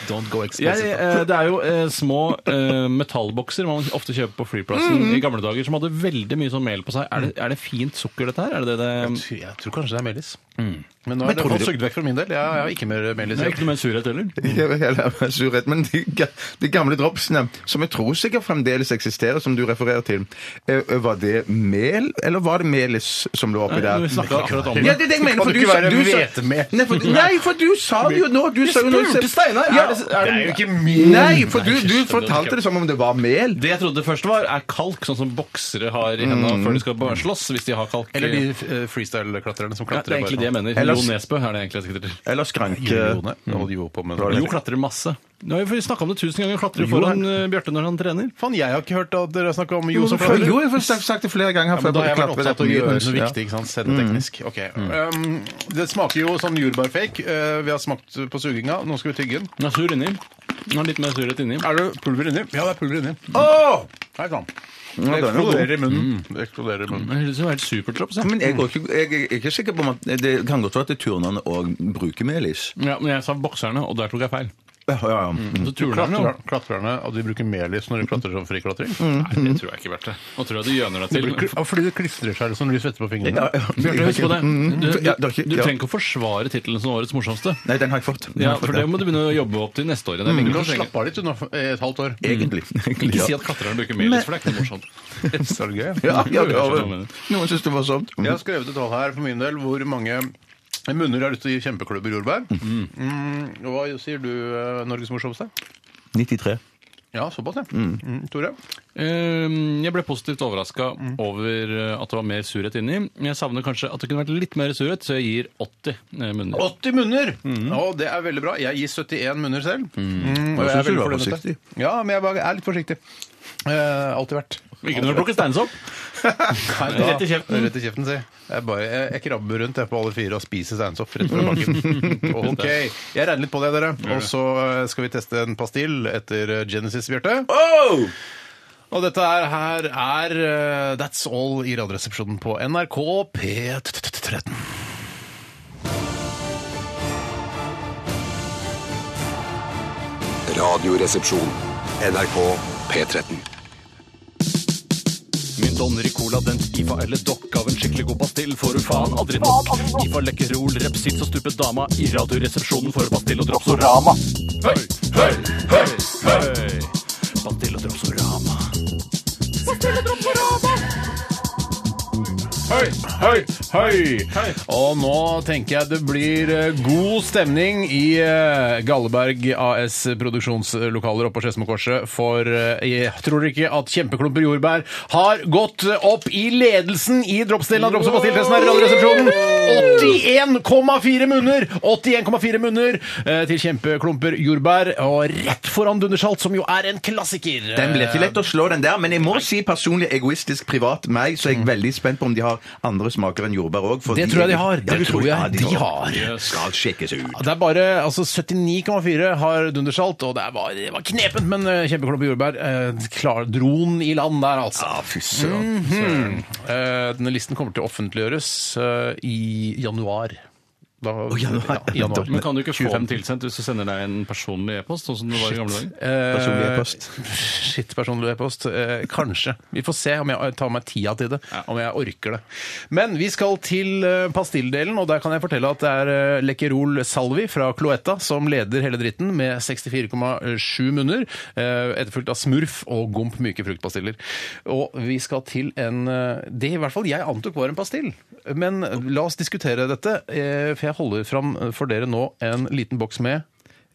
[SPEAKER 1] Don't go
[SPEAKER 3] Jeg,
[SPEAKER 1] explicit.
[SPEAKER 3] eh, det er jo eh, små eh, metallbokser man ofte kjøper på flyplassen i gamle dager, som hadde veldig mye sånn mel på seg. Er det, er det fint sukker, dette her? Er det det det
[SPEAKER 1] Jeg, tror kanskje det er melis.
[SPEAKER 3] Mm.
[SPEAKER 1] Men nå
[SPEAKER 2] Men
[SPEAKER 1] er det
[SPEAKER 2] tror
[SPEAKER 1] fått
[SPEAKER 2] du-
[SPEAKER 1] sugd vekk for min del. Jeg jeg har ikke mer melis.
[SPEAKER 3] det er ikke noe mer surhet heller.
[SPEAKER 2] Jeg vil heller ha surhet, men de, ga- de gamle dropsene, som jeg tror sikkert fremdeles eksisterer, som du refererer til, eh, var det mel, eller var det melis som lå oppi der?
[SPEAKER 3] Vi snakket akkurat om det.
[SPEAKER 2] Ja, det er det jeg mener,
[SPEAKER 1] Kan
[SPEAKER 2] for
[SPEAKER 1] det
[SPEAKER 2] du
[SPEAKER 1] ikke
[SPEAKER 2] sa
[SPEAKER 1] være
[SPEAKER 2] du sa-
[SPEAKER 1] hvetemel?
[SPEAKER 2] Nei, for, nei, for du sa det jo nå! Du sa jo nå
[SPEAKER 3] spurte Steinar, er det- er det- Det er jo
[SPEAKER 1] ikke mel.
[SPEAKER 2] Nei, for du, du
[SPEAKER 3] Nei,
[SPEAKER 2] fortalte det som om det var mel.
[SPEAKER 3] Det jeg trodde først var, er kalk, sånn som boksere har i hendene før de skal bare slåss. hvis de har kalk.
[SPEAKER 1] Eller de eh, freestyle-klatrerne som
[SPEAKER 3] ja, det
[SPEAKER 1] klatrer.
[SPEAKER 3] er egentlig det jeg mener.
[SPEAKER 2] Ellers-
[SPEAKER 3] Jo Nesbø er det egentlig jeg skal etter.
[SPEAKER 2] Eller skranke...
[SPEAKER 1] Jone. Og de var på med
[SPEAKER 3] Jo klatrer masse. Nå har vi snakka om det tusen ganger. Klatrer foran eh, Bjarte når han trener.
[SPEAKER 1] Faen, jeg har ikke hørt at dere har snakka om Jo
[SPEAKER 2] Jo,
[SPEAKER 1] som
[SPEAKER 2] Mm, for-
[SPEAKER 1] klatrer.
[SPEAKER 2] jo, jeg har sagt- sagt det flere ganger her.
[SPEAKER 1] Ja,
[SPEAKER 2] før
[SPEAKER 1] men da har jeg vært
[SPEAKER 2] klapper
[SPEAKER 1] opptatt av å
[SPEAKER 2] dette
[SPEAKER 1] gjøre
[SPEAKER 2] mye.
[SPEAKER 1] noe
[SPEAKER 2] Ja.
[SPEAKER 1] viktig. ikke sant?
[SPEAKER 3] Mm.
[SPEAKER 1] Sendeteknisk. Ok. Um, det smaker jo sånn jordbærfake. Eh, vi har smakt på suginga. Nå skal vi tygge den.
[SPEAKER 3] Den er sur inni. Den er litt mer surhet inni.
[SPEAKER 1] Er det pulver inni? Ja, det er pulver inni.
[SPEAKER 2] Åh!
[SPEAKER 1] Hei sann.
[SPEAKER 2] Ja, den er
[SPEAKER 1] Det
[SPEAKER 2] god.
[SPEAKER 1] eksploderer i munnen.
[SPEAKER 3] Mm.
[SPEAKER 2] Mm.
[SPEAKER 1] Det eksploderer i munnen.
[SPEAKER 3] Det høres jo helt superdrops ja.
[SPEAKER 2] Men jeg, går ikke, jeg er ikke sikker på om at Det kan godt være at turnerne òg bruker melis.
[SPEAKER 3] ja, men jeg sa bokserne, og der tok jeg feil.
[SPEAKER 2] Ja, ja, ja. Mm.
[SPEAKER 3] Så turnerne jo.
[SPEAKER 1] Klatrer- Klatrerne, og de bruker melis når de klatrer som friklatring.
[SPEAKER 2] Mm.
[SPEAKER 3] Nei, det tror jeg ikke, Bjarte. Nå tror jeg du gjøner deg
[SPEAKER 1] Det
[SPEAKER 3] til.
[SPEAKER 1] blir kl- Ja, fordi det klistrer seg som lys svette på fingrene.
[SPEAKER 2] Ja, ja.
[SPEAKER 3] Bjarte, husk på det.
[SPEAKER 2] Mm,
[SPEAKER 3] Du, du,
[SPEAKER 2] ja, det er ikke-
[SPEAKER 3] du
[SPEAKER 2] ja.
[SPEAKER 3] trenger ikke å forsvare tittelen som årets morsomste.
[SPEAKER 2] Nei, den har jeg fått. Den
[SPEAKER 3] Ja, Mm.
[SPEAKER 2] har jeg
[SPEAKER 3] for
[SPEAKER 2] fått,
[SPEAKER 3] det må du begynne å jobbe opp til neste år. igjen.
[SPEAKER 1] Du
[SPEAKER 3] Det er
[SPEAKER 1] kan
[SPEAKER 3] lenge til å slenge.
[SPEAKER 1] slappe av litt unna for- eh, et halvt år.
[SPEAKER 2] Egentlig. egentlig,
[SPEAKER 3] Ikke si
[SPEAKER 2] ja.
[SPEAKER 3] at klatrerne bruker melis, for det er ikke noe morsomt.
[SPEAKER 2] Mm.
[SPEAKER 1] Så er det gøy.
[SPEAKER 2] Ja, ja, ja,
[SPEAKER 3] Jeg
[SPEAKER 2] ja. Noen syns det var sånn. sånt.
[SPEAKER 1] Jeg har skrevet et tall her for min del hvor mange munner er ute i kjempeklubber jordbær. Mm, hva sier du, eh, Norges morsomste?
[SPEAKER 2] 93.
[SPEAKER 1] Ja, såpass, ja. Mm, Tore?
[SPEAKER 3] Ehm, Jeg ble positivt overraska over eh, at det var mer surhet inni. Jeg savner kanskje at det kunne vært litt mer surhet, så jeg gir 80 eh, munner.
[SPEAKER 1] 80 munner!
[SPEAKER 3] Mm.
[SPEAKER 1] Å, det er veldig bra. Jeg gir 71 munner selv. Mm, og
[SPEAKER 2] Jeg synes
[SPEAKER 1] veldig
[SPEAKER 2] du var
[SPEAKER 1] fornøyd med
[SPEAKER 2] forsiktig.
[SPEAKER 1] dette. Ja, men jeg bare er litt forsiktig. Eh, alltid vært.
[SPEAKER 3] Ikke når du plukker steinsopp.
[SPEAKER 1] Nei, da-
[SPEAKER 3] Rett i kjeften.
[SPEAKER 1] Rett i kjeften, si. Jeg, bare, jeg, jeg krabber rundt jeg på alle fire og spiser steinsopp rett fra bakken. OK. Jeg regner litt på det, dere. Og så eh, skal vi teste en pastill etter eh, Genesis, Bjarte. Og dette er, her er eh, That's All i Radioresepsjonen på NRK P13.
[SPEAKER 6] Radioresepsjon. NRK P13.
[SPEAKER 3] Mynt, donner, cola, dent, IFA eller dokk av en skikkelig god pastill får du faen aldri nok. IFA, lekkerol, repsits og stupet dama. I radioresepsjonen får du pastill og dropsorama. Høy, høy, høy, høy. Pastill og dropsorama.
[SPEAKER 1] Høy, høy, høy! Og nå tenker jeg det blir eh, god stemning i eh, Galleberg AS produksjonslokaler oppe på Skedsmokorset, for eh, jeg tror ikke at kjempeklumper jordbær har gått eh, opp i ledelsen i droppsdelen av Drops- og pastillfesten her i Radioresepsjonen! 81,4 munner! 81,4 munner eh, til kjempeklumper jordbær, og rett foran Dundersalt, som jo er en klassiker.
[SPEAKER 2] Den ble ikke lett å slå, den der. Men jeg må si personlig egoistisk privat meg, så er jeg veldig spent på om de har andre smaker enn jordbær òg.
[SPEAKER 1] Det tror jeg de har. Det tror jeg de har.
[SPEAKER 2] Skal sjekkes ut.
[SPEAKER 1] Det er bare altså 79,4 har dundersalt, og det, er bare, det var knepent, men eh, kjempeklump jordbær. Eh, klar, droen i land der, altså.
[SPEAKER 2] Ah, fy søren.
[SPEAKER 1] Eh, denne listen kommer til å offentliggjøres eh, i januar. Da,
[SPEAKER 2] januar.
[SPEAKER 1] Ja, i januar.
[SPEAKER 3] Men kan du ikke få den tilsendt hvis du sender deg en personlig e-post, sånn som det var i gamle dager?
[SPEAKER 1] Eh,
[SPEAKER 2] Personlig e-post.
[SPEAKER 1] Shit, personlig e-post. Eh, kanskje. Vi får se om jeg tar meg tida til det. Om jeg orker det. Men vi skal til eh, pastilldelen, og der kan jeg fortelle at det er eh, Lekkerol Salvi fra Cloetta som leder hele dritten med 64,7 munner. Eh, etterfulgt av Smurf og Gomp myke fruktpastiller. Og vi skal til en eh, Det i hvert fall jeg antok var en pastill. Men la oss diskutere dette, eh, for jeg holder fram for dere nå en liten boks med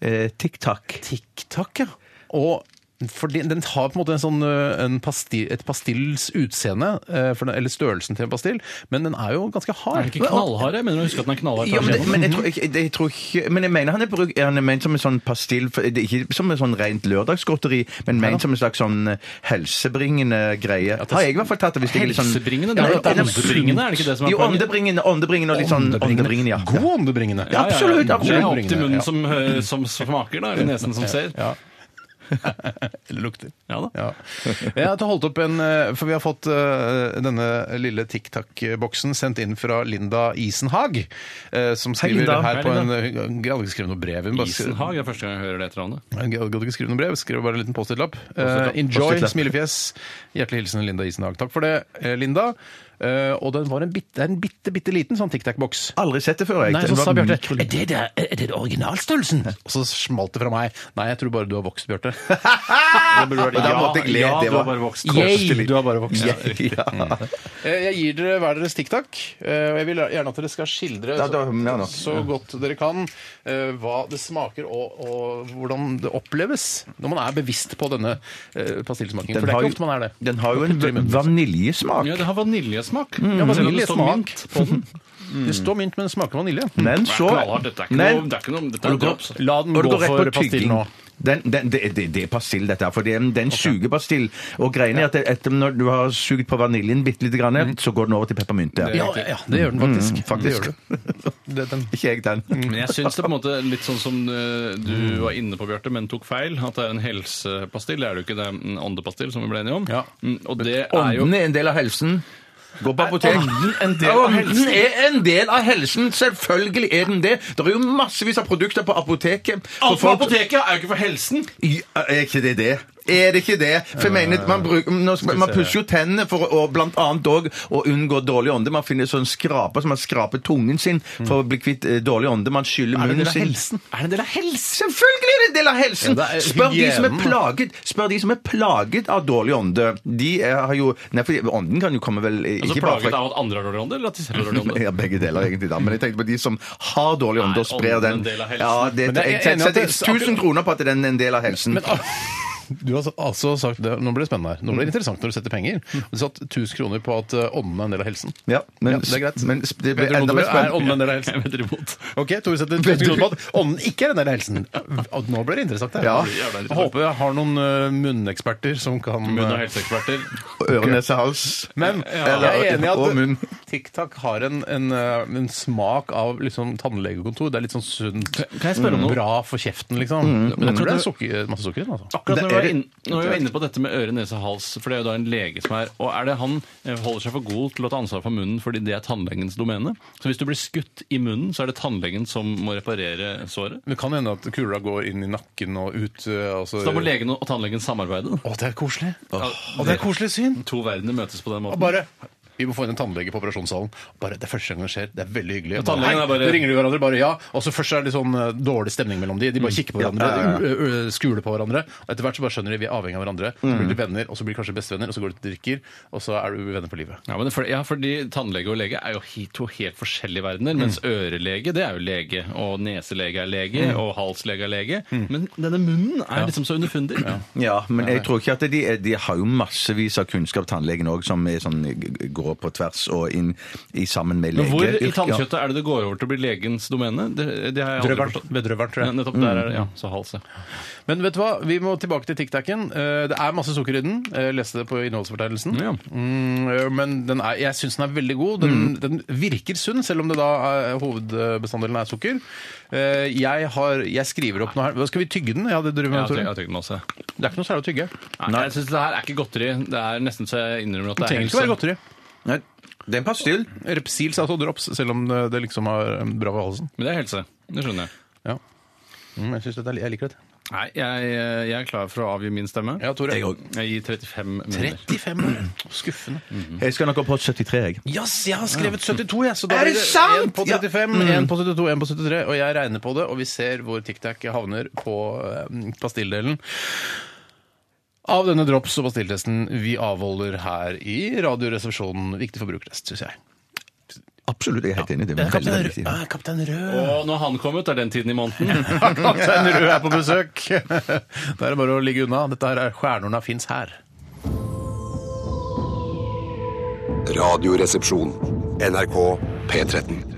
[SPEAKER 2] Eh, TikTok.
[SPEAKER 1] TikTok, ja. Og fordi den har på en måte en sånn, ø, en pasti- et pastills utseende, ø, for den, eller størrelsen til en pastill, men den er jo ganske hard.
[SPEAKER 3] Er den ikke knallhard? Jeg mener å huske at den er knallhard.
[SPEAKER 2] Ja, men,
[SPEAKER 3] fra
[SPEAKER 2] det,
[SPEAKER 3] skjeden.
[SPEAKER 2] men, jeg tror, ikke- det- jeg tror ikke, men jeg mener han er, bruk, han er ment som en sånn pastill for- det er Ikke som en sånn rent lørdagsgodteri, men ment som en slags sånn helsebringende greie. Har jeg i hvert fall tatt det. Hvis jeg er litt sånn-
[SPEAKER 3] Helsebringende? Det er
[SPEAKER 2] Ja,
[SPEAKER 3] jo
[SPEAKER 2] men-
[SPEAKER 3] åndebringende, er det ikke det som er
[SPEAKER 2] Jo,
[SPEAKER 3] poenget?
[SPEAKER 2] åndebringende, åndebringende og litt sånn åndebringende, ja.
[SPEAKER 1] God åndebringende.
[SPEAKER 2] Ja, ja, ja. absolutt, absolutt.
[SPEAKER 3] Det er opp til munnen
[SPEAKER 1] Ja.
[SPEAKER 3] som, eh, som smaker, da, eller nesen som ser.
[SPEAKER 1] Ja. Eller lukter.
[SPEAKER 3] Ja da.
[SPEAKER 1] Ja. Jeg har holdt opp en, eh, for Vi har fått eh, denne lille TikTok-boksen sendt inn fra Linda Isenhag. eh, Som skriver
[SPEAKER 2] Linda.
[SPEAKER 1] her
[SPEAKER 3] Hei,
[SPEAKER 1] på en Hun gadd ikke skrive noe brev. Hun bare skrev-
[SPEAKER 3] Isenhag er første gang jeg hører det etternavnet.
[SPEAKER 1] Jeg gadd ikke skrive noe brev, skrev bare en liten Post-It-lapp. Eh,
[SPEAKER 2] Post-it-lapp.
[SPEAKER 1] enjoy,
[SPEAKER 2] Post-it-lapp.
[SPEAKER 1] smilefjes. Hjertelig hilsen Linda Isenhag. Takk for det, eh, Linda. Eh, og den var en bitte, det er en bitte, bitte liten sånn tic-tac-boks.
[SPEAKER 2] Aldri sett det før, jeg.
[SPEAKER 1] Nei,
[SPEAKER 2] Den
[SPEAKER 1] så
[SPEAKER 2] var
[SPEAKER 1] sa Bjarte
[SPEAKER 2] mikro-
[SPEAKER 1] Er det der- er det originalstørrelsen? Og så smalt det fra meg. Nei, jeg tror bare du har vokst, Bjarte.
[SPEAKER 2] Og da måtte jeg le.
[SPEAKER 3] ja,
[SPEAKER 2] det
[SPEAKER 3] du
[SPEAKER 2] var
[SPEAKER 3] har bare vokst.
[SPEAKER 1] Yay, du har bare vokst.
[SPEAKER 2] Ja, ja.
[SPEAKER 1] Eh, Jeg gir dere hver deres TikTok. eh, Og jeg vil gjerne at dere skal skildre
[SPEAKER 2] Ja, da- ja,
[SPEAKER 1] så,
[SPEAKER 2] da.
[SPEAKER 1] så godt dere kan eh, hva det smaker og, og hvordan det oppleves når man er bevisst på denne eh, pastillsmakingen. For det er
[SPEAKER 2] jo-
[SPEAKER 1] ikke ofte man er det.
[SPEAKER 2] den har jo en vaniljesmak.
[SPEAKER 3] Ja, det har vaniljesmak.
[SPEAKER 1] Ja,
[SPEAKER 3] Selv om Mm. det
[SPEAKER 1] vanilje
[SPEAKER 3] står
[SPEAKER 1] smak.
[SPEAKER 3] mint på den.
[SPEAKER 1] Det står mynt, men det smaker vanilje.
[SPEAKER 2] Mm.
[SPEAKER 1] Mm.
[SPEAKER 2] Men
[SPEAKER 3] Det er
[SPEAKER 2] så
[SPEAKER 3] knallhardt. Dette er ikke
[SPEAKER 2] Nei,
[SPEAKER 3] noe, det er ikke noe dette er
[SPEAKER 2] Og du går-
[SPEAKER 3] drops.
[SPEAKER 1] La den
[SPEAKER 2] og du
[SPEAKER 1] gå
[SPEAKER 2] går rett
[SPEAKER 1] for
[SPEAKER 2] på
[SPEAKER 1] pastill
[SPEAKER 2] tygging.
[SPEAKER 1] nå.
[SPEAKER 2] Den, den, det, det, det er pastill, dette her. For det er en, det er en sugepastill. Og greien er at etter når du har sugd på vaniljen bitte lite grann, så går den over til peppermynte.
[SPEAKER 1] Ja, ja, det gjør den Mm, faktisk.
[SPEAKER 2] faktisk.
[SPEAKER 1] Det gjør du. Det, den.
[SPEAKER 2] Ikke jeg, den.
[SPEAKER 3] Men jeg syns det er på en måte litt sånn som eh, du var inne på, Bjarte, men tok feil. At det er en helsepastill. Det er det jo ikke. Det er en åndepastill, som vi ble enige om.
[SPEAKER 1] Ja.
[SPEAKER 3] Mm, Og det er jo
[SPEAKER 2] Ånden er en del av helsen. Gå på apotek.
[SPEAKER 1] ånden en del av helsen?
[SPEAKER 2] Ånden er en del av helsen. Selvfølgelig er den det. Det er jo massevis av produkter på apoteket. For
[SPEAKER 7] Alt på
[SPEAKER 2] folk-
[SPEAKER 7] apoteket er jo ikke for helsen.
[SPEAKER 2] Ja, eh, Er ikke det det? Er det ikke det? For jeg mener, man, bruker, nå skal- man pusser jo tennene for å blant annet òg å unngå dårlig ånde. Man finner sånn skraper som man skraper tungen sin for å bli kvitt eh, dårlig ånde. Man skyller
[SPEAKER 7] Er det en
[SPEAKER 2] munnen
[SPEAKER 7] del av
[SPEAKER 2] sin.
[SPEAKER 7] helsen? Er det en del av helsen?
[SPEAKER 2] Selvfølgelig er det en del av helsen!
[SPEAKER 7] Ja, det er
[SPEAKER 2] spør, de som er
[SPEAKER 7] hygienen, da.
[SPEAKER 2] plaget, spør de som er plaget av dårlig ånde. De er, har jo Nei, for ånden kan jo komme vel eh,
[SPEAKER 3] Altså
[SPEAKER 2] ikke bare
[SPEAKER 3] plaget
[SPEAKER 2] fra
[SPEAKER 3] av at andre har dårlig ånde, eller at de selv har dårlig ånde?
[SPEAKER 2] ja, begge deler egentlig da, men jeg tenkte på de som har dårlig ånde og
[SPEAKER 3] Nei,
[SPEAKER 2] sprer
[SPEAKER 3] ånden er
[SPEAKER 2] den.
[SPEAKER 3] en del av helsen.
[SPEAKER 2] Ja, det,
[SPEAKER 1] Men jeg er
[SPEAKER 2] jeg
[SPEAKER 1] enig i at
[SPEAKER 2] setter
[SPEAKER 1] det-
[SPEAKER 2] 1000 kroner på at den er en del av helsen.
[SPEAKER 1] Men, du har altså sagt det, Nå blir det spennende her. Nå
[SPEAKER 2] Mm.
[SPEAKER 1] blir det interessant når du setter penger. Du satt 1000 kroner på at eh, ånden er en del av helsen.
[SPEAKER 2] Ja, men,
[SPEAKER 1] Ja, det er greit.
[SPEAKER 2] Men det blir
[SPEAKER 1] Vet dere
[SPEAKER 2] enda
[SPEAKER 1] om
[SPEAKER 2] mer
[SPEAKER 1] dere er ånden
[SPEAKER 2] spennende.
[SPEAKER 1] en del av helsen?
[SPEAKER 3] Jeg vedder imot.
[SPEAKER 1] Ok, Tore setter 1000 kroner på at ånden ikke er en del av helsen. Og Nå blir det interessant. her.
[SPEAKER 2] Ja.
[SPEAKER 1] Jeg håper jeg har noen eh, munneksperter som kan
[SPEAKER 3] Munn- og
[SPEAKER 1] eh,
[SPEAKER 3] helseeksperter.
[SPEAKER 2] Øre, nese, hals.
[SPEAKER 1] Men
[SPEAKER 2] Eller-
[SPEAKER 1] jeg er enig i
[SPEAKER 2] og munn.
[SPEAKER 1] at TikTok har en, en, eh, en smak av liksom tannlegekontor. Det er litt sånn sunt.
[SPEAKER 3] kan jeg spørre om noe?
[SPEAKER 1] Bra for kjeften, liksom.
[SPEAKER 2] Mm.
[SPEAKER 1] Men jeg tror det er sukker, masse sukker i den. altså.
[SPEAKER 3] Akkurat
[SPEAKER 2] Det
[SPEAKER 3] når vi, var
[SPEAKER 2] er-
[SPEAKER 3] inn, når vi var inne på dette med øre, nese, hals, for det er jo da en lege som er Og er det han eh, holder seg for god til å ta ansvar for munnen fordi det er tannlegens domene? Så hvis du blir skutt i munnen, så er det tannlegen som må reparere såret?
[SPEAKER 1] Det kan hende at kula går inn i nakken og ut. eh, Altså.
[SPEAKER 3] Så da må legen og tannlegen samarbeide?
[SPEAKER 1] Å, det er koselig. Å, det er koselig syn.
[SPEAKER 3] To verdener møtes på den
[SPEAKER 1] Og
[SPEAKER 3] måten.
[SPEAKER 1] bare vi må få inn en tannlege på operasjonssalen. Bare, det er første gang det skjer. Det er veldig hyggelig.
[SPEAKER 3] Og tannlegen
[SPEAKER 1] Hei,
[SPEAKER 3] er bare-
[SPEAKER 1] så ringer de hverandre bare ja, og så først er det litt sånn eh, dårlig stemning mellom de. De bare kikker på hverandre, ø- ø- skuler på hverandre. Og etter hvert så bare skjønner de vi er avhengig av hverandre. Så blir de venner, og så blir de kanskje bestevenner, og så går de og drikker, og så er du venner for livet.
[SPEAKER 3] Ja, men for, ja, fordi tannlege og lege er jo he- to helt forskjellige verdener. Mens ørelege, det er jo lege. Og neselege er lege, og halslege er lege. Men denne munnen er liksom så underfundig.
[SPEAKER 2] Ja, men jeg tror ikke at de, er- de har jo massevis av kunnskap, tannlegen òg, som er sånn, g- går på tvers og inn i sammen med
[SPEAKER 3] Men
[SPEAKER 2] lege.
[SPEAKER 3] hvor i
[SPEAKER 2] Ja.
[SPEAKER 3] tannkjøttet er det det går over til å bli legens domene? Det, det har jeg aldri
[SPEAKER 1] Drøveren.
[SPEAKER 3] forstått.
[SPEAKER 1] Ved drøveren, tror jeg.
[SPEAKER 3] Ja, Nettopp der er det, ja. Så hals, ja.
[SPEAKER 1] Men vet du hva, vi må tilbake til TikTaken. Eh, Det er masse sukker i den. Jeg leste det på innholdsfortegnelsen.
[SPEAKER 3] Ja.
[SPEAKER 1] Mm, eh, Men den er, jeg syns den er veldig god. Den, den virker sunn, selv om det da er, hovedbestanddelen er sukker. Eh, Jeg, har, jeg skriver opp noe her. Hva, Skal vi tygge den? Ja, det driver vi
[SPEAKER 3] Jeg
[SPEAKER 1] med.
[SPEAKER 3] har
[SPEAKER 1] Tore.
[SPEAKER 3] tygd- jeg har tygd den også.
[SPEAKER 1] Det er ikke noe særlig å tygge.
[SPEAKER 3] Nei, jeg synes det her er ikke godteri. Det er nesten så jeg innrømmer
[SPEAKER 1] Det
[SPEAKER 3] at det er
[SPEAKER 1] trenger ikke være godteri.
[SPEAKER 2] Nei, det er en pastill.
[SPEAKER 1] Repsils er altså drops, selv om det liksom er bra for halsen.
[SPEAKER 3] Men det er helse. Det skjønner jeg.
[SPEAKER 1] Ja. Mm, jeg, synes dette er, li- jeg liker det.
[SPEAKER 3] Nei, jeg, eh, jeg er klar for å avgi min stemme.
[SPEAKER 1] Ja, Tore.
[SPEAKER 3] Jeg gir 35 minutter.
[SPEAKER 1] 35. Skuffende.
[SPEAKER 2] Jeg skal nok opp på 73, jeg.
[SPEAKER 1] Yes, jeg har skrevet 72, jeg. Så da
[SPEAKER 2] Er
[SPEAKER 1] blir
[SPEAKER 2] det sant? Mm.
[SPEAKER 1] En på 35, en på 72, en på 73. Og jeg regner på det, og vi ser hvor TikTak havner på eh, pastilldelen. Av denne drops- og pastilltesten vi avholder her i Radioresepsjonen. Viktig forbrukertest, syns jeg.
[SPEAKER 2] Absolutt, jeg er ah, helt enig i det. men veldig,
[SPEAKER 1] Kaptein,
[SPEAKER 2] veldig riktig.
[SPEAKER 1] Rød- eh, Kaptein Rød
[SPEAKER 3] Og når han kom ut, er den tiden i måneden.
[SPEAKER 1] Kaptein Rød er på besøk! Da er det bare å ligge unna. Dette her er Stjernorna fins her.
[SPEAKER 6] Radioresepsjon. NRK P13.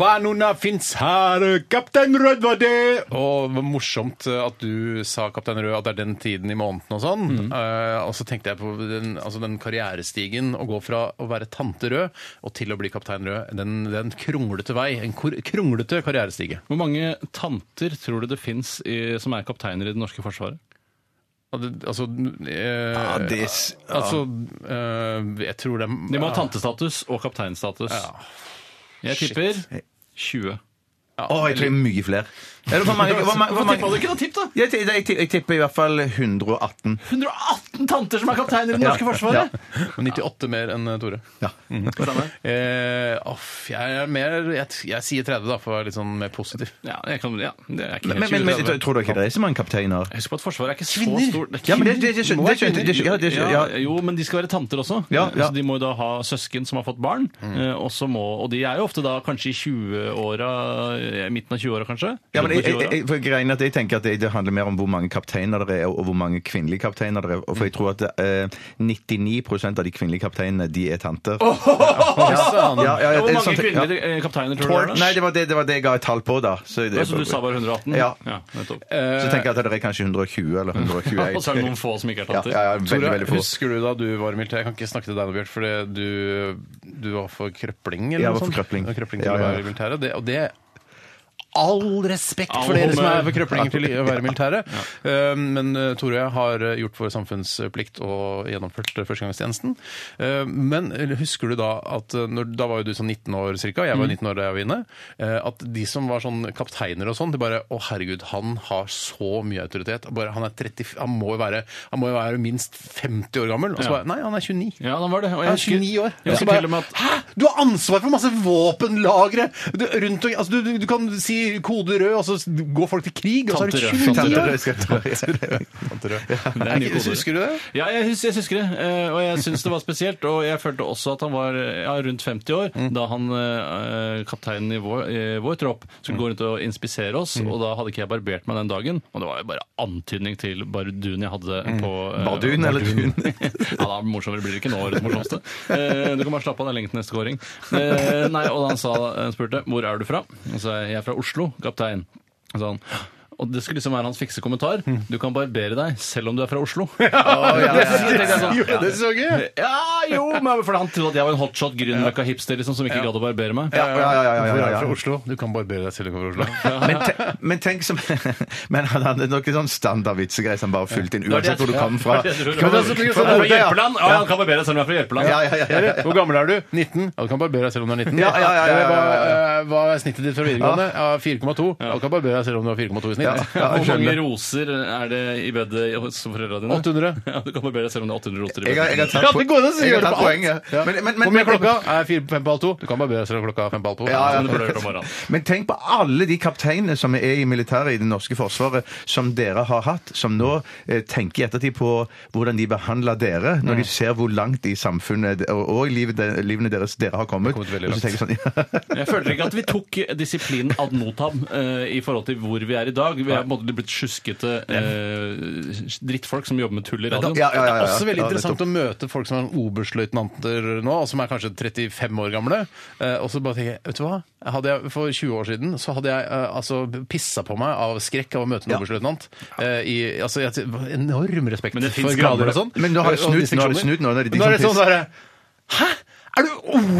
[SPEAKER 1] Stjernene fins her, Kaptein Rød var det! Og det var morsomt at du sa Kaptein Rød at det er den tiden i måneden og sånn. Eh, og så tenkte jeg på den, altså den karrierestigen å gå fra å være tante Rød og til å bli Kaptein Rød. Den, den kronglete vei. En kor, kronglete karrierestige.
[SPEAKER 3] Hvor mange tanter tror du det fins som er kapteiner i det norske forsvaret?
[SPEAKER 1] Al- Altså eh,
[SPEAKER 2] Ja, det s- ja.
[SPEAKER 1] Altså eh, Jeg tror det er
[SPEAKER 3] De må ha tantestatus og kapteinstatus. Jeg
[SPEAKER 1] Shit.
[SPEAKER 3] tipper 20.
[SPEAKER 2] Å, jeg tror det er mye flere. Eller hvor mange, hvor mange, hvor
[SPEAKER 3] Hva
[SPEAKER 2] mange?
[SPEAKER 3] tippa du ikke da? Tipp, da!
[SPEAKER 2] Jeg, ti- jeg, ti- jeg tipper i hvert fall 118.
[SPEAKER 3] 118 tanter som er kapteiner i det norske forsvaret! Mm.
[SPEAKER 1] 98 mer enn eh, Tore.
[SPEAKER 2] Ja.
[SPEAKER 1] Eh, off, jeg er mer jeg, jeg sier 30, da, for å være litt sånn mer positiv.
[SPEAKER 3] Ja, jeg kan, ja, det er ikke
[SPEAKER 2] Men, men,
[SPEAKER 3] helt
[SPEAKER 2] men,
[SPEAKER 3] 20.
[SPEAKER 2] men tror du ikke det er så mange kapteiner?
[SPEAKER 3] Husk på at Forsvaret er ikke så
[SPEAKER 1] Kvinner!
[SPEAKER 3] stort. Det er
[SPEAKER 2] Ja, men det,
[SPEAKER 3] kvinner.
[SPEAKER 2] det, det skjønte det skjønte- det skjønte- ja, det skjønte- ja.
[SPEAKER 3] Ja, jo, men de skal være tanter også.
[SPEAKER 2] Ja, ja. Mm.
[SPEAKER 3] Så de må jo da ha søsken som har fått barn. eh, Og, så må, og de er jo ofte da kanskje i 20-åra, eh, midten av 20-åra kanskje.
[SPEAKER 2] Ja, men jeg,
[SPEAKER 3] Rundt på
[SPEAKER 2] jeg,
[SPEAKER 3] 20-åra.
[SPEAKER 2] jeg, for greien er at jeg tenker at det, det handler mer om hvor mange kapteiner det er, og hvor mange kvinnelige kapteiner det er. Og For jeg tror at eh, 99 av de kvinnelige kapteinene, de er tanter. Ja, ja, ja,
[SPEAKER 3] Hvor
[SPEAKER 2] det er
[SPEAKER 3] mange
[SPEAKER 2] sånn-
[SPEAKER 3] kvinnelige
[SPEAKER 2] ja.
[SPEAKER 3] eh, kapteiner tror du det er?
[SPEAKER 2] Nei, det var det, det var det jeg ga et tall på, da. Så, det,
[SPEAKER 3] Ja, Så du sa bare 118?
[SPEAKER 2] Ja.
[SPEAKER 3] nettopp.
[SPEAKER 2] så tenker jeg at det er kanskje 120 eller 121.
[SPEAKER 3] Ja, og så er det noen få som ikke er
[SPEAKER 2] Ja,
[SPEAKER 3] tanter.
[SPEAKER 2] ja, ja, veldig,
[SPEAKER 1] Tore,
[SPEAKER 2] veldig få.
[SPEAKER 1] husker du da du var militær? Jeg kan ikke snakke til deg nå, Bjørt, for det- du, du var for krøpling? Eller
[SPEAKER 2] Jeg
[SPEAKER 1] noe
[SPEAKER 2] var for
[SPEAKER 1] sånt.
[SPEAKER 2] krøpling.
[SPEAKER 1] Ja, krøpling til
[SPEAKER 2] Ja,
[SPEAKER 1] å
[SPEAKER 2] ja.
[SPEAKER 1] være i militæret. Det, og det all respekt
[SPEAKER 3] All
[SPEAKER 1] for dere som
[SPEAKER 3] honnør.
[SPEAKER 1] er ved krøplinger til å være militære. Eh, Men eh, Tore og jeg har eh, gjort vår samfunnsplikt og gjennomført eh, førstegangstjenesten. Eh, Men eh, husker du da at eh, når, Da var jo du sånn 19 år cirka, jeg var 19 år da jeg var inne. eh, At de som var sånn kapteiner og sånn, de bare Å, herregud, han har så mye autoritet. Bare, han, er 30, han, må jo være, han må jo være minst 50 år gammel. Og så
[SPEAKER 3] Ja.
[SPEAKER 1] bare Nei, han er 29.
[SPEAKER 3] Ja, han var det. Og
[SPEAKER 1] Jeg er
[SPEAKER 3] husker-
[SPEAKER 1] 29 år. Og så
[SPEAKER 3] Jeg husker
[SPEAKER 1] bare,
[SPEAKER 3] til og med at
[SPEAKER 1] Hæ?! Du har ansvar for masse våpenlagre! Du, rundt, og- altså, du, du, du kan si kode rød, og så går folk til krig, og så er du 29
[SPEAKER 3] Tante rød,
[SPEAKER 2] Tante
[SPEAKER 1] år!
[SPEAKER 2] Rød skal ta
[SPEAKER 1] Tante rød.
[SPEAKER 3] er en ny kode.
[SPEAKER 1] Husker du det?
[SPEAKER 3] Ja, jeg, hus jeg husker det, eh, og jeg syns det var spesielt. Og jeg følte også at han var eh, ja, rundt 50 år
[SPEAKER 1] Mm.
[SPEAKER 3] da han eh, kapteinen i vår, eh, vår tropp skulle
[SPEAKER 1] Mm.
[SPEAKER 3] gå rundt og inspisere oss. Og da hadde ikke jeg barbert meg den dagen, og det var jo bare antydning til bardun jeg hadde
[SPEAKER 1] Mm.
[SPEAKER 3] på eh,
[SPEAKER 2] Bardun eller dun?
[SPEAKER 3] ja, da morsommere blir det ikke nå, årets morsomste. Eh, du kan bare slappe av, det er lenge til neste kåring. Eh, nei, og da han sa, han spurte hvor er du fra, og sa jeg jeg er fra Oslo, kaptein. Og så sa han, Sånn. og det skulle liksom være hans fikse kommentar.
[SPEAKER 2] Mm.
[SPEAKER 3] Du kan barbere deg selv om du er fra Oslo. Så tenkte jeg sånn,
[SPEAKER 1] Jo, det så gøy!
[SPEAKER 3] ja, jo, men for han trodde at jeg var en hotshot grünerløkka hipster liksom, som ikke gadd å barbere meg.
[SPEAKER 2] Ja, ja, ja, ja, ja, ja,
[SPEAKER 1] Hvor er du
[SPEAKER 2] ja.
[SPEAKER 1] fra Oslo? Du kan barbere deg selv om du er fra Oslo.
[SPEAKER 2] Men, te, men tenk som Men han hadde noen sånn standardvitsegreier som bare fulgte inn uansett hvor du kom fra.
[SPEAKER 3] Ja, det tror jeg.
[SPEAKER 2] Kom
[SPEAKER 3] Men altså,
[SPEAKER 1] tenk
[SPEAKER 2] fra
[SPEAKER 1] sånn,
[SPEAKER 3] Fra
[SPEAKER 2] Bodø, ja.
[SPEAKER 3] Hjelpeland? Ja, han kan barbere seg selv om han er fra Hjelpeland.
[SPEAKER 2] Ja, ja, ja, ja, ja.
[SPEAKER 1] Hvor gammel er du? 19. Ja, du kan barbere deg selv om du er 19.
[SPEAKER 2] Ja, ja, ja, ja, ja, ja.
[SPEAKER 1] Hva- eh, Hva er snittet ditt fra videregående? Ja, 4,2. Ja, Du kan barbere deg selv om du har 4,2 i snitt.
[SPEAKER 2] Ja, jeg
[SPEAKER 3] Hvor mange
[SPEAKER 2] skjønner.
[SPEAKER 3] roser er det i bedet hos foreldrene dine?
[SPEAKER 1] 800.
[SPEAKER 3] Ja, du kan barbere deg selv om det er 800 roser i
[SPEAKER 2] Jeg har, jeg har
[SPEAKER 3] bedet.
[SPEAKER 2] tatt,
[SPEAKER 1] Ja, det går an å si-
[SPEAKER 2] jeg har
[SPEAKER 1] gjøre det
[SPEAKER 2] tatt
[SPEAKER 1] på alt.
[SPEAKER 2] poenget.
[SPEAKER 1] Ja.
[SPEAKER 2] Men, men,
[SPEAKER 1] Hvor mye
[SPEAKER 2] men,
[SPEAKER 1] er klokka? Er fire på fem på halv to? Du kan barbere deg selv om klokka er fem på halv to.
[SPEAKER 2] Ja, ja.
[SPEAKER 3] Sånn Som du burde gjøre om morgenen.
[SPEAKER 2] men tenk på alle de kapteinene som er i militæret i det norske forsvaret, som dere har hatt, som nå eh, tenker i ettertid på hvordan de behandler dere,
[SPEAKER 1] Mm.
[SPEAKER 2] når de ser hvor langt i samfunnet og, og i livet, de, livene deres dere har kommet.
[SPEAKER 1] kommet veldig
[SPEAKER 2] og så tenker
[SPEAKER 1] langt.
[SPEAKER 2] jeg sånn, ja.
[SPEAKER 3] Jeg føler ikke at vi tok disiplinen ad notam eh, i forhold til hvor vi er i dag. Vi er på en måte blitt sjuskete eh, drittfolk som jobber med tull i radioen.
[SPEAKER 2] Ja, ja, ja, ja.
[SPEAKER 1] Det er også veldig
[SPEAKER 2] Ja,
[SPEAKER 1] interessant å møte folk som er oberstløytnanter nå, og som er kanskje 35 år gamle. eh, Og så bare tenker jeg, vet du hva? Hadde jeg, for 20 år siden så hadde jeg eh, altså, pissa på meg av skrekk av å møte en
[SPEAKER 2] Ja.
[SPEAKER 1] oberstløytnant. Eh, i- Altså, jeg- enorm respekt
[SPEAKER 3] Men det
[SPEAKER 1] for
[SPEAKER 3] finnes
[SPEAKER 1] grader og
[SPEAKER 3] gamle-
[SPEAKER 1] sånn.
[SPEAKER 2] Men nå har jeg
[SPEAKER 1] Og
[SPEAKER 2] snudd- nå har jeg
[SPEAKER 1] distinksjoner.
[SPEAKER 2] snudd nå, nå er det de
[SPEAKER 1] Nå er det
[SPEAKER 2] som
[SPEAKER 1] sånn derre Hæ? Er du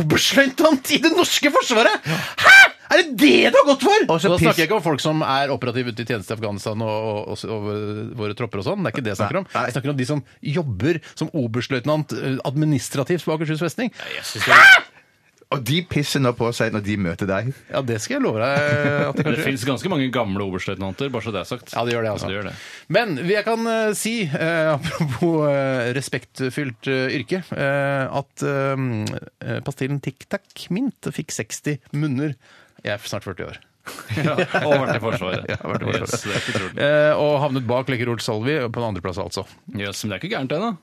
[SPEAKER 1] oberstløytnant i det norske forsvaret?! Hæ?! Er det det du har gått for?!
[SPEAKER 2] Og så
[SPEAKER 1] Og da
[SPEAKER 2] piss-
[SPEAKER 1] snakker jeg ikke om folk som er operative ute i tjeneste i Afghanistan og, og, og, og våre tropper og sånn. Det er ikke det jeg snakker om.
[SPEAKER 2] Nei.
[SPEAKER 1] Jeg snakker om de som jobber som oberstløytnant eh, administrativt på Akershus festning.
[SPEAKER 2] Og de pisser nå på seg når de møter deg.
[SPEAKER 1] Ja, det skal jeg love deg at de
[SPEAKER 3] Det
[SPEAKER 1] kanskje
[SPEAKER 3] fins ganske mange gamle oberstløytnanter, bare så det er sagt.
[SPEAKER 1] Ja, det gjør det, altså.
[SPEAKER 3] Ja, det gjør det.
[SPEAKER 1] Men vi- jeg kan eh, si, eh, apropos eh, respektfylt eh, yrke, eh, at eh, pastillen Tic Tac Mint fikk 60 munner. Jeg er snart 40 år.
[SPEAKER 3] Ja, og vært i Forsvaret.
[SPEAKER 1] Ja, vært i Forsvaret.
[SPEAKER 3] Yes, det er ikke trolig.
[SPEAKER 1] Eh, Og havnet bak Lekker Olf Salvi på en andreplass, altså.
[SPEAKER 3] Yes, men det er ikke gærent ennå.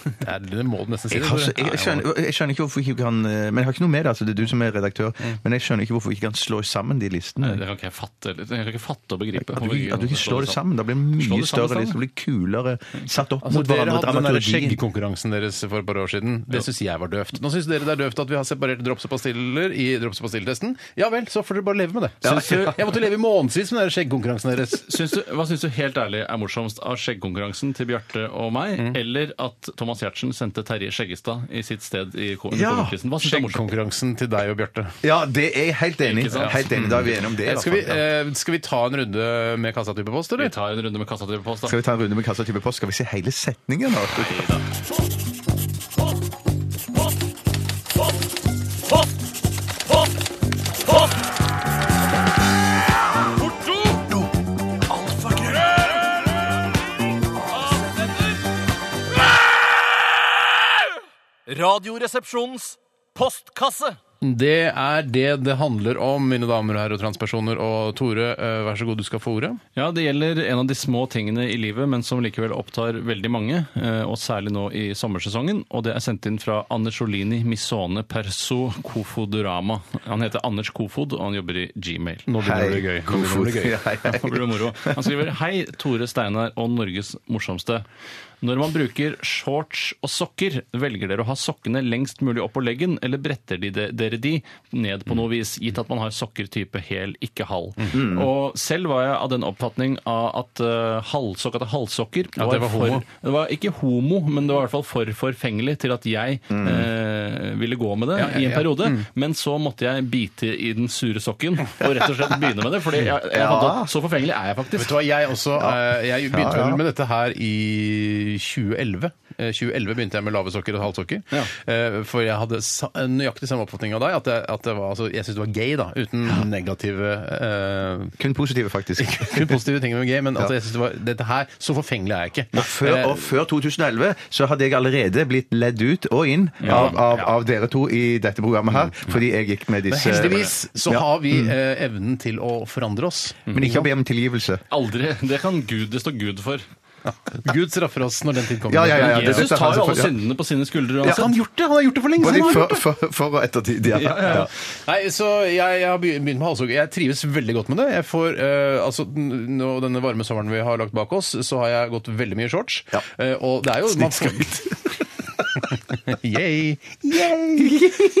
[SPEAKER 1] Det, er, det må du nesten si.
[SPEAKER 2] Jeg, har, så-
[SPEAKER 1] Tore.
[SPEAKER 2] jeg, jeg, skjønner, jeg skjønner ikke hvorfor ikke vi kan eh, Men jeg har ikke noe med det, altså det er du som er redaktør.
[SPEAKER 1] Mm.
[SPEAKER 2] Men jeg skjønner ikke hvorfor vi ikke kan slå sammen de listene.
[SPEAKER 3] Det kan ikke jeg fatte, eller- jeg kan ikke fatte og begripe.
[SPEAKER 2] At du, ikke- at du ikke slår det sammen. Da blir det
[SPEAKER 3] Slå
[SPEAKER 2] mye
[SPEAKER 3] det sammen,
[SPEAKER 2] større liste. Det blir kulere satt opp
[SPEAKER 1] Altså,
[SPEAKER 2] mot
[SPEAKER 1] dere
[SPEAKER 2] hverandre.
[SPEAKER 1] hadde den der
[SPEAKER 2] dramaturgien.
[SPEAKER 1] skjeggkonkurransen deres for et par år siden. Det syns jeg var døvt. Nå syns dere det er døvt at vi har separert drops og pastiller i drops- og pastilletesten. Ja vel, så får dere bare leve med det.
[SPEAKER 3] Syns
[SPEAKER 1] Ja.
[SPEAKER 3] du-
[SPEAKER 1] Jeg måtte leve i månedsvis med den der skjeggkonkurransen deres.
[SPEAKER 3] Syns du, hva syns du helt ærlig er morsomst av skjeggkonkurransen til Bjarte og meg, eller at Thomas Giertsen sendte Terje Skjeggestad i sitt sted i K- under
[SPEAKER 2] Ja,
[SPEAKER 3] Kålquisten? Hva syns du er morsomst?
[SPEAKER 1] Skjeggkonkurransen til deg og Bjarte.
[SPEAKER 2] Ja, det er jeg helt enig i.
[SPEAKER 3] Ikke sant?
[SPEAKER 2] Helt enig, Da er vi enige om det. i
[SPEAKER 1] Eh,
[SPEAKER 2] hvert
[SPEAKER 1] Skal vi,
[SPEAKER 2] fall, ja.
[SPEAKER 1] eh, skal vi ta en runde med kassatype post,
[SPEAKER 3] Vi
[SPEAKER 1] eller?
[SPEAKER 3] tar en runde med kassa til post, da.
[SPEAKER 2] Skal vi ta en runde med kassa type post? Skal vi se hele setningen? nå?
[SPEAKER 5] Radioresepsjonens postkasse.
[SPEAKER 1] Det er det det handler om, mine damer og herrer og transpersoner. Og Tore, eh, vær så god, du skal få ordet.
[SPEAKER 3] Ja, det gjelder en av de små tingene i livet, men som likevel opptar veldig mange, eh, og særlig nå i sommersesongen, og det er sendt inn fra Anders Jolini Misone Perso Kofodorama. Han heter Anders Kofod, og han jobber i Gmail.
[SPEAKER 1] Nå
[SPEAKER 2] Hei,
[SPEAKER 1] begynner det å bli gøy. Nå begynner det å
[SPEAKER 2] Kofod.
[SPEAKER 1] bli gøy.
[SPEAKER 2] Ja, hei, hei.
[SPEAKER 3] Nå blir det moro. Han skriver Hei, Tore Steinar og Norges morsomste. Når man bruker shorts og sokker, velger dere å ha sokkene lengst mulig opp på leggen, eller bretter de det- dere nedvurdere de ned på
[SPEAKER 1] Mm.
[SPEAKER 3] noe vis, gitt at man har sokker type hel, ikke halv. Og selv var jeg av den oppfatning av at uh, halv, såkalte halvsokker
[SPEAKER 1] At det var homo.
[SPEAKER 3] For, det var ikke homo, men det var i hvert fall for forfengelig til at jeg eh, ville gå med det
[SPEAKER 1] Ja, ja,
[SPEAKER 3] i en
[SPEAKER 1] ja.
[SPEAKER 3] periode. Men så måtte jeg bite i den sure sokken og rett og slett begynne med det. fordi jeg, jeg hadde, så forfengelig er jeg faktisk.
[SPEAKER 1] Vet du hva, jeg også eh, Jeg begynte vel med dette her i 2011. Eh, 2011 begynte jeg med lave sokker og halvsokker. Eh, For jeg hadde sa- nøyaktig samme oppfatning av deg. At jeg, at det var, altså, jeg syntes det var gay, da. Uten negative eh,
[SPEAKER 2] Kun positive, faktisk.
[SPEAKER 1] kun positive ting med gay, men altså, jeg synes det var, dette her, så forfengelig er jeg ikke. Eh,
[SPEAKER 2] Og før, og før 2011 så hadde jeg allerede blitt ledd ut og inn av, av, av dere to i dette programmet her, fordi jeg gikk med
[SPEAKER 1] Men
[SPEAKER 2] disse
[SPEAKER 1] heldigvis så
[SPEAKER 2] Ja. Mm.
[SPEAKER 1] har vi eh, evnen til å forandre oss.
[SPEAKER 2] Men ikke å be om tilgivelse.
[SPEAKER 3] Aldri. Det kan Gud, det står Gud for. Gud
[SPEAKER 1] Straffer oss når den tid kommer.
[SPEAKER 2] Ja, ja, ja, ja, det-
[SPEAKER 3] Jesus
[SPEAKER 2] dette er
[SPEAKER 3] tar jo alle
[SPEAKER 2] selvfølgelig-
[SPEAKER 3] syndene på sine skuldre
[SPEAKER 1] Ja, han
[SPEAKER 3] uansett.
[SPEAKER 1] har gjort det! Han har gjort det for lenge
[SPEAKER 2] Både
[SPEAKER 1] siden! han har gjort
[SPEAKER 2] for,
[SPEAKER 1] det.
[SPEAKER 2] for, for og ettertid. Ja.
[SPEAKER 3] Ja, ja, ja.
[SPEAKER 1] Nei, så jeg, jeg har begynt med halshugg. Jeg trives veldig godt med det. Jeg får, eh, altså, n- nå, denne varme sommeren vi har lagt bak oss, så har jeg gått veldig mye i shorts.
[SPEAKER 2] Ja.
[SPEAKER 1] Eh, og det er jo man får- Yay!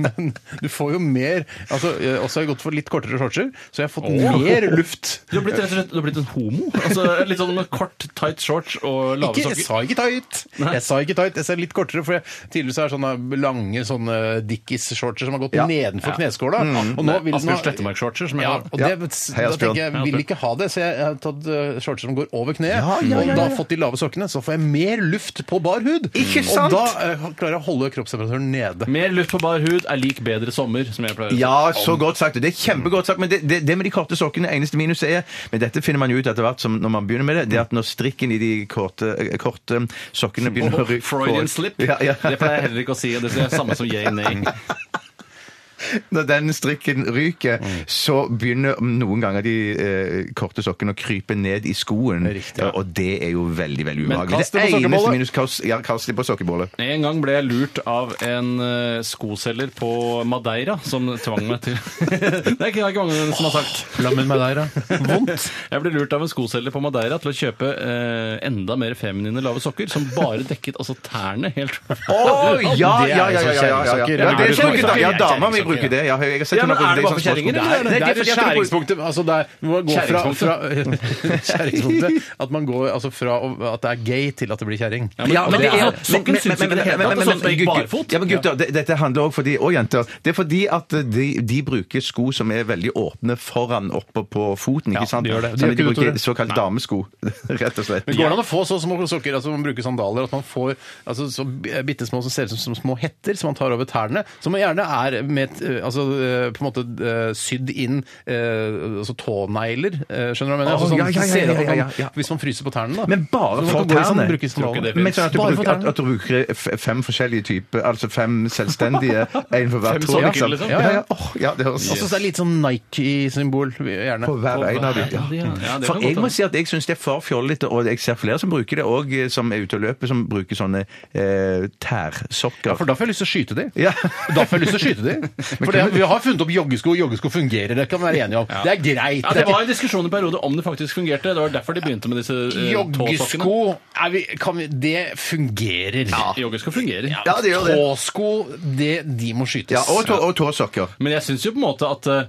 [SPEAKER 1] Men du får jo mer altså, eh, Også har jeg gått for litt kortere shortser, så jeg har fått mer luft.
[SPEAKER 3] Du har blitt rett og slett du har blitt en homo. Altså, litt sånn med kort, tight shorts og lave
[SPEAKER 1] Ikke, jeg
[SPEAKER 3] sokker.
[SPEAKER 1] sa ikke tight! Jeg sa ikke tight, jeg sa litt kortere, for jeg, tidligere så er det sånne lange sånne Dickies-shortser som har gått nedenfor kneskåla.
[SPEAKER 3] Mm.
[SPEAKER 1] Og nå vil
[SPEAKER 3] Asbjørn Slettemark-shorters. som jeg
[SPEAKER 1] Ja,
[SPEAKER 3] har.
[SPEAKER 1] og
[SPEAKER 2] Ja.
[SPEAKER 1] det,
[SPEAKER 2] Hei,
[SPEAKER 1] da
[SPEAKER 2] Asbjørn.
[SPEAKER 1] tenker jeg,
[SPEAKER 3] Hei,
[SPEAKER 1] vil
[SPEAKER 3] Asbjørn.
[SPEAKER 1] ikke ha det, så jeg har tatt eh, shortser som går over kneet, og da fått de lave sokkene, så får jeg mer luft på bar hud.
[SPEAKER 2] Ikke
[SPEAKER 1] Og
[SPEAKER 2] sant?
[SPEAKER 1] da eh, klarer jeg å holde kroppstemperaturen nede.
[SPEAKER 3] Mer luft på bar hud er lik bedre sommer, som jeg pleier å si.
[SPEAKER 2] Ja, så godt sagt. Det er kjempegodt sagt. Men det, det, det med de korte sokkene, eneste minuset er Men dette finner man jo ut etter hvert som når man begynner med det, det er at når strikken i de korte, eh, korte sokkene begynner å
[SPEAKER 3] Og
[SPEAKER 2] rykke
[SPEAKER 3] Freudian slip.
[SPEAKER 2] Ja, ja.
[SPEAKER 3] Det pleier jeg heller ikke å si. og Det er det samme som yay nay.
[SPEAKER 2] Når den strikken ryker, så begynner noen ganger de eh, korte sokkene å krype ned i skoen.
[SPEAKER 1] Riktig.
[SPEAKER 2] Ja, Og det er jo veldig, veldig
[SPEAKER 3] Men
[SPEAKER 2] ubehagelig.
[SPEAKER 3] kast det på sokkebollet.
[SPEAKER 2] minus kast, ja, kast det på sokkebollet.
[SPEAKER 3] En gang ble jeg lurt av en eh, skoselger på Madeira som tvang meg til Det er ikke det er ikke mange som har sagt.
[SPEAKER 1] Lammen med deg, da. Vondt.
[SPEAKER 3] Jeg ble lurt av en skoselger på Madeira til å kjøpe eh, enda mer feminine lave sokker som bare dekket altså tærne helt
[SPEAKER 2] Å, ja,
[SPEAKER 1] Det er
[SPEAKER 2] ja, ja,
[SPEAKER 1] jo
[SPEAKER 2] ja, ja, ja, ja.
[SPEAKER 1] kjerringsokker.
[SPEAKER 2] ja, det
[SPEAKER 1] Er
[SPEAKER 2] er
[SPEAKER 1] det
[SPEAKER 2] kjerringsokker, da. altså Ja,
[SPEAKER 1] kjerringsokker?
[SPEAKER 2] dama mi bruker det. Ja, jeg har sett
[SPEAKER 3] Ja,
[SPEAKER 2] henne
[SPEAKER 3] men
[SPEAKER 2] bruke
[SPEAKER 3] er det bare
[SPEAKER 2] i
[SPEAKER 3] for
[SPEAKER 2] sånne
[SPEAKER 3] kjerringer,
[SPEAKER 2] små-
[SPEAKER 3] eller?
[SPEAKER 1] Det er
[SPEAKER 3] fordi at jeg tror-
[SPEAKER 1] skjæringspunktet. Altså det er, vi må gå fra, fra Skjæringspunktet. At man går altså fra å- at det er gay til at det blir kjerring.
[SPEAKER 2] Ja, men det er
[SPEAKER 3] altså,
[SPEAKER 1] Sånn
[SPEAKER 3] Sokken
[SPEAKER 2] men-
[SPEAKER 3] syns
[SPEAKER 2] men-
[SPEAKER 3] ikke det
[SPEAKER 2] men-
[SPEAKER 3] hele
[SPEAKER 2] men-
[SPEAKER 3] tatt.
[SPEAKER 2] men-
[SPEAKER 3] Sånn som det gikk
[SPEAKER 2] gutter-
[SPEAKER 3] barfot.
[SPEAKER 2] Ja, men gutter, det- dette handler også for de, og jenter. Det er fordi at de, de bruker sko som er veldig åpne foran oppe på foten, ikke sant?
[SPEAKER 1] de gjør det. De
[SPEAKER 2] Sånn at de
[SPEAKER 1] gjør ikke det,
[SPEAKER 2] bruker såkalt damesko, rett og slett.
[SPEAKER 1] Men går det an å få så små sokker, altså man bruker sandaler, at man får altså, så bitte små som ser ut som, som små hetter som man tar over tærne, som gjerne er med, et, eh, altså, eh, på en måte eh, sydd inn eh, altså, tånegler, eh, skjønner du hva jeg mener? Altså,
[SPEAKER 2] Å, ja,
[SPEAKER 1] sånn,
[SPEAKER 2] ja, ja,
[SPEAKER 1] ser ut som
[SPEAKER 2] ja, ja,
[SPEAKER 1] man-
[SPEAKER 2] ja.
[SPEAKER 1] Hvis man fryser på tærne, da.
[SPEAKER 2] Men bare
[SPEAKER 1] Så man
[SPEAKER 2] for
[SPEAKER 1] kan gå i sånn-
[SPEAKER 2] tærne.
[SPEAKER 1] bruke sandaler.
[SPEAKER 2] Men sånn at du
[SPEAKER 1] Bare for
[SPEAKER 2] bruker, at,
[SPEAKER 1] tærne.
[SPEAKER 2] at du bruker f- fem forskjellige typer, altså fem selvstendige, en for hver
[SPEAKER 3] Fem
[SPEAKER 2] tå,
[SPEAKER 3] sokker,
[SPEAKER 2] liksom.
[SPEAKER 3] liksom.
[SPEAKER 2] Ja, ja, Åh, ja, det høres
[SPEAKER 1] Og så er det litt sånn Nike-symbol, gjerne.
[SPEAKER 2] på hver en av dem.
[SPEAKER 3] Ja, det kan godt altså.
[SPEAKER 2] For jeg må
[SPEAKER 3] hende.
[SPEAKER 2] si at jeg syns det er for fjollete, og jeg ser flere som bruker det òg, som er ute og løper, som bruker sånne eh, tærsokker.
[SPEAKER 1] For da får jeg lyst til å skyte de.
[SPEAKER 2] Ja.
[SPEAKER 1] Da får jeg lyst til å skyte de. For det, vi har funnet opp joggesko, og joggesko fungerer, det kan vi være enige om. Det er greit.
[SPEAKER 3] Ja, det var en diskusjon i en periode om det faktisk fungerte. Det var derfor de begynte med disse eh, tåsokkene.
[SPEAKER 1] Joggesko er vi, kan vi, Det fungerer.
[SPEAKER 3] Joggesko fungerer.
[SPEAKER 2] Ja, det gjør det.
[SPEAKER 1] Tåsko, det, de må skytes.
[SPEAKER 2] Ja, og, tå, og tåsokker.
[SPEAKER 3] Men jeg syns jo på en måte at eh,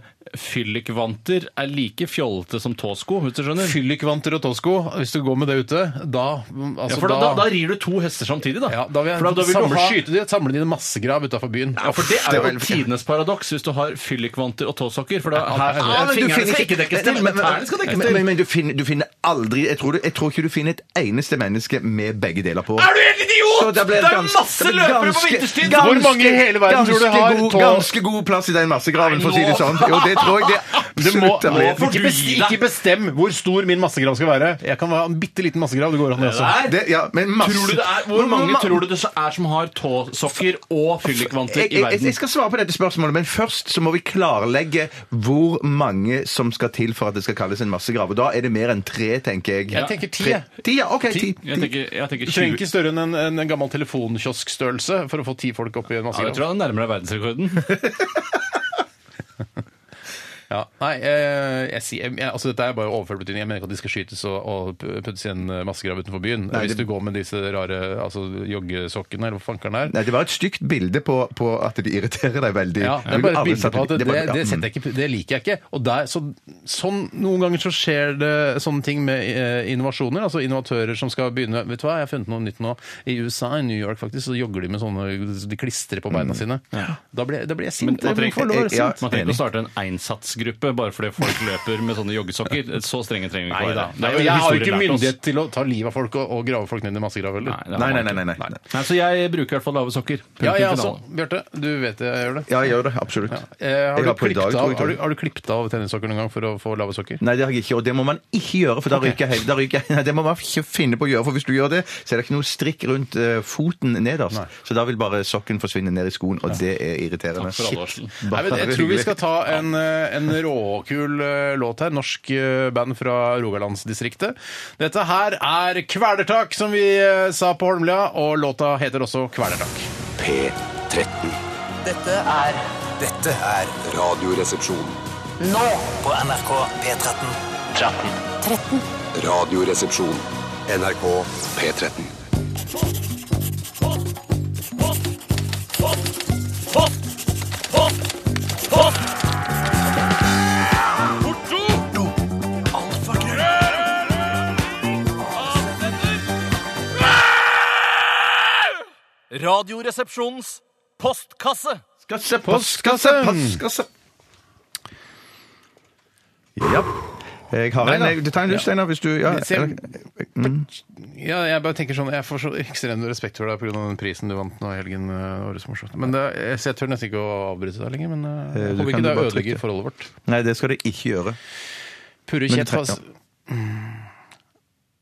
[SPEAKER 3] fyllikvanter er like fjollete som tåsko, hvis du skjønner.
[SPEAKER 1] Fyllikvanter og tåsko, hvis du går med det ute, da altså,
[SPEAKER 3] Ja, for da, da, da rir du to hester samtidig, da.
[SPEAKER 1] ja, da vil jeg
[SPEAKER 3] for da, da vil du
[SPEAKER 1] samle,
[SPEAKER 3] ha...
[SPEAKER 1] skyte de, samle de i en massegrav utafor byen.
[SPEAKER 3] Ja, for det er
[SPEAKER 2] Det er
[SPEAKER 3] jo
[SPEAKER 2] vel-
[SPEAKER 3] tidenes paradoks hvis du har fyllikvanter og tåsokker. For da her,
[SPEAKER 2] men
[SPEAKER 1] Ja,
[SPEAKER 2] du
[SPEAKER 3] fingrene
[SPEAKER 2] finner
[SPEAKER 3] skal ikke dekkes til,
[SPEAKER 2] Nei,
[SPEAKER 3] men tærne skal dekkes
[SPEAKER 2] men-
[SPEAKER 3] til.
[SPEAKER 2] Men, men du, finner, du finner aldri jeg tror, du, jeg tror ikke du finner et eneste menneske med begge deler på.
[SPEAKER 3] Er du helt idiot?!
[SPEAKER 2] Så
[SPEAKER 3] Det,
[SPEAKER 2] ble
[SPEAKER 3] er
[SPEAKER 2] ganske-
[SPEAKER 3] masse
[SPEAKER 2] det ble
[SPEAKER 3] løpere på
[SPEAKER 2] ganske-
[SPEAKER 3] vinterstid!
[SPEAKER 2] ganske-
[SPEAKER 1] Hvor mange i hele verden tror du
[SPEAKER 2] ganske
[SPEAKER 1] har
[SPEAKER 2] god,
[SPEAKER 1] tå-
[SPEAKER 2] Ganske god plass i den massegraven, for å si det sånn. Jo, det tror jeg det
[SPEAKER 1] Du må,
[SPEAKER 2] absolutt er.
[SPEAKER 1] må
[SPEAKER 3] får
[SPEAKER 1] ikke,
[SPEAKER 3] du
[SPEAKER 1] bes-
[SPEAKER 3] gi deg.
[SPEAKER 1] ikke bestem hvor stor min massegrav skal være. Jeg kan være en bitte liten massegrav. Det går an, altså. det også.
[SPEAKER 3] Nei,
[SPEAKER 2] Det- ja, men masse-
[SPEAKER 3] tror du det er, hvor mange
[SPEAKER 2] Ma-
[SPEAKER 3] tror du det så er som har tåsokker og fyllikvanter
[SPEAKER 2] jeg,
[SPEAKER 3] i
[SPEAKER 2] jeg, jeg
[SPEAKER 3] verden?
[SPEAKER 2] skal svare på dette spørsmålet, men først så må vi klarlegge hvor mange som skal til for at det skal kalles en massegrav. Og da er det mer enn tre, tenker jeg.
[SPEAKER 1] Jeg tenker ti,
[SPEAKER 2] Tre-
[SPEAKER 1] jeg.
[SPEAKER 2] Ti, ja, ok, ti.
[SPEAKER 3] Jeg tenker, jeg tenker
[SPEAKER 1] Du trenger
[SPEAKER 3] 20.
[SPEAKER 1] ikke større enn en, en, en gammel telefonkioskstørrelse for å få ti folk oppi en
[SPEAKER 3] Ja, jeg
[SPEAKER 1] massegrav.
[SPEAKER 3] tror han nærmer deg verdensrekorden.
[SPEAKER 1] Ja, nei, eh, jeg, sier- jeg, altså Dette er bare overført betydning. Jeg mener ikke at de skal skytes og, og puttes i en eh, massegrav utenfor byen. Hvis du går med disse rare altså, joggesokkene, eller hva fankeren er.
[SPEAKER 2] Nei, det var et stygt bilde på, på at de irriterer deg veldig.
[SPEAKER 1] Ja, det er bare et
[SPEAKER 2] Alle
[SPEAKER 1] bilde
[SPEAKER 2] satte-
[SPEAKER 1] på at det,
[SPEAKER 2] det var-
[SPEAKER 1] det,
[SPEAKER 2] ja, mm.
[SPEAKER 1] setter jeg ikke, det liker jeg ikke. Og der, så, sånn, Noen ganger så skjer det sånne ting med eh, innovasjoner. altså Innovatører som skal begynne Vet du hva, jeg har funnet noe nytt nå. I USA, i New York faktisk, så jogger de med sånne De klistrer på beina sine. Da blir, da blir jeg
[SPEAKER 3] Men
[SPEAKER 1] sint.
[SPEAKER 3] man
[SPEAKER 1] Jeg blir
[SPEAKER 3] trenger-
[SPEAKER 1] forlår
[SPEAKER 2] ja,
[SPEAKER 1] sint.
[SPEAKER 3] Man
[SPEAKER 2] Enig.
[SPEAKER 3] trenger ikke å starte en einsatsgruppe bare fordi folk løper med sånne joggesokker. Så strenge trenger vi
[SPEAKER 1] Nei
[SPEAKER 3] ikke
[SPEAKER 1] da.
[SPEAKER 3] være. Det
[SPEAKER 1] Nei,
[SPEAKER 3] er
[SPEAKER 1] og
[SPEAKER 3] jo
[SPEAKER 1] jeg har jo
[SPEAKER 3] historien
[SPEAKER 1] ikke
[SPEAKER 3] lært oss.
[SPEAKER 1] myndighet til å ta livet av folk og, og grave folk ned i massegrav heller.
[SPEAKER 3] Nei, det har
[SPEAKER 2] Nei,
[SPEAKER 3] man
[SPEAKER 2] nei, nei, nei, nei.
[SPEAKER 3] ikke. Nei, Så jeg bruker i hvert fall lave sokker. Punktum
[SPEAKER 1] Ja, altså. jeg også.
[SPEAKER 3] finale.
[SPEAKER 1] Bjarte, du vet det, jeg gjør det.
[SPEAKER 2] Ja, jeg gjør det. Absolutt.
[SPEAKER 1] Eh, har,
[SPEAKER 2] Jeg
[SPEAKER 1] du
[SPEAKER 2] har på i
[SPEAKER 1] klippet
[SPEAKER 2] dag, tror
[SPEAKER 1] av,
[SPEAKER 2] jeg,
[SPEAKER 1] har, du, har du klippet av tennissokker noen gang for å få lave sokker?
[SPEAKER 2] Nei, det har jeg ikke, og det må man ikke gjøre, for da ryker jeg. Da ryker jeg. Nei, det må man ikke finne på å gjøre, for hvis du gjør det, så er det ikke noe strikk rundt eh, foten nederst. Så da vil bare sokken forsvinne ned i skoen, og det er irriterende.
[SPEAKER 3] for advarselen.
[SPEAKER 2] Shit.
[SPEAKER 1] Nei, men jeg tror vi skal ta en, eh, en råkul eh, låt her. Norsk eh, band fra Rogalandsdistriktet. Dette her er Kvelertak, som vi eh, sa på Holmlia, og låta heter også Kvelertak.
[SPEAKER 4] P13.
[SPEAKER 5] Dette er
[SPEAKER 6] Dette er Radioresepsjon.
[SPEAKER 5] nå på NRK P13.
[SPEAKER 6] Radioresepsjon. NRK P13.
[SPEAKER 5] Radioresepsjonens postkasse.
[SPEAKER 2] Postkasse, postkasse, postkasse. Ja. Jeg har en.
[SPEAKER 1] da.
[SPEAKER 2] jeg- Du tar en du, Steinar, hvis du ja. Mm.
[SPEAKER 1] Hvis jeg- Ja, jeg bare tenker sånn, jeg får så ekstrem respekt for deg pga. den prisen du vant nå i helgen. eh, Årets morsomt. Men det, jeg- så jeg tør nesten ikke å avbryte deg lenger. Men eh,
[SPEAKER 2] Eh,
[SPEAKER 1] jeg
[SPEAKER 2] du
[SPEAKER 1] håper
[SPEAKER 2] kan
[SPEAKER 1] ikke det
[SPEAKER 2] bare
[SPEAKER 1] ødelegger
[SPEAKER 2] trykke.
[SPEAKER 1] forholdet vårt.
[SPEAKER 2] Nei, det skal du ikke gjøre.
[SPEAKER 1] Purre
[SPEAKER 2] Men
[SPEAKER 1] Kjepp
[SPEAKER 2] tre-
[SPEAKER 1] har,
[SPEAKER 2] ja.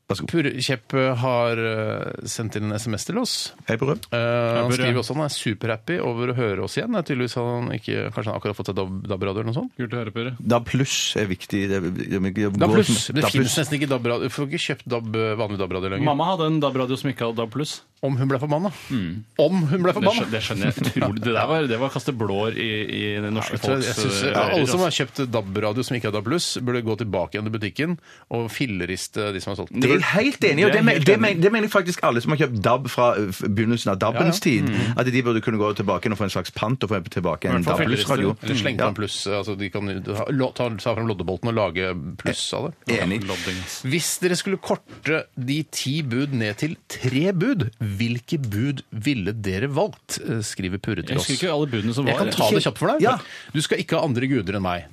[SPEAKER 2] Vær så god.
[SPEAKER 1] Purre Kjepp eh, har eh, sendt inn en SMS til oss.
[SPEAKER 2] Hei, Brød.
[SPEAKER 1] Eh, han
[SPEAKER 3] Purre.
[SPEAKER 1] skriver også han er superhappy over å høre oss igjen. Det er tydeligvis han ikke, Kanskje han akkurat har fått seg DAB- DAB-radio eller noe sånt?
[SPEAKER 3] Kult å høre, Pyrre.
[SPEAKER 2] Da pluss er viktig. Det, det, det, det,
[SPEAKER 1] DAB pluss!
[SPEAKER 2] Da
[SPEAKER 1] Det finnes
[SPEAKER 2] pluss.
[SPEAKER 1] nesten ikke DAB-radio. Du får ikke kjøpt DAB, vanlig DAB-radio lenger.
[SPEAKER 3] Mamma hadde en DAB-radio som ikke hadde DAB pluss.
[SPEAKER 1] Om hun ble forbanna! Om hun ble
[SPEAKER 3] Det
[SPEAKER 1] forbanna!
[SPEAKER 3] skjønner, det skjønner jeg utrolig. Det der var, det var å kaste blår i, i det norske
[SPEAKER 1] Vet du hva,
[SPEAKER 3] folks
[SPEAKER 1] Jeg synes,
[SPEAKER 3] eh,
[SPEAKER 1] ja,
[SPEAKER 3] ører,
[SPEAKER 1] alle som har
[SPEAKER 3] altså.
[SPEAKER 1] kjøpt DAB-radio som ikke har DAB pluss, burde gå tilbake igjen til butikken og filleriste de som har solgt
[SPEAKER 2] Det
[SPEAKER 1] den.
[SPEAKER 2] er jeg helt enig i, og
[SPEAKER 3] Det
[SPEAKER 2] det,
[SPEAKER 3] er
[SPEAKER 2] men,
[SPEAKER 3] helt
[SPEAKER 2] det,
[SPEAKER 3] enig.
[SPEAKER 2] men, det mener jeg faktisk alle som har kjøpt DAB fra ø, f- begynnelsen av DAB-ens tid. At de burde kunne gå tilbake igjen og få en slags pant og få tilbake en
[SPEAKER 3] hvert fall
[SPEAKER 2] DAB-radio.
[SPEAKER 1] Eller sleng på en pluss. Altså, de kan ta, la- ta, ta frem loddebolten og lage pluss av det.
[SPEAKER 2] Enig.
[SPEAKER 3] Lodding, ass.
[SPEAKER 1] Hvis dere skulle korte de ti bud ned til tre bud, hvilke bud ville dere valgt? Eh, Skriver Purre
[SPEAKER 3] Jeg
[SPEAKER 1] til oss.
[SPEAKER 3] husker ikke alle budene som
[SPEAKER 1] Jeg
[SPEAKER 3] var.
[SPEAKER 1] kan ta det kjapt for deg.
[SPEAKER 2] Ja.
[SPEAKER 1] Du skal ikke ha andre guder enn meg.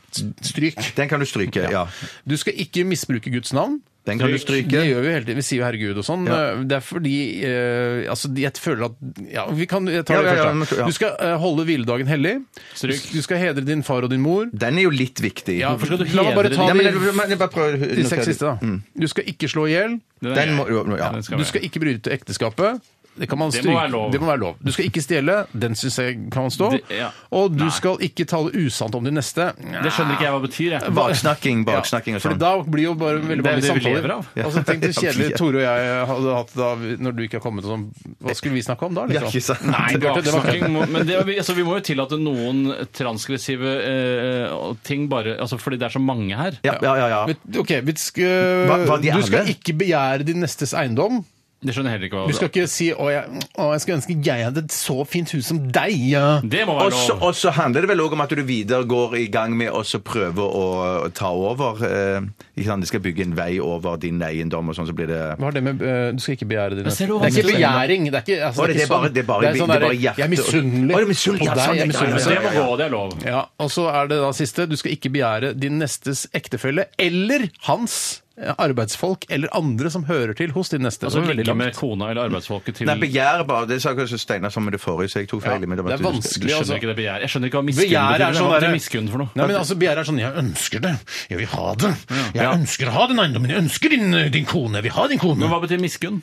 [SPEAKER 1] Stryk.
[SPEAKER 2] Den kan du stryke, ja.
[SPEAKER 1] Du skal ikke misbruke Guds navn.
[SPEAKER 2] Den kan du
[SPEAKER 1] Det
[SPEAKER 2] stryke.
[SPEAKER 1] gjør vi jo hele tiden. Vi sier jo 'herregud' og sånn.
[SPEAKER 2] Ja.
[SPEAKER 1] Det er fordi eh, Altså, jeg føler at Ja, vi kan ta
[SPEAKER 2] Ja,
[SPEAKER 1] det
[SPEAKER 2] ja, ja, men-
[SPEAKER 1] først, da.
[SPEAKER 2] ja.
[SPEAKER 1] Du skal eh, holde hviledagen hellig.
[SPEAKER 3] Stryk.
[SPEAKER 1] Du skal hedre din far og din mor.
[SPEAKER 2] Den er jo litt viktig.
[SPEAKER 1] Ja,
[SPEAKER 3] Hvorfor skal du
[SPEAKER 1] La meg bare
[SPEAKER 3] hedre
[SPEAKER 1] ta
[SPEAKER 2] Nei, men jeg,
[SPEAKER 1] de,
[SPEAKER 2] men jeg bare prøver
[SPEAKER 1] de seks siste, da.
[SPEAKER 3] Mm.
[SPEAKER 1] Du skal ikke slå i hjel.
[SPEAKER 3] Den er
[SPEAKER 2] Den må,
[SPEAKER 3] grei.
[SPEAKER 2] jo, ja.
[SPEAKER 3] Den
[SPEAKER 1] Du skal
[SPEAKER 3] være.
[SPEAKER 1] ikke bryte ekteskapet. Det, kan man
[SPEAKER 3] Det
[SPEAKER 1] stryke.
[SPEAKER 3] må være lov.
[SPEAKER 1] det må være lov. Du skal ikke stjele. Den syns jeg kan stå.
[SPEAKER 3] Det- ja.
[SPEAKER 1] Og du
[SPEAKER 3] Nei.
[SPEAKER 1] skal ikke tale usant om din neste.
[SPEAKER 3] Det skjønner ikke jeg hva betyr, jeg.
[SPEAKER 2] Baksnakking, baksnakking og
[SPEAKER 1] Fordi
[SPEAKER 2] sånn.
[SPEAKER 1] da blir jo bare veldig
[SPEAKER 3] Det er
[SPEAKER 1] vanlige
[SPEAKER 3] det vi
[SPEAKER 1] samtaler.
[SPEAKER 3] lever av.
[SPEAKER 1] Altså, tenk det
[SPEAKER 2] Ja.
[SPEAKER 1] kjedelig Tore og jeg hadde hatt da vi- når du ikke har kommet og sånn. Hva skulle vi snakke om da?
[SPEAKER 2] Ja, ikke
[SPEAKER 1] Liksom?
[SPEAKER 2] sant?
[SPEAKER 3] Nei,
[SPEAKER 1] Det burde- det var-
[SPEAKER 3] baksnakking må, men det, vi, altså, vi må jo tillate noen transgressive eh, ting, bare altså, fordi det er så mange her.
[SPEAKER 2] Ja, ja, ja. ja.
[SPEAKER 1] Men, Ok, vi skal,
[SPEAKER 2] Hva- hva de
[SPEAKER 1] Du skal
[SPEAKER 2] alle?
[SPEAKER 1] ikke begjære din nestes eiendom.
[SPEAKER 3] Det skjønner jeg heller ikke hva
[SPEAKER 1] Du skal ikke si å jeg, å, jeg skulle ønske jeg hadde et så fint hus som deg'. Ja.
[SPEAKER 3] Det må
[SPEAKER 2] Og
[SPEAKER 3] være
[SPEAKER 2] så-
[SPEAKER 3] lov!
[SPEAKER 2] Og så handler det vel òg om at du videre går i gang med å så prøve å å ta over. Eh, ikke sant? De skal bygge en vei over din eiendom, og sånn så blir det
[SPEAKER 1] Hva har det med eh, Du skal ikke begjære din neste
[SPEAKER 3] ser du
[SPEAKER 1] Det
[SPEAKER 3] hva
[SPEAKER 1] er ikke
[SPEAKER 3] vanskelig-
[SPEAKER 1] begjæring. Det er ikke, altså,
[SPEAKER 2] Å, det er bare- det er bare-
[SPEAKER 1] sånn
[SPEAKER 2] det er bare
[SPEAKER 1] derre, Jeg er
[SPEAKER 2] hjerte-
[SPEAKER 1] misunnelig
[SPEAKER 2] Å, det er misunnelig, ja,
[SPEAKER 1] på deg.
[SPEAKER 2] sånn,
[SPEAKER 1] Jeg er
[SPEAKER 2] ja, ja,
[SPEAKER 1] misunnelig.
[SPEAKER 3] Det må gå, det er lov.
[SPEAKER 1] Ja, og så er det da siste. Du skal ikke begjære din nestes ektefelle eller hans eh, arbeidsfolk eller andre som hører til hos din neste. Det
[SPEAKER 3] Altså
[SPEAKER 1] var veldig
[SPEAKER 3] ligge med
[SPEAKER 1] langt.
[SPEAKER 3] kona eller arbeidsfolket til
[SPEAKER 2] Nei, begjæret bare. Det sa kanskje Steinar som med det forrige, så jeg tok feil.
[SPEAKER 1] Ja,
[SPEAKER 2] men
[SPEAKER 1] det
[SPEAKER 2] var
[SPEAKER 1] er
[SPEAKER 2] at du-
[SPEAKER 3] Du
[SPEAKER 1] vanskelig.
[SPEAKER 3] skjønner
[SPEAKER 1] altså.
[SPEAKER 3] ikke det begjæret? Jeg skjønner ikke hva miskunn
[SPEAKER 1] Begjæret er
[SPEAKER 3] betyr.
[SPEAKER 1] sånn
[SPEAKER 3] Hva betyr
[SPEAKER 1] derre-
[SPEAKER 3] miskunn for noe?
[SPEAKER 1] Nei, men altså Begjæret er sånn 'jeg ønsker det, jeg vil ha det', eh, 'jeg ønsker å ha den eiendommen', 'jeg ønsker din, din kone', 'jeg vil ha din kone'.
[SPEAKER 3] Men hva betyr miskunn?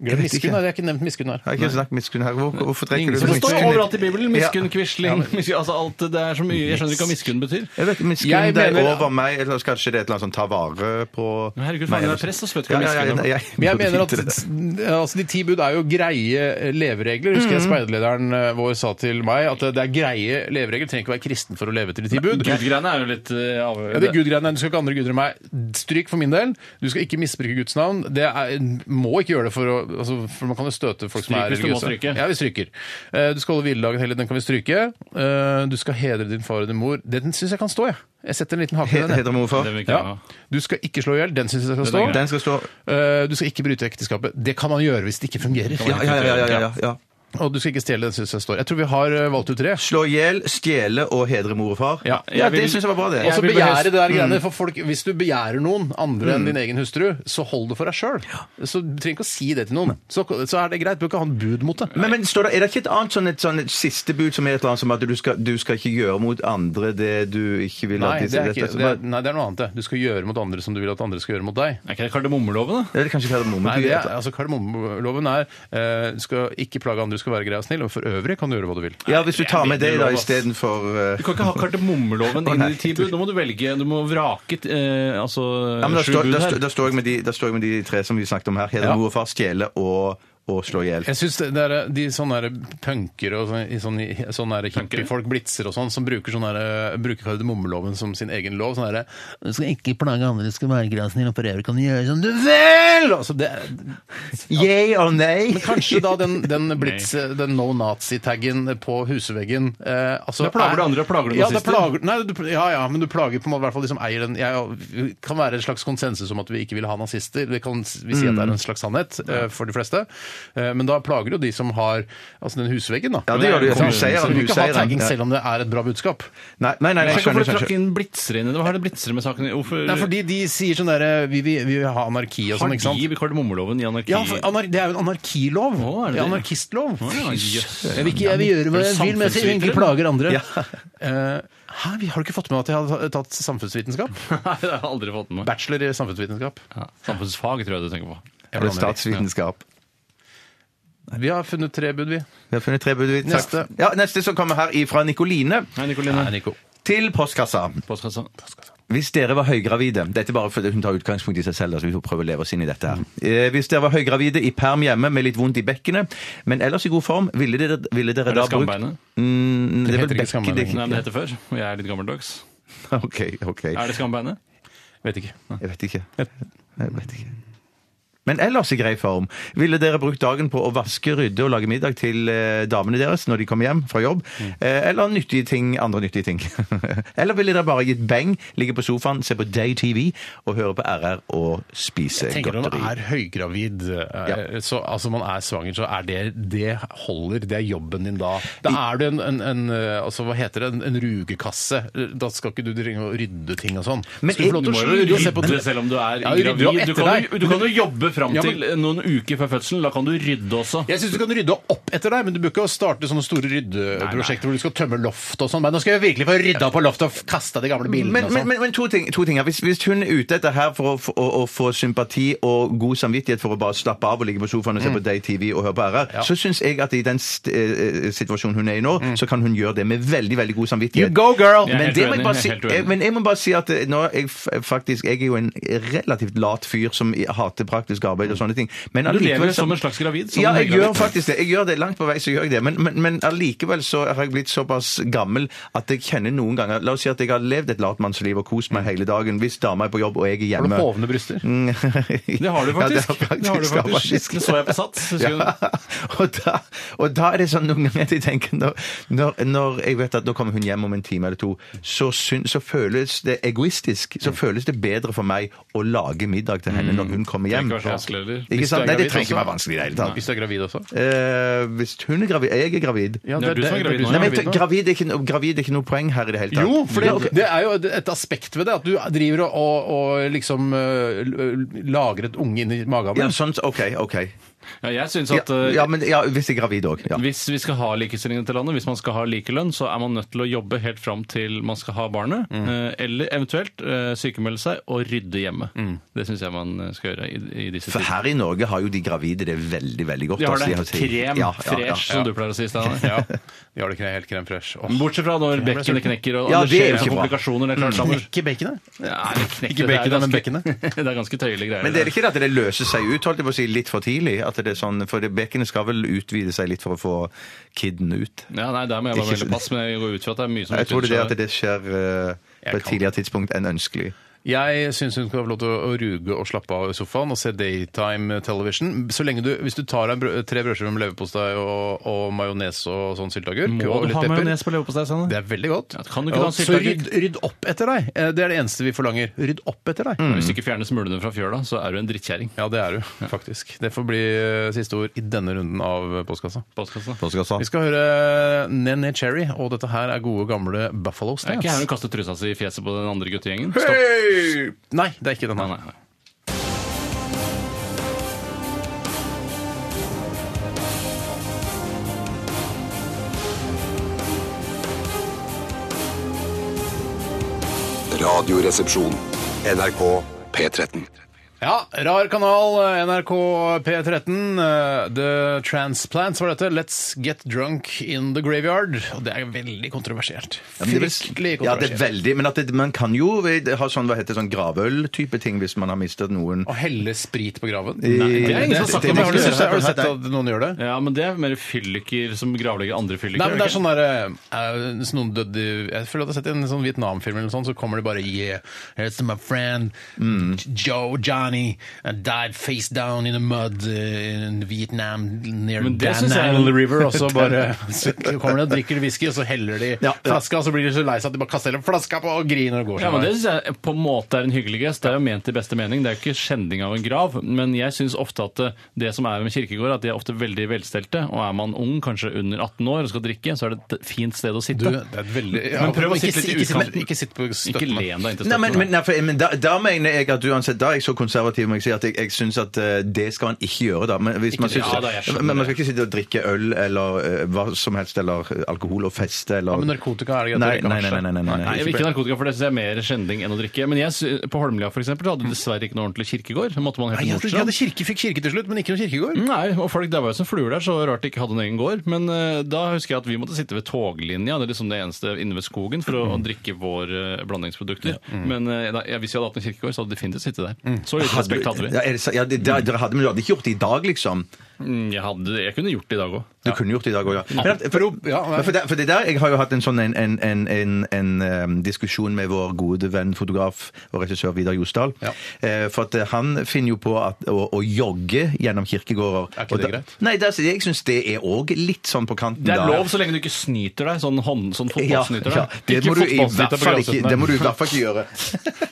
[SPEAKER 1] Glem
[SPEAKER 2] vet ikke.
[SPEAKER 1] miskunn, har jeg ikke nevnt miskunn her.
[SPEAKER 2] Jeg har ikke snakket miskunn her. Hvor, hvorfor trekker du
[SPEAKER 3] Så det står
[SPEAKER 2] miskunn?
[SPEAKER 3] overalt i Bibelen. Miskunn,
[SPEAKER 2] Ja.
[SPEAKER 3] quisling miskunn, Altså alt det er så mye. Jeg skjønner ikke hva miskunn betyr.
[SPEAKER 2] Jeg vet ikke,
[SPEAKER 1] Jeg
[SPEAKER 2] miskunn det er
[SPEAKER 1] mener-
[SPEAKER 2] over meg, eller kanskje det er et eller annet som tar vare på
[SPEAKER 3] Men herregud, faen,
[SPEAKER 2] meg,
[SPEAKER 3] du er
[SPEAKER 2] eller-
[SPEAKER 3] prest,
[SPEAKER 1] altså,
[SPEAKER 3] og så vet du
[SPEAKER 2] Ja,
[SPEAKER 3] hva
[SPEAKER 2] ja, ja,
[SPEAKER 3] miskunn er.
[SPEAKER 2] ja,
[SPEAKER 1] Men jeg
[SPEAKER 2] burde
[SPEAKER 1] mener at
[SPEAKER 2] vite det.
[SPEAKER 1] altså, De ti bud er jo greie leveregler. Husker
[SPEAKER 3] Mm.
[SPEAKER 1] jeg speiderlederen vår sa til meg at eh, det er greie leveregler. Trenger ikke være kristen for å leve etter de ti bud.
[SPEAKER 3] Gudgreiene er jo litt eh, av...
[SPEAKER 1] Ja, det er gudgreiene. Du skal ikke ha andre guder enn meg. Stryk for min del. Du skal ikke misbruke Guds navn. Det er, må ikke gjøre det, for, å, altså, for man kan jo støte folk som
[SPEAKER 3] Stryk
[SPEAKER 1] er
[SPEAKER 3] hvis du må
[SPEAKER 1] religiøse.
[SPEAKER 3] stryke.
[SPEAKER 1] Ja, vi stryker. Eh, Du skal holde hviledagen hellig. Den kan vi stryke. Eh, Du skal hedre din far og din mor. Den syns jeg kan stå, jeg. Jeg setter en liten hake i
[SPEAKER 2] Heter
[SPEAKER 1] den. jeg.
[SPEAKER 2] heter morfar.
[SPEAKER 3] Det vil ikke jeg
[SPEAKER 1] Ja.
[SPEAKER 3] ha.
[SPEAKER 1] Du skal ikke slå i hjel. Den syns jeg skal
[SPEAKER 3] Den
[SPEAKER 1] stå.
[SPEAKER 3] er grei.
[SPEAKER 2] Den skal stå
[SPEAKER 1] Eh, Du skal ikke bryte ekteskapet. Det kan man gjøre hvis det ikke fungerer.
[SPEAKER 2] Ja, ja, ja. ja, ja, ja, ja.
[SPEAKER 1] Og du skal ikke stjele, den syns jeg står. Jeg tror vi har eh, valgt ut tre.
[SPEAKER 2] Slå i hjel, stjele og hedre mor og far.
[SPEAKER 1] Ja,
[SPEAKER 2] ja
[SPEAKER 1] jeg vil-
[SPEAKER 2] det syns jeg var bra, det.
[SPEAKER 1] Og så
[SPEAKER 3] vil bare
[SPEAKER 1] begjære
[SPEAKER 3] helst-
[SPEAKER 1] det der greiene. For folk, hvis du begjærer noen andre enn din egen hustru, så hold det for deg sjøl. Så du trenger ikke å si det til noen. Så, så er det greit. Du bør ikke ha en bud mot det.
[SPEAKER 2] Men, men står det, Er det ikke et annet sånn, et, sånn, et siste bud som er et eller annet som at du skal, du skal ikke gjøre mot andre det du ikke vil
[SPEAKER 1] Nei,
[SPEAKER 2] at de
[SPEAKER 1] det er,
[SPEAKER 2] dette-
[SPEAKER 1] ikke, det, er, nei, det er noe annet. det. Du skal gjøre mot andre som du vil at andre skal gjøre mot deg.
[SPEAKER 3] Er ikke det kardemommeloven, da?
[SPEAKER 2] Eller kanskje kardemommebu?
[SPEAKER 1] Nei, det
[SPEAKER 2] et
[SPEAKER 1] er,
[SPEAKER 2] eller annet.
[SPEAKER 1] altså Kardemommeloven er eh, du skal ikke plage andre, du skal være grei og snill. Og for øvrig kan du gjøre hva du vil.
[SPEAKER 2] Ja, hvis du tar med det da
[SPEAKER 3] lov, ass.
[SPEAKER 2] istedenfor
[SPEAKER 3] Du kan ikke ha kardemommeloven inn i de ti bud. Nå må du velge Du må vrake eh, altså,
[SPEAKER 2] ja, men da,
[SPEAKER 3] sju
[SPEAKER 2] står,
[SPEAKER 3] bud
[SPEAKER 2] da, står,
[SPEAKER 3] her.
[SPEAKER 2] da, står jeg med de, da står jeg med de tre som vi snakket om her. Hedre
[SPEAKER 1] Ja.
[SPEAKER 2] mor og far, stjele og, og slå i hjel.
[SPEAKER 1] Jeg synes det er De sånne der punker og sånne, sånne, sånne der hippiefolk, blitzer og sånn, som bruker, sånne der, bruker kardemommeloven som sin egen lov. Sånn derre Du skal ikke plage andre, du skal være grensen din, og for øvrig kan du gjøre som du vil! Altså, det,
[SPEAKER 2] Yay og nei?
[SPEAKER 1] men kanskje da den, den blitz, den no nazi-taggen på husveggen eh, altså,
[SPEAKER 3] Da plager du
[SPEAKER 1] er-
[SPEAKER 3] andre, plager du
[SPEAKER 1] ja, da
[SPEAKER 3] nazister.
[SPEAKER 1] plager- nei, du, ja ja, men du plager på en måte i hvert fall de som eier den. Jeg kan være en slags konsensus om at vi ikke vil ha nazister. Det kan vi si at
[SPEAKER 3] Mm.
[SPEAKER 1] det er en slags sannhet eh, for de fleste. Eh, men da plager jo de som har altså den husveggen, da.
[SPEAKER 2] Ja, det gjør du jo.
[SPEAKER 1] Så-
[SPEAKER 2] Huseieren,
[SPEAKER 1] så du vil ikke ha
[SPEAKER 2] huseieren,
[SPEAKER 1] tagging
[SPEAKER 2] ja.
[SPEAKER 1] selv om det er et bra budskap.
[SPEAKER 2] Nei, nei, nei, jeg
[SPEAKER 3] Hvorfor
[SPEAKER 2] skjønner,
[SPEAKER 3] trakk
[SPEAKER 2] skjønner.
[SPEAKER 3] inn blitzere inn i det? Hva har det blitzere med saken? å gjøre? Hvorfor
[SPEAKER 1] Det er fordi de sier sånn derre vi, vil- vi vil ha anarki og sånn, ikke
[SPEAKER 3] har
[SPEAKER 1] sant?
[SPEAKER 3] de kardemommeloven i anarki?
[SPEAKER 1] Ja, for anar det er jo en anarkilov.
[SPEAKER 3] Å, er det
[SPEAKER 1] Ja,
[SPEAKER 3] det?
[SPEAKER 1] Anarkistlov.
[SPEAKER 3] Å, ja, jøss.
[SPEAKER 1] Jeg vil ikke jeg vil gjøre hva
[SPEAKER 3] Er du
[SPEAKER 1] jeg vil, men jeg sier egentlig
[SPEAKER 3] samfunnsviter?
[SPEAKER 1] plager andre.
[SPEAKER 2] Ja.
[SPEAKER 1] Eh, hæ, vi har du ikke fått med at jeg har tatt samfunnsvitenskap?
[SPEAKER 3] Nei, det har jeg aldri fått med meg.
[SPEAKER 1] Bachelor i samfunnsvitenskap.
[SPEAKER 3] Ja. Samfunnsfag tror jeg du tenker på.
[SPEAKER 1] Jeg
[SPEAKER 2] Er det
[SPEAKER 1] blander.
[SPEAKER 2] statsvitenskap?
[SPEAKER 1] Vi har funnet tre bud, vi.
[SPEAKER 2] Vi har funnet tre bud. Takk.
[SPEAKER 1] Neste.
[SPEAKER 2] Ja, neste som kommer her ifra Nikoline
[SPEAKER 3] Hei, Nikoline.
[SPEAKER 1] Nei, Nico.
[SPEAKER 2] til postkassa.
[SPEAKER 3] Postkassa.
[SPEAKER 2] Hvis dere var høygravide Dette er bare fordi hun tar utgangspunkt i seg selv. Altså vi får prøve å leve oss inn i dette her. Eh, hvis dere var høygravide i perm hjemme med litt vondt i bekkenet, men ellers i god form, ville dere, ville dere
[SPEAKER 3] Er det
[SPEAKER 2] da brukt
[SPEAKER 3] skambeinet?
[SPEAKER 2] Mm, det,
[SPEAKER 1] Det
[SPEAKER 2] er
[SPEAKER 1] heter
[SPEAKER 2] vel
[SPEAKER 1] ikke
[SPEAKER 2] bekke-
[SPEAKER 1] skambeinet.
[SPEAKER 2] det er ikke-
[SPEAKER 3] Nei, men det heter før. Og jeg er litt gammeldags.
[SPEAKER 2] OK, OK.
[SPEAKER 3] Er det skambeinet?
[SPEAKER 1] Vet ikke.
[SPEAKER 2] Jeg vet ikke. Jeg vet ikke. Men ellers i grei form. Ville dere brukt dagen på å vaske, rydde og lage middag til eh, damene deres når de kommer hjem fra jobb? Eh, eller nyttige ting, andre nyttige ting? eller ville dere bare gitt beng, ligge på sofaen, se på Day-TV og høre på RR og spise
[SPEAKER 1] Tenker du man
[SPEAKER 2] godteri?
[SPEAKER 1] er høygravid, eh,
[SPEAKER 2] Ja.
[SPEAKER 1] så, altså man er svanger, så er det det holder, det er jobben din da. Da er du en, en, en eh, altså hva heter det, en, en rugekasse. Da skal ikke du trenge å rydde ting og sånn.
[SPEAKER 2] Men
[SPEAKER 1] Skal du få lov
[SPEAKER 3] Du
[SPEAKER 1] til å
[SPEAKER 3] må jo
[SPEAKER 1] rydde og se
[SPEAKER 3] rydde
[SPEAKER 1] på TV.
[SPEAKER 3] selv om du er
[SPEAKER 1] Ja, du rydder jo
[SPEAKER 3] gravid. Du
[SPEAKER 1] etter
[SPEAKER 3] kan, jo-
[SPEAKER 1] deg.
[SPEAKER 3] du kan jo jobbe fram
[SPEAKER 1] Ja, men-
[SPEAKER 3] til eh, noen uker før fødselen. Da kan du rydde også.
[SPEAKER 1] Jeg syns du kan rydde opp etter deg, men du bør ikke starte sånne store ryddeprosjekter hvor du skal tømme loftet og sånn. Men nå skal jeg virkelig få rydda på loftet og kasta de gamle bilene
[SPEAKER 2] Men,
[SPEAKER 1] og
[SPEAKER 2] men,
[SPEAKER 1] sånn.
[SPEAKER 2] men, men to ting, to ting her. Hvis, hvis hun er ute etter her for å, for å, å få sympati og god samvittighet for å bare slappe av og ligge på sofaen
[SPEAKER 3] Mm.
[SPEAKER 2] og se på Day-TV og høre på RR, så syns jeg at i den st eh, eh, situasjonen hun er i nå,
[SPEAKER 3] Mm.
[SPEAKER 2] så kan hun gjøre det med veldig veldig god samvittighet.
[SPEAKER 1] You go, girl!
[SPEAKER 3] Jeg er
[SPEAKER 2] Men,
[SPEAKER 3] helt
[SPEAKER 2] det må
[SPEAKER 3] uenig,
[SPEAKER 2] jeg bare
[SPEAKER 3] jeg er
[SPEAKER 2] si,
[SPEAKER 3] helt uenig.
[SPEAKER 2] jeg, men jeg må bare si at eh, nå, er jeg, f- faktisk, jeg er jo en relativt lat fyr som i- hater praktisk arbeid og sånne ting. Men
[SPEAKER 3] Mm. Du
[SPEAKER 2] allikevel
[SPEAKER 3] lever
[SPEAKER 2] så-
[SPEAKER 3] som en slags gravid. som
[SPEAKER 2] ja,
[SPEAKER 3] en
[SPEAKER 2] jeg
[SPEAKER 3] høygravid.
[SPEAKER 2] gjør faktisk det. Jeg gjør det Langt på vei så gjør jeg det. Men, men, men allikevel så har jeg blitt såpass gammel at jeg kjenner noen ganger La oss si at jeg har levd et latmannsliv og kost meg hele dagen hvis dama er på jobb og jeg er
[SPEAKER 1] Har du
[SPEAKER 2] hjemme.
[SPEAKER 1] hovne bryster?
[SPEAKER 3] Det har du faktisk. Det har du faktisk. Det så jeg på Sats. husker du det?
[SPEAKER 2] Ja. Og, da, og da er det sånn noen ganger at jeg tenker når, når, når jeg vet at nå kommer hun hjem om en time eller to, så, syn- så føles det egoistisk.
[SPEAKER 3] Mm.
[SPEAKER 2] Så føles det bedre for meg å lage middag til henne når hun kommer hjem.
[SPEAKER 3] Trenger ikke være så vanskelig, eller?
[SPEAKER 2] Ikke sant? Nei, det trenger ikke
[SPEAKER 1] Hvis du er gravid
[SPEAKER 2] være vanskelig i det hele tatt.
[SPEAKER 1] Hvis du er gravid også?
[SPEAKER 2] Eh, hvis hun er gravid Jeg er gravid.
[SPEAKER 3] Det er du som er gravid nå.
[SPEAKER 2] Nei, men
[SPEAKER 1] gravid nå.
[SPEAKER 2] gravid er, ikke, no- gravid er ikke noe poeng her i det hele tatt.
[SPEAKER 1] Jo, for det,
[SPEAKER 2] Ja, ok.
[SPEAKER 1] det er jo et aspekt ved det. At du driver og, og, og liksom eh, l- lager øh, et unge inn i magen.
[SPEAKER 2] ja, sånn, OK. ok
[SPEAKER 3] Ja, jeg synes at
[SPEAKER 2] ja,
[SPEAKER 3] eh,
[SPEAKER 2] ja, men ja, hvis jeg er gravid òg. Ja.
[SPEAKER 3] Hvis vi skal ha likestillingen til landet, hvis man skal ha likelønn, så er man nødt til å jobbe helt fram til man skal ha barnet,
[SPEAKER 2] Mm.
[SPEAKER 3] eh, eller eventuelt eh, sykemelde seg og rydde hjemme. Det syns jeg man eh, skal gjøre i, i disse
[SPEAKER 2] Mm. For
[SPEAKER 3] tider.
[SPEAKER 2] her i Norge har jo de gravide det veldig, veldig godt.
[SPEAKER 3] De har
[SPEAKER 2] altså,
[SPEAKER 3] det
[SPEAKER 2] sikkert-
[SPEAKER 3] krem
[SPEAKER 2] Ja, ja,
[SPEAKER 3] fresh,
[SPEAKER 2] ja.
[SPEAKER 3] som du pleier å si, Steinar.
[SPEAKER 1] Ja, de har det kre- helt krem fresh. Åh.
[SPEAKER 3] Bortsett fra når bekkenet knekker og
[SPEAKER 2] Ja,
[SPEAKER 3] det
[SPEAKER 2] det er jo
[SPEAKER 3] skjer sånne
[SPEAKER 2] ikke bra.
[SPEAKER 3] komplikasjoner. Det er klart, Samuel.
[SPEAKER 1] Ikke baconet.
[SPEAKER 3] Ja, det knekker,
[SPEAKER 1] Ikke
[SPEAKER 3] det er
[SPEAKER 1] baconet, men
[SPEAKER 3] ganske- Det er ganske tøyelige greier.
[SPEAKER 2] Men det er ikke det at det løser seg ut, holdt jeg på å si, litt for tidlig? At det er sånn, For det- bekkenet skal vel utvide seg litt for å få kidden ut?
[SPEAKER 3] Ja, nei, Der må jeg bare
[SPEAKER 2] Ikke så-
[SPEAKER 3] melde pass, men jeg går ut fra at det er mye som
[SPEAKER 2] Jeg tror det er det at
[SPEAKER 3] utvikler seg.
[SPEAKER 2] det skjer eh, på
[SPEAKER 1] Jeg
[SPEAKER 2] et
[SPEAKER 1] kan-
[SPEAKER 2] tidligere tidspunkt enn ønskelig.
[SPEAKER 1] Jeg syns hun skal få lov til å å ruge og slappe av i sofaen og se daytime television. Så lenge du, Hvis du tar deg en brø- tre brødskiver med leverpostei og, og majones og sånn sylteagurk
[SPEAKER 3] Må
[SPEAKER 1] og
[SPEAKER 3] du
[SPEAKER 1] litt
[SPEAKER 3] ha
[SPEAKER 1] pepper
[SPEAKER 3] majones på leverpostei? Sanne?
[SPEAKER 1] Det er veldig godt.
[SPEAKER 3] Ja, kan du ikke ta en
[SPEAKER 1] så
[SPEAKER 3] sylteagurk?
[SPEAKER 1] rydd, rydd opp etter deg. Eh, Det er det eneste vi forlanger. Rydd opp etter deg.
[SPEAKER 2] Mm.
[SPEAKER 3] Hvis du ikke fjerner smulene fra fjøla, så er du en drittkjerring.
[SPEAKER 1] Ja, det er du, faktisk. Det får bli eh, siste ord i denne runden av eh, Postkassa.
[SPEAKER 3] Postkassa.
[SPEAKER 1] Vi skal høre eh, Nene Cherry, og dette her er gode, gamle Buffalo
[SPEAKER 3] Det er
[SPEAKER 1] Stance.
[SPEAKER 3] ikke her hun kaster trusa si i fjeset på den andre guttegjengen.
[SPEAKER 1] Nei, det er ikke den
[SPEAKER 3] Nei,
[SPEAKER 1] her.
[SPEAKER 3] nei, nei.
[SPEAKER 6] Radioresepsjon. NRK P13.
[SPEAKER 1] Ja, rar kanal, eh, NRK P13. eh, The Transplants var dette. Let's get drunk in the graveyard. Og det er veldig kontroversielt.
[SPEAKER 2] Ja, men det er vel-
[SPEAKER 1] Fryktelig
[SPEAKER 2] Ja, det er
[SPEAKER 1] kontroversielt.
[SPEAKER 2] veldig. Men at det, man kan jo ha sånn, hva heter det, sånn gravøl-type ting hvis man har mistet noen.
[SPEAKER 1] Å helle sprit på graven?
[SPEAKER 2] Nei,
[SPEAKER 1] det er ingen som har sagt om det. Har du sett- Har du sett
[SPEAKER 2] Nei.
[SPEAKER 1] at noen gjør det?
[SPEAKER 3] Ja, men det er mer fylliker som gravlegger andre fylliker.
[SPEAKER 1] Nei, men det er
[SPEAKER 3] ikke?
[SPEAKER 1] sånn der, eh, hvis noen døde i- Jeg føler at jeg har sett en sånn Vietnamfilm eller noe sånt, så kommer de bare Yeah, it's my friend Joe, Johnny uh, died face down in the mud uh, in Vietnam near
[SPEAKER 3] Men det
[SPEAKER 1] Dan
[SPEAKER 3] synes jeg er-
[SPEAKER 1] Nile River, og så bare så kommer de og drikker whisky, og så heller de
[SPEAKER 2] Ja, ja.
[SPEAKER 1] flaska, og så blir de så lei seg at de bare kaster hele flaska på og griner og går
[SPEAKER 3] Ja,
[SPEAKER 1] sin
[SPEAKER 3] men
[SPEAKER 1] vei.
[SPEAKER 3] Det syns jeg på en måte er en hyggelig gest. Det er jo ment i beste mening. Det er jo ikke skjending av en grav. Men jeg syns ofte at det, det som er med kirkegård, at de er ofte veldig velstelte. Og er man ung, kanskje under 18 år, og skal drikke, så er det et fint sted å
[SPEAKER 1] Du,
[SPEAKER 3] sitte.
[SPEAKER 1] det er et veldig ja,
[SPEAKER 3] Men prøv å
[SPEAKER 1] ikke
[SPEAKER 3] sitte litt i
[SPEAKER 1] ikke
[SPEAKER 3] utkanten.
[SPEAKER 1] Ikke sitt på
[SPEAKER 3] ikke
[SPEAKER 1] støttene.
[SPEAKER 3] len deg inntil
[SPEAKER 2] Nei, men, men,
[SPEAKER 3] støtten.
[SPEAKER 2] nei, for, men da, da mener jeg at uansett, da er jeg så konservativ må jeg si at jeg, jeg syns at eh, det skal man ikke gjøre. da. Men, hvis man,
[SPEAKER 3] det.
[SPEAKER 2] synes,
[SPEAKER 3] Ja, da, jeg skjønner
[SPEAKER 2] men man
[SPEAKER 3] det.
[SPEAKER 2] skal ikke sitte og drikke øl eller eh, hva som helst, eller eh, alkohol og feste eller
[SPEAKER 1] Ja, men narkotika er det greit å
[SPEAKER 2] nei,
[SPEAKER 1] drikke,
[SPEAKER 2] nei, nei,
[SPEAKER 1] kanskje?
[SPEAKER 2] nei, nei, nei,
[SPEAKER 3] Nei, jeg vil ikke narkotika, for det syns jeg er mer skjending enn å drikke. Men jeg, sy- på Holmlia for eksempel, så hadde de dessverre ikke noe ordentlig kirkegård. Så måtte man helt
[SPEAKER 1] Nei,
[SPEAKER 3] til
[SPEAKER 1] jeg
[SPEAKER 3] Nordstrand.
[SPEAKER 1] hadde kirke, fikk kirke til slutt, men ikke noe kirkegård.
[SPEAKER 3] Nei, og folk daua jo som fluer der, så rart de ikke hadde en egen gård. Men eh, da husker jeg at vi måtte sitte ved toglinja, det er liksom det eneste inne ved skogen, for å, å drikke våre eh, blandingsprodukter. Men eh, da, ja, hvis vi hadde hatt en kirkegård, så hadde de definitivt sittet der. Så litt
[SPEAKER 2] Mm. Hadde,
[SPEAKER 3] respekt hadde vi.
[SPEAKER 2] ja, er det, sa- ja, det, da- dere hadde, men du hadde ikke gjort det i dag, liksom?
[SPEAKER 3] Mm, Jeg, hadde, jeg kunne gjort det i dag òg.
[SPEAKER 2] Du kunne gjort det i dag òg, ja. Men at- for,
[SPEAKER 1] ja, nei.
[SPEAKER 2] men for, det, for det der, Jeg har jo hatt en sånn en, en, en, en, en em, diskusjon med vår gode venn, fotograf og regissør Vidar Josdal.
[SPEAKER 1] Ja.
[SPEAKER 2] Eh, for at eh, han finner jo på at, å, å jogge gjennom kirkegårder.
[SPEAKER 1] Er ikke
[SPEAKER 2] Og
[SPEAKER 1] det
[SPEAKER 2] da-
[SPEAKER 1] greit?
[SPEAKER 2] Nei, det, er- altså, jeg syns det er òg litt sånn på kanten.
[SPEAKER 3] Det er
[SPEAKER 2] da.
[SPEAKER 3] lov så lenge du ikke snyter deg, sånn, hånd, sånn
[SPEAKER 2] ja,
[SPEAKER 3] fotballsnyter.
[SPEAKER 2] ja,
[SPEAKER 3] deg.
[SPEAKER 2] det,
[SPEAKER 3] Ikke
[SPEAKER 2] må du i
[SPEAKER 3] fotballsnyter
[SPEAKER 2] hvert
[SPEAKER 3] på
[SPEAKER 2] fall ikke,
[SPEAKER 3] grasshøttene.
[SPEAKER 2] det må du i hvert fall ikke gjøre.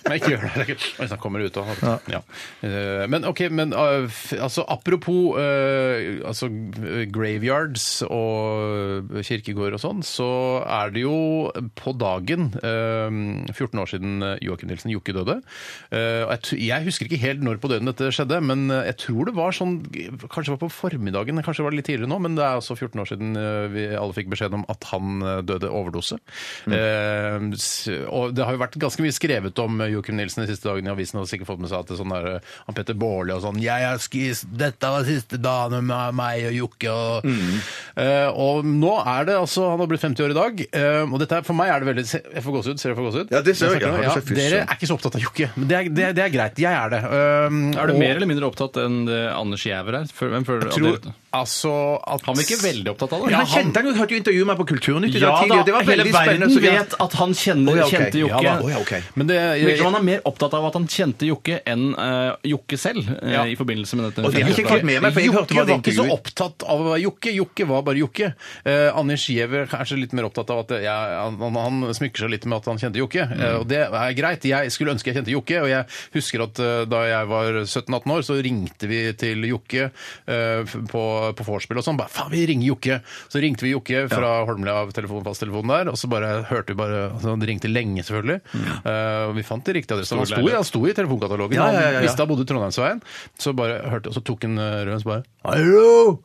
[SPEAKER 1] Men ikke gjør det. Oi, sånn kommer det ut av ja. Eh, Men ok, men eh, f- altså, apropos eh, altså, eh, graveyards og kirkegård og sånn, så er det jo på dagen eh, 14 år siden Joakim Nilsen Jokke døde. Eh, og jeg, t- jeg husker ikke helt når på døgnet dette skjedde, men jeg tror det var sånn Kanskje det var på formiddagen, kanskje det var litt tidligere nå, men det er altså 14 år siden eh, vi alle fikk beskjed om at han eh, døde overdose. Eh, s- og det har jo vært ganske mye skrevet om eh, Joakim Nilsen de siste dagene i avisen, og sikkert fått med seg at det er sånn der, eh, han Petter Baarli og sånn jeg er skis, 'Dette var siste dagen med meg og Jokke' og Eh, Og nå er det altså Han har blitt 50 år i dag, eh, og dette er, for meg er det veldig se- Jeg får gåsehud, ser jeg får gåsehud?
[SPEAKER 2] Ja, det ser jeg.
[SPEAKER 1] Jeg snakker nå,
[SPEAKER 2] Ja,
[SPEAKER 1] Ja,
[SPEAKER 2] det ser fysj
[SPEAKER 1] dere
[SPEAKER 2] ut.
[SPEAKER 1] er ikke så opptatt av Jokke, men det er, det, er- det er greit. Jeg er det. Um,
[SPEAKER 3] Er du
[SPEAKER 1] og
[SPEAKER 3] mer eller mindre opptatt enn det Anders Giæver er? Hvem føler du at
[SPEAKER 1] tror,
[SPEAKER 3] det-
[SPEAKER 1] altså, at
[SPEAKER 3] Han var ikke veldig opptatt av det?
[SPEAKER 2] Men han kjente han jo, hørte jo intervjuet med meg på Kulturnytt i dag tidlig, og det var
[SPEAKER 3] hele
[SPEAKER 2] veldig spennende.
[SPEAKER 3] verden
[SPEAKER 2] så-
[SPEAKER 3] vet at han kjenner,
[SPEAKER 2] Å, ja, ok.
[SPEAKER 3] kjente Jokke.
[SPEAKER 2] Ja, da. Å, ja, ok.
[SPEAKER 1] Men det,
[SPEAKER 3] Det virker som han er mer opptatt av at han kjente Jokke enn eh, Jokke selv. eh,
[SPEAKER 1] Ja.
[SPEAKER 3] i forbindelse med dette.
[SPEAKER 2] Og det har jeg ikke fått med meg, for jeg hørte
[SPEAKER 1] Jokke
[SPEAKER 2] bare
[SPEAKER 1] var
[SPEAKER 2] det
[SPEAKER 1] ikke så
[SPEAKER 2] intervjuet.
[SPEAKER 1] opptatt av Jokke. Jokke var bare Jokke. Eh, Anders Giæver er kanskje litt mer opptatt av at eh, jeg, han, han smykker seg litt med at han kjente Jokke.
[SPEAKER 2] Mm.
[SPEAKER 1] Eh, og det er greit. Jeg skulle ønske jeg kjente Jokke. Og jeg husker at eh, da jeg var 17-18 år, så ringte vi til Jokke eh, f- på på vorspiel og sånn. Bare faen, vi ringer Jokke! Så ringte vi Jokke fra Holmlia av telefon, fasttelefonen der, og så bare hørte vi bare altså, Han ringte lenge, selvfølgelig.
[SPEAKER 2] Mm.
[SPEAKER 1] Eh, og vi fant de riktige adressene. Han sto, i- han sto i telefonkatalogen.
[SPEAKER 2] Ja, ja, ja, ja.
[SPEAKER 1] Han visste han bodde i Trondheimsveien. Så bare hørte, og så tok han eh, røden, så bare Hallo!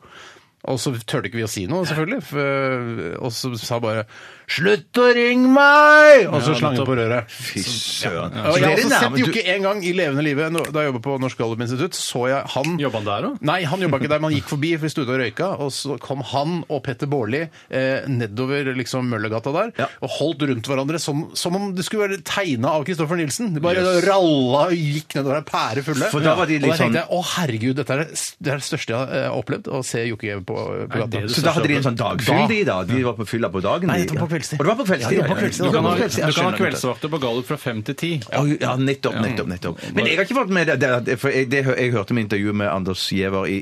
[SPEAKER 1] Og så turte ikke vi å si noe, selvfølgelig. for- eh, Og så sa bare 'Slutt å ringe meg!' Og så slang han på røret.
[SPEAKER 2] Fy søren.
[SPEAKER 1] Og jeg har også sett
[SPEAKER 2] du-
[SPEAKER 1] Jokke en gang i levende live Nå- da jeg jobbet på Norsk Gallup-institutt. så jeg han...
[SPEAKER 3] Jobba han der òg?
[SPEAKER 1] Nei, han jobba ikke der, men han gikk forbi, for vi sto ute og røyka. Og så kom han og Petter Baarli eh, nedover liksom Møllergata der
[SPEAKER 2] Ja.
[SPEAKER 1] og holdt rundt hverandre som, som om det skulle være tegna av Kristoffer Nielsen. De bare ralla og gikk nedover der, pære fulle.
[SPEAKER 2] For da var de
[SPEAKER 1] Og
[SPEAKER 2] litt
[SPEAKER 1] da
[SPEAKER 2] sånn-
[SPEAKER 1] tenkte jeg å herregud, dette er det s- det er det største jeg har eh, opplevd, å se Jokke på, på
[SPEAKER 3] det
[SPEAKER 1] gata.
[SPEAKER 3] du
[SPEAKER 2] Så da hadde de en sånn dagfyll, de da? De var på fylla på dagen?
[SPEAKER 1] Nei,
[SPEAKER 2] de,
[SPEAKER 1] dette var på
[SPEAKER 2] ja.
[SPEAKER 1] kveldstid.
[SPEAKER 2] Og det var på kveldstid.
[SPEAKER 1] Ja, det var på
[SPEAKER 2] ja, ja.
[SPEAKER 1] kveldstid.
[SPEAKER 2] Det
[SPEAKER 3] Du
[SPEAKER 2] var på
[SPEAKER 3] kan ha,
[SPEAKER 2] kveldstid,
[SPEAKER 3] du
[SPEAKER 2] jeg
[SPEAKER 3] kan ha
[SPEAKER 2] skjønner det.
[SPEAKER 3] kveldsvakter på Gallup fra fem til ti.
[SPEAKER 2] Ja, ja, nettopp, nettopp, nettopp. Men jeg har ikke fått med det, det, det for jeg, det, hø- jeg hørte med intervjuet med Anders Giæver i, i,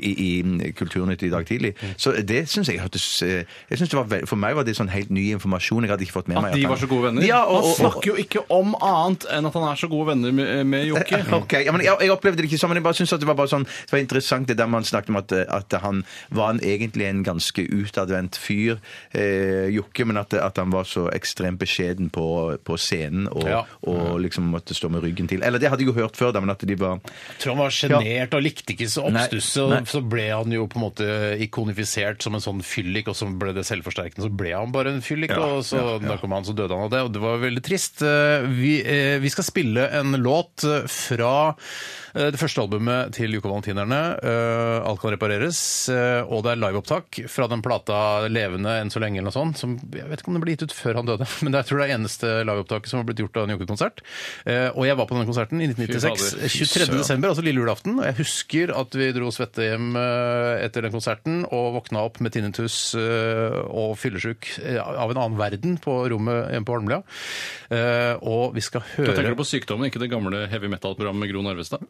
[SPEAKER 2] i Kulturnytt i dag tidlig. Så det syns jeg hørtes eh, jeg synes det var, vel- For meg var det sånn helt ny informasjon. Jeg hadde ikke fått med
[SPEAKER 3] At
[SPEAKER 2] meg
[SPEAKER 3] de
[SPEAKER 2] han-
[SPEAKER 3] var så gode venner?
[SPEAKER 2] Ja, og,
[SPEAKER 3] han
[SPEAKER 2] og, og,
[SPEAKER 3] snakker jo ikke om annet enn at han er så gode venner med, med Jokke.
[SPEAKER 2] Ok, ja, men jeg, jeg opplevde det ikke sånn, men jeg bare synes at det var bare sånn Det var interessant det der man snakket om at, at han var en, egentlig en ganske utadvendt fyr, eh, Jokke, men at, at han var så ekstremt beskjeden på, på scenen og,
[SPEAKER 1] Ja.
[SPEAKER 2] og liksom måtte stå med ryggen til. Eller det hadde jeg jo hørt før, da, men at de var
[SPEAKER 1] tror han var sjenert og likte ikke så oppstusset.
[SPEAKER 2] Nei,
[SPEAKER 1] og Så ble han jo på en måte ikonifisert som en sånn fyllik, og så ble det selvforsterkende. Så ble han bare en fyllik, og så narkoman, så døde han av det. Og det var veldig trist. Eh, Vi, eh, vi skal spille en låt eh, fra eh, det første albumet til Joko Valentinerne, eh, 'Alt kan repareres', eh, og det er liveopptak fra den plata 'Levende enn så lenge' eller noe sånt, som jeg vet ikke om det ble gitt ut før han døde, men jeg tror det er eneste liveopptaket som har blitt gjort av en Jokke-konsert. Eh, Og jeg var på den konserten i 1996.
[SPEAKER 3] Fy fader.
[SPEAKER 1] 23. desember, altså lille julaften. Og jeg husker at vi dro svette hjem eh, etter den konserten og våkna opp med tinnitus eh, og fyllesjuk eh, av en annen verden på rommet hjemme på Holmlia. Eh, Og vi skal
[SPEAKER 3] Da tenker du
[SPEAKER 1] høre
[SPEAKER 3] på sykdommen, ikke det gamle heavy metal-programmet med Gro Narvestad?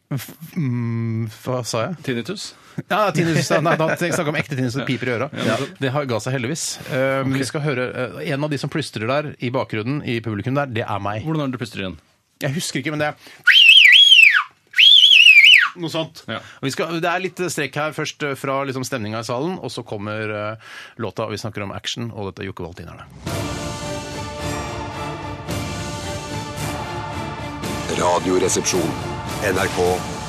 [SPEAKER 1] Mm, Hva sa jeg?
[SPEAKER 3] Tinnitus?
[SPEAKER 1] Ja, tinnitus. da- Nei, da tenkte jeg snakka om ekte tinnitus, det piper i øra. Det har- ga seg heldigvis. Eh, men Vi skal høre eh, En av de som plystrer der i bakgrunnen i publikum der, det er meg.
[SPEAKER 3] Hvordan er det du puster igjen?
[SPEAKER 1] Jeg husker ikke, men det er noe sånt.
[SPEAKER 3] Ja.
[SPEAKER 1] Og Vi skal, det er litt strekk her først eh, fra liksom stemninga i salen, og så kommer eh, låta. og Vi snakker om action, og dette er Jokke Valentinerne.
[SPEAKER 6] Radioresepsjon. NRK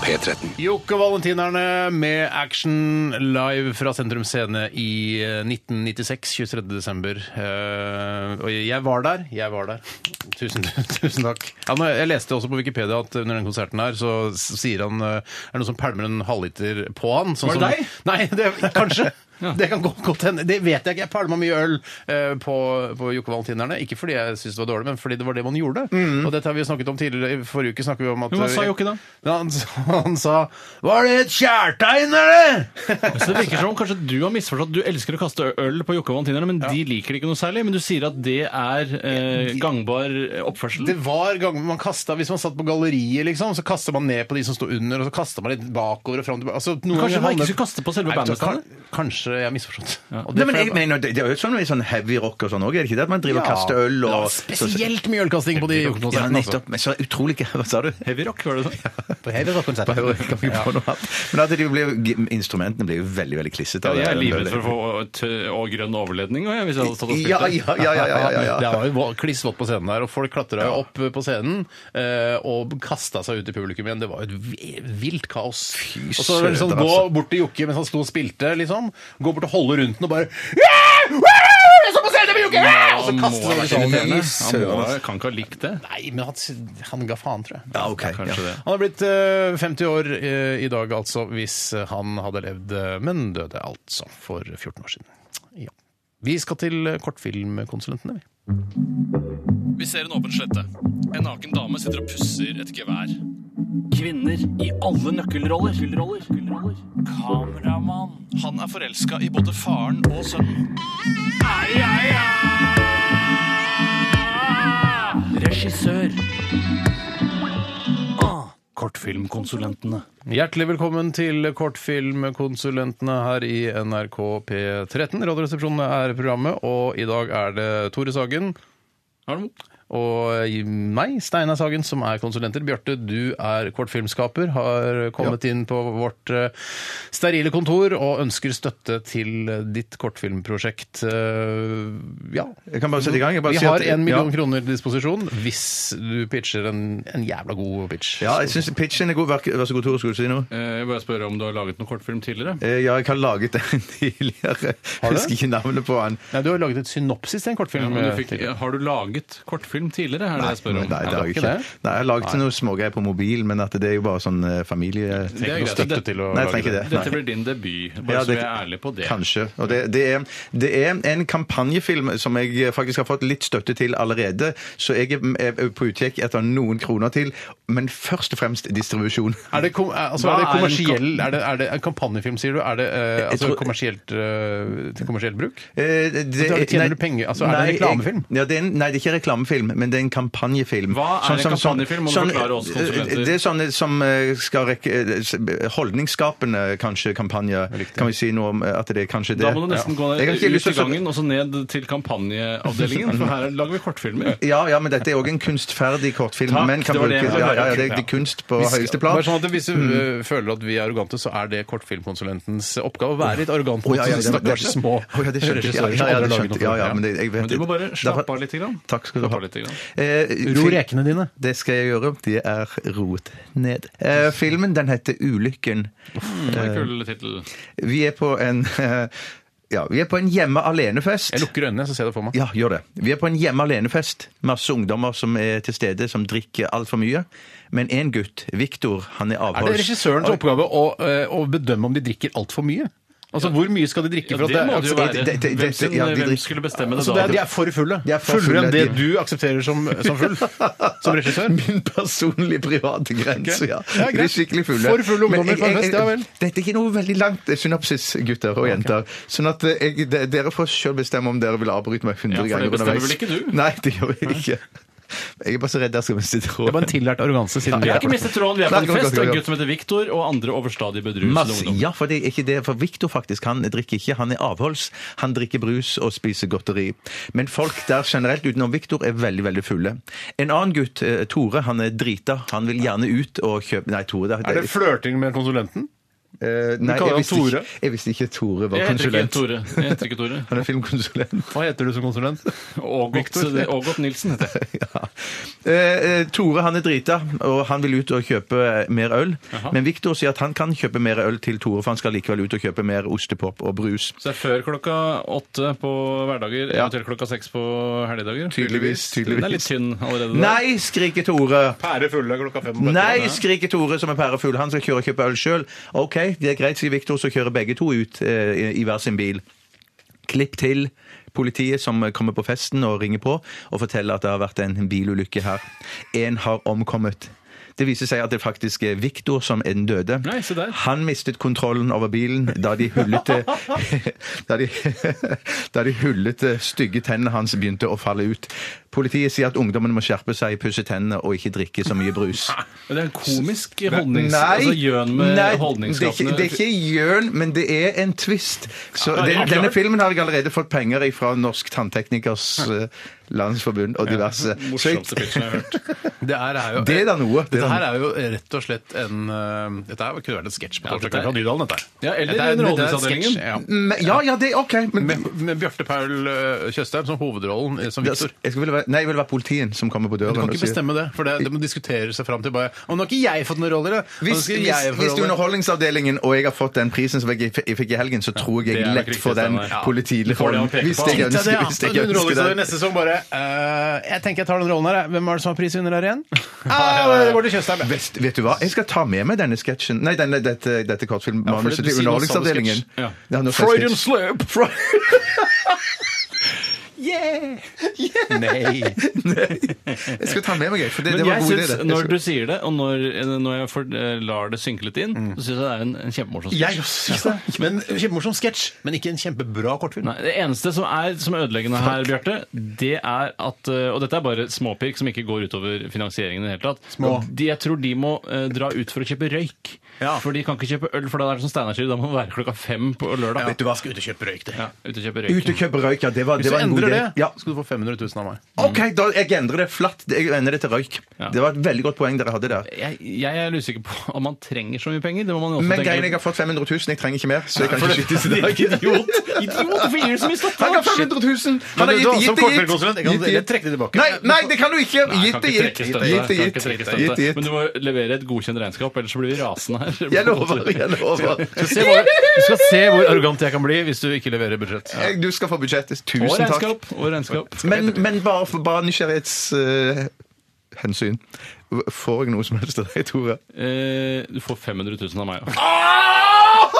[SPEAKER 6] P13.
[SPEAKER 1] Jokke Valentinerne med action live fra Sentrum Scene i eh, 1996, 23. desember. Eh, og jeg var der. Jeg var der. Tusen, tusen takk. Ja, nå, jeg leste også på Wikipedia at under den konserten her så s- sier han eh, Er det noen som pælmer en halvliter på han? Sånn
[SPEAKER 3] Var det
[SPEAKER 1] som-
[SPEAKER 3] deg?
[SPEAKER 1] Nei, det, kanskje. Det kan godt godt hende. Det vet jeg ikke. Jeg pælma mye øl eh, på, på Jokke Valentinerne. Ikke fordi jeg syntes det var dårlig, men fordi det var det man gjorde. Og dette har vi jo snakket om tidligere. I forrige uke snakket vi om at
[SPEAKER 3] Mm. Men hva sa Jokke da?
[SPEAKER 1] ja, han, sa- han sa 'Var det et kjærtegn, eller?'
[SPEAKER 3] Så det virker som om kanskje du har misforstått. Du elsker å kaste øl på Jokke og Valentinerne, men de liker det ikke noe særlig. Men du sier at det er eh, gangbar oppførsel.
[SPEAKER 1] Det var ganger man kastet, Hvis man satt på galleriet, liksom, så kasta man ned på de som sto under, og så kasta man litt bakover og fram tilbake. Altså, noen
[SPEAKER 3] Kanskje
[SPEAKER 1] ganger
[SPEAKER 3] man
[SPEAKER 1] handler-
[SPEAKER 3] ikke skulle kaste på selve
[SPEAKER 1] Nei, vet du
[SPEAKER 3] bandet?
[SPEAKER 1] hva, kan- Kanskje jeg har misforstått. Og
[SPEAKER 2] Nei,
[SPEAKER 1] det
[SPEAKER 2] men
[SPEAKER 1] får
[SPEAKER 2] jeg mener, det, det er jo sånn med sånn heavy rock og sånn òg, er det ikke det? At man driver og
[SPEAKER 1] Ja.
[SPEAKER 2] kaster øl og
[SPEAKER 1] Ja, Spesielt mye ølkasting på de
[SPEAKER 2] Ja,
[SPEAKER 1] Jokke-konsertene. altså.
[SPEAKER 2] nettopp. Men så utrolig gøy. Hva sa du?
[SPEAKER 3] Heavy rock, var det sånn?
[SPEAKER 1] På Heavy
[SPEAKER 2] Bare
[SPEAKER 1] Rock-konserten.
[SPEAKER 2] høre, kan vi få noe annet? Men at de ble, instrumentene blir jo veldig, veldig klissete. av
[SPEAKER 3] jeg er
[SPEAKER 2] den
[SPEAKER 3] livredd
[SPEAKER 2] ølen.
[SPEAKER 3] for å få tø- og grønn overledning og jeg, hvis jeg hadde stått og spilt
[SPEAKER 2] Ja,
[SPEAKER 3] det.
[SPEAKER 2] ja, ja, ja, ja, ja, ja.
[SPEAKER 1] Det var jo klissvått på scenen der, og folk klatra jo opp på scenen eh, og kasta seg ut i publikum igjen. Det var jo et vi- vilt kaos. og så var det sånn,
[SPEAKER 2] søren,
[SPEAKER 1] gå
[SPEAKER 2] altså.
[SPEAKER 1] bort til Jokke mens han sto og spilte, liksom. Gå bort og holde rundt den og bare «Yeah! Woo! Jeg står på scenen med Jokke!»
[SPEAKER 3] Ja,
[SPEAKER 2] altså,
[SPEAKER 1] Og så kaster
[SPEAKER 3] må
[SPEAKER 1] han
[SPEAKER 3] være
[SPEAKER 1] seg over
[SPEAKER 3] irriterende.
[SPEAKER 1] scenen.
[SPEAKER 3] Han må- kan ikke ha likt det.
[SPEAKER 1] Nei, men han, han ga faen, tror jeg.
[SPEAKER 2] Ja, ok. Ja.
[SPEAKER 3] Kanskje det.
[SPEAKER 1] Han har blitt eh, 50 år eh, i dag, altså, hvis eh, han hadde levd, eh, men døde altså for 14 år siden. Ja. Vi skal til eh, kortfilmkonsulentene, vi.
[SPEAKER 3] Vi ser en åpen slette. En naken dame sitter og pusser et gevær.
[SPEAKER 5] Kvinner i alle nøkkelroller. Nøkkelroller. Kameramann.
[SPEAKER 3] Han er forelska i både faren og sønnen.
[SPEAKER 5] Regissør. Ah, kortfilmkonsulentene.
[SPEAKER 1] Hjertelig velkommen til Kortfilmkonsulentene her i NRK P13. Radioresepsjonen er programmet, og i dag er det Tore Sagen,
[SPEAKER 3] Hallo.
[SPEAKER 1] Og meg, Steinar Sagen, som er konsulenter. Bjarte, du er kortfilmskaper, har kommet inn på vårt eh, sterile kontor og ønsker støtte til ditt kortfilmprosjekt. Eh, Ja.
[SPEAKER 2] Jeg kan bare sette i gang. Jeg bare
[SPEAKER 1] Vi
[SPEAKER 2] sier
[SPEAKER 1] har
[SPEAKER 2] at-
[SPEAKER 1] en million
[SPEAKER 2] ja.
[SPEAKER 1] kroner til disposisjon hvis du pitcher en, en jævla god pitch.
[SPEAKER 2] Ja, jeg syns pitchen er god. Vær vær så god, Tore, skulle du si noe?
[SPEAKER 3] Eh, Jeg vil bare spørre om du har laget noen kortfilm tidligere?
[SPEAKER 2] Eh, Ja, jeg har laget en tidligere. Jeg husker ikke navnet på han.
[SPEAKER 1] Nei, du har laget et synopsis til en
[SPEAKER 3] Ja,
[SPEAKER 1] kortfilm. eh,
[SPEAKER 3] men du fikk,
[SPEAKER 1] tidligere.
[SPEAKER 3] har du laget kortfilm tidligere? Er det jeg spør
[SPEAKER 2] Nei,
[SPEAKER 3] om?
[SPEAKER 2] det har jeg
[SPEAKER 1] ikke
[SPEAKER 2] ikke.
[SPEAKER 1] det?
[SPEAKER 2] Nei, jeg har laget noen smågreier på mobil, men at det er jo bare sånn eh, familie...
[SPEAKER 3] Det er
[SPEAKER 1] Noe
[SPEAKER 3] greit.
[SPEAKER 1] støtte
[SPEAKER 3] Det-
[SPEAKER 1] til å
[SPEAKER 2] Nei, jeg
[SPEAKER 1] lage
[SPEAKER 2] trenger ikke det.
[SPEAKER 3] Dette
[SPEAKER 2] Nei.
[SPEAKER 3] blir din debut, bare
[SPEAKER 2] Ja,
[SPEAKER 3] så
[SPEAKER 2] det-
[SPEAKER 3] vi er ærlige på det.
[SPEAKER 2] Kanskje. Og det, det, er, det er en kampanjefilm som jeg faktisk har fått litt støtte til allerede, så jeg er- er på utkikk etter noen kroner til, men først og fremst distribusjon.
[SPEAKER 1] Er det, kom, er- altså,
[SPEAKER 3] Hva
[SPEAKER 1] er det
[SPEAKER 3] er en
[SPEAKER 1] kommersiell er det, er det en kampanjefilm, sier du? Er det eh, altså,
[SPEAKER 2] tror-
[SPEAKER 1] kommersielt, eh, til kommersiell bruk?
[SPEAKER 2] Eh, det-
[SPEAKER 1] tjener
[SPEAKER 2] nei-
[SPEAKER 1] du penger? Altså, er det
[SPEAKER 2] nei,
[SPEAKER 1] en reklamefilm?
[SPEAKER 2] Jeg, ja, det er en, nei, det er ikke reklamefilm, men det er en kampanjefilm. Sånn
[SPEAKER 3] Hva er en kampanjefilm? Må du forklare oss konsumenter.
[SPEAKER 2] eh, Det er sånne som eh, skal rekke eh, s- Holdningsskapende, kanskje, kampanjer. Kan vi si noe om eh, at det er kanskje det?
[SPEAKER 3] Da må du nesten
[SPEAKER 2] Ja.
[SPEAKER 3] gå
[SPEAKER 2] Jeg
[SPEAKER 3] ned
[SPEAKER 2] har ikke lyst til
[SPEAKER 3] ut i
[SPEAKER 2] å-
[SPEAKER 3] gangen og så ned til kampanjeavdelingen, for her lager vi kortfilmer.
[SPEAKER 2] Ja, ja, men dette er òg en kunstferdig kortfilm.
[SPEAKER 3] Takk,
[SPEAKER 2] men kan
[SPEAKER 3] det var det jeg
[SPEAKER 2] bruke,
[SPEAKER 3] ville
[SPEAKER 2] ja,
[SPEAKER 3] høre.
[SPEAKER 2] ja, det,
[SPEAKER 3] Ja.
[SPEAKER 2] det er kunst på
[SPEAKER 1] Vi skal-
[SPEAKER 2] høyeste plan. Mm.
[SPEAKER 1] Bare sånn at Hvis du eh, føler at vi er arrogante, så er det kortfilmkonsulentens oppgave å være litt arrogant
[SPEAKER 2] Å,
[SPEAKER 1] mot
[SPEAKER 2] ja, ja, det-
[SPEAKER 1] sånne
[SPEAKER 2] det-
[SPEAKER 1] stakkars små
[SPEAKER 2] Å, ja, det skjønte jeg. Ja,
[SPEAKER 1] regissører
[SPEAKER 2] ja,
[SPEAKER 1] som
[SPEAKER 2] ja,
[SPEAKER 1] aldri
[SPEAKER 2] det
[SPEAKER 1] lager
[SPEAKER 2] skjønte
[SPEAKER 1] noe
[SPEAKER 2] jeg. Ja, ja, men
[SPEAKER 1] kortfilm.
[SPEAKER 2] det- jeg vet
[SPEAKER 3] Men du må bare slappe av litt. Grann.
[SPEAKER 2] Takk skal du
[SPEAKER 3] Slappe
[SPEAKER 2] ha.
[SPEAKER 3] av litt grann.
[SPEAKER 2] Eh,
[SPEAKER 1] Ro
[SPEAKER 2] fil-
[SPEAKER 1] rekene dine.
[SPEAKER 2] Det skal jeg gjøre. De er roet ned. Eh, filmen den heter Ulykken.
[SPEAKER 3] Det er en kul tittel.
[SPEAKER 2] Vi er på en eh, Ja, vi er på en hjemme alene-fest.
[SPEAKER 1] Jeg lukker øynene, så ser jeg det for meg.
[SPEAKER 2] Ja, gjør det. Vi er på en hjemme alene-fest. Masse ungdommer som er til stede, som drikker altfor mye. Men én gutt, Viktor, han er
[SPEAKER 1] Er det
[SPEAKER 2] avholds...
[SPEAKER 1] regissørens oppgave å, eh, å bedømme om de drikker altfor mye? Altså, Hvor mye skal de drikke?
[SPEAKER 3] Ja,
[SPEAKER 1] for at
[SPEAKER 3] det må det
[SPEAKER 2] altså,
[SPEAKER 3] jo være.
[SPEAKER 2] det- det-
[SPEAKER 3] Hvem,
[SPEAKER 2] det-
[SPEAKER 3] sin,
[SPEAKER 2] ja, de
[SPEAKER 3] hvem
[SPEAKER 2] drikker-
[SPEAKER 3] skulle bestemme det
[SPEAKER 1] Altså, det er, de
[SPEAKER 3] da?
[SPEAKER 1] er for fulle.
[SPEAKER 2] De er for
[SPEAKER 1] Fullere
[SPEAKER 2] fulle,
[SPEAKER 1] enn
[SPEAKER 2] de-
[SPEAKER 1] det du aksepterer som, som full. Som regissør.
[SPEAKER 2] Min personlige private grense,
[SPEAKER 1] Ok.
[SPEAKER 2] ja.
[SPEAKER 1] Ja, greit.
[SPEAKER 2] De er skikkelig fulle.
[SPEAKER 1] For fulle
[SPEAKER 2] Men
[SPEAKER 1] ungdommer
[SPEAKER 2] jeg-
[SPEAKER 1] på en
[SPEAKER 2] jeg-
[SPEAKER 1] fest, ja vel.
[SPEAKER 2] Dette er ikke noe veldig langt eh, synopsis, gutter og jenter. Sånn at eh, jeg, de- dere får selv bestemme om dere vil avbryte meg 100
[SPEAKER 3] Ja,
[SPEAKER 2] ganger
[SPEAKER 3] for det
[SPEAKER 2] underveis.
[SPEAKER 3] bestemmer vel ikke du?
[SPEAKER 2] Nei, det gjør jeg ikke. Jeg er bare så redd jeg skal miste
[SPEAKER 1] Det var
[SPEAKER 2] tråden.
[SPEAKER 1] en tillært arroganse siden
[SPEAKER 3] Vi
[SPEAKER 1] vi
[SPEAKER 3] har
[SPEAKER 1] er
[SPEAKER 3] ikke mistet tråden. Vi er på
[SPEAKER 2] Takk,
[SPEAKER 3] en fest.
[SPEAKER 2] takk,
[SPEAKER 3] En
[SPEAKER 2] takk.
[SPEAKER 3] gutt som heter Viktor, og andre overstadig bedrusede
[SPEAKER 2] Masse,
[SPEAKER 3] ungdom.
[SPEAKER 2] ja, for det er ikke det. For Victor faktisk, han drikker ikke. Han er avholds. Han drikker brus og spiser godteri. Men folk der generelt utenom Victor er veldig, veldig fulle. En annen gutt, eh, Tore, han er drita. Han vil gjerne ut og kjøpe Nei, Tore det,
[SPEAKER 1] Er det flørting med konsulenten?
[SPEAKER 2] Eh, nei, jeg
[SPEAKER 1] kaller han
[SPEAKER 2] visste,
[SPEAKER 1] Tore.
[SPEAKER 2] Ikke, jeg visste ikke Tore var
[SPEAKER 3] Jeg heter ikke
[SPEAKER 2] konsulent.
[SPEAKER 3] Tore. Jeg heter ikke Tore.
[SPEAKER 2] Han er filmkonsulent.
[SPEAKER 1] Hva heter du som konsulent?
[SPEAKER 3] Ågot
[SPEAKER 2] eh,
[SPEAKER 3] Ågot Nilsen heter jeg.
[SPEAKER 2] ja. Eh, eh, Tore han er drita, og han vil ut og kjøpe mer øl. Men Victor sier at han kan kjøpe mer øl til Tore, for han skal likevel ut og kjøpe mer ostepop og brus.
[SPEAKER 3] Så det er før klokka åtte på hverdager, eventuelt klokka seks på helligdager.
[SPEAKER 2] Tydeligvis, tydeligvis.
[SPEAKER 3] Den er litt tynn allerede.
[SPEAKER 2] Nei, skriker Tore!
[SPEAKER 1] Pære fulle klokka fem om
[SPEAKER 2] Nei, skriker Tore som er pærefugl. Han skal kjøre og kjøpe øl sjøl. OK, det er greit, sier Victor, så kjører begge to ut eh, i- i hver sin bil. Klipp til politiet som kommer på festen og ringer på og forteller at det har vært en bilulykke her. En har omkommet. Det viser seg at det faktisk er Victor som er den døde.
[SPEAKER 3] Nei, se der.
[SPEAKER 2] Han mistet kontrollen over bilen da de hullete da de, da de hullete, stygge tennene hans begynte å falle ut. Politiet sier at ungdommen må skjerpe seg, pusse tennene og ikke drikke så mye brus.
[SPEAKER 3] Men Det er en komisk holdnings... altså gjøn med
[SPEAKER 2] nei, det er ikke,
[SPEAKER 3] holdningsskapende
[SPEAKER 2] det er ikke gjøn, men det er en twist. Så
[SPEAKER 3] Ja,
[SPEAKER 2] den,
[SPEAKER 3] ja, klart.
[SPEAKER 2] denne filmen har jeg allerede fått penger fra Norsk Tannteknikers eh, Landsforbund og diverse. Så jeg,
[SPEAKER 3] morsomste pitchen jeg har hørt.
[SPEAKER 1] Det her er jo,
[SPEAKER 2] Det er da noe. Det er
[SPEAKER 1] Dette
[SPEAKER 2] da
[SPEAKER 1] her er jo rett og slett en eh, Dette her kunne vært en sketsj på
[SPEAKER 3] Ja, dette
[SPEAKER 1] Torsdag
[SPEAKER 3] er-
[SPEAKER 1] fra Nydalen, dette. her.
[SPEAKER 3] Ja, eller
[SPEAKER 1] Dette er- dette er en
[SPEAKER 3] Underholdningsavdelingen.
[SPEAKER 1] sketsj, ja.
[SPEAKER 2] men, ja, ja, det er OK. Men,
[SPEAKER 1] Med, med Bjarte Paul eh, Tjøstheim som hovedrollen eh, som
[SPEAKER 2] jeg
[SPEAKER 1] Victor.
[SPEAKER 2] skulle være, nei, jeg vil være politien som kommer på
[SPEAKER 1] Du
[SPEAKER 2] døren.
[SPEAKER 1] kan
[SPEAKER 2] og
[SPEAKER 1] ikke
[SPEAKER 2] sier-
[SPEAKER 1] bestemme det, for det, det må diskutere seg fram til bare Å, nå har ikke jeg fått noen roller, da! Nå
[SPEAKER 2] Hvis,
[SPEAKER 1] skal
[SPEAKER 2] hvis,
[SPEAKER 1] jeg
[SPEAKER 2] hvis
[SPEAKER 1] få
[SPEAKER 2] det er
[SPEAKER 1] roller».
[SPEAKER 2] Underholdningsavdelingen og jeg har fått den prisen som jeg, jeg fikk i helgen, så tror jeg
[SPEAKER 3] det er
[SPEAKER 2] jeg
[SPEAKER 3] nok
[SPEAKER 2] lett
[SPEAKER 3] riktig,
[SPEAKER 2] får den
[SPEAKER 3] Steinar. Ja. Du får det
[SPEAKER 2] politilrollen.
[SPEAKER 3] han peker
[SPEAKER 2] Hvis
[SPEAKER 3] på.
[SPEAKER 2] jeg
[SPEAKER 1] Tenk deg det,
[SPEAKER 2] ønsker,
[SPEAKER 1] ja.
[SPEAKER 2] hvis jeg
[SPEAKER 1] Under
[SPEAKER 2] ønsker
[SPEAKER 1] Rolling
[SPEAKER 2] det.
[SPEAKER 1] neste sesong bare «Eh, Jeg tenker jeg tar den rollen her, jeg. Hvem er det som har prisvinner her igjen? ah, det går til Tjøstheim. jeg.
[SPEAKER 2] Vest, vet du hva? Jeg skal ta med meg denne sketsjen Nei, denne, dette, dette
[SPEAKER 1] for det-
[SPEAKER 2] kortfilmmanuset
[SPEAKER 1] du
[SPEAKER 2] til
[SPEAKER 1] sier noe sånn
[SPEAKER 2] Underholdningsavdelingen.
[SPEAKER 1] sketsj.
[SPEAKER 3] Ja.
[SPEAKER 2] Ja, nå skal jeg
[SPEAKER 1] Freudian
[SPEAKER 2] sketsj.
[SPEAKER 1] slip! Nei.
[SPEAKER 2] Jeg skal ta med meg, jeg, for det,
[SPEAKER 3] Men
[SPEAKER 2] det var en
[SPEAKER 3] jeg
[SPEAKER 2] god idé.
[SPEAKER 3] synes,
[SPEAKER 2] det.
[SPEAKER 3] når du
[SPEAKER 2] Jeg skal-
[SPEAKER 3] sier det, og når, når jeg får, eh, lar det synke litt inn,
[SPEAKER 2] Mm.
[SPEAKER 3] så syns jeg det er en, en kjempemorsom sketsj.
[SPEAKER 1] Jeg også synes det. Men Kjempemorsom sketsj, men ikke en kjempebra kortfilm.
[SPEAKER 3] Nei, Det eneste som er som er ødeleggende her, Bjarte, det er at eh, Og dette er bare småpirk som ikke går utover finansieringen i det hele tatt.
[SPEAKER 1] Små.
[SPEAKER 3] De, jeg tror de må eh, dra ut for å kjøpe røyk.
[SPEAKER 1] Ja.
[SPEAKER 3] For de kan ikke kjøpe øl, for da er det som Steinar sier, da må det være klokka fem på lørdag.
[SPEAKER 1] Vet du hva, skal ut og kjøpe røyk, det.
[SPEAKER 3] Ja, ut og kjøpe
[SPEAKER 2] Ut
[SPEAKER 3] røyk.
[SPEAKER 2] og kjøpe røyk, ja. Det var, det var en god
[SPEAKER 1] endrer det,
[SPEAKER 2] Ja.
[SPEAKER 1] skal du få 500 000 av meg.
[SPEAKER 2] OK, da, jeg endrer det flatt. Jeg endrer det til røyk.
[SPEAKER 3] Ja.
[SPEAKER 2] Det var et veldig godt poeng dere hadde der.
[SPEAKER 3] Jeg, jeg er usikker på om man trenger så mye penger. Det må man jo også
[SPEAKER 2] Men
[SPEAKER 3] tenke
[SPEAKER 2] greien, jeg
[SPEAKER 3] litt-
[SPEAKER 2] har fått 500 000, jeg trenger ikke mer. Så jeg kan ikke skyte i dag.
[SPEAKER 3] Idiot! Idiot! Hvorfor gir du så mye støtte?
[SPEAKER 2] Han har 500 000! Han har
[SPEAKER 1] Men du,
[SPEAKER 2] gitt,
[SPEAKER 1] da, som
[SPEAKER 2] gitt, det, gitt.
[SPEAKER 1] kortfilmkonsulent, jeg kan
[SPEAKER 2] Gitt det, gitt.
[SPEAKER 1] trekke det tilbake.
[SPEAKER 2] Nei, nei, det kan du ikke!
[SPEAKER 3] Nei, jeg
[SPEAKER 2] Gitt
[SPEAKER 3] kan
[SPEAKER 2] det,
[SPEAKER 3] ikke
[SPEAKER 2] gitt.
[SPEAKER 3] trekke
[SPEAKER 2] Gitt
[SPEAKER 3] støtte.
[SPEAKER 2] det,
[SPEAKER 3] Jeg kan
[SPEAKER 2] gitt.
[SPEAKER 3] ikke trekke støtte.
[SPEAKER 2] Gitt det,
[SPEAKER 3] Men
[SPEAKER 2] gitt.
[SPEAKER 3] du må levere et godkjent regnskap, ellers så blir vi rasende her.
[SPEAKER 2] Jeg lover, jeg lover.
[SPEAKER 1] Du skal, se hvor, du skal se hvor arrogant jeg kan bli hvis du ikke leverer budsjett.
[SPEAKER 2] Jeg- Du skal få budsjettet.
[SPEAKER 3] Og
[SPEAKER 2] Tusen takk.
[SPEAKER 3] regnskap. Og regnskap.
[SPEAKER 2] Men, men bare for bare nysgjerrighets... eh, hensyn. Får jeg noe som helst av deg, Tore?
[SPEAKER 3] Eh, du får 500 000 av meg. også.
[SPEAKER 1] Ah!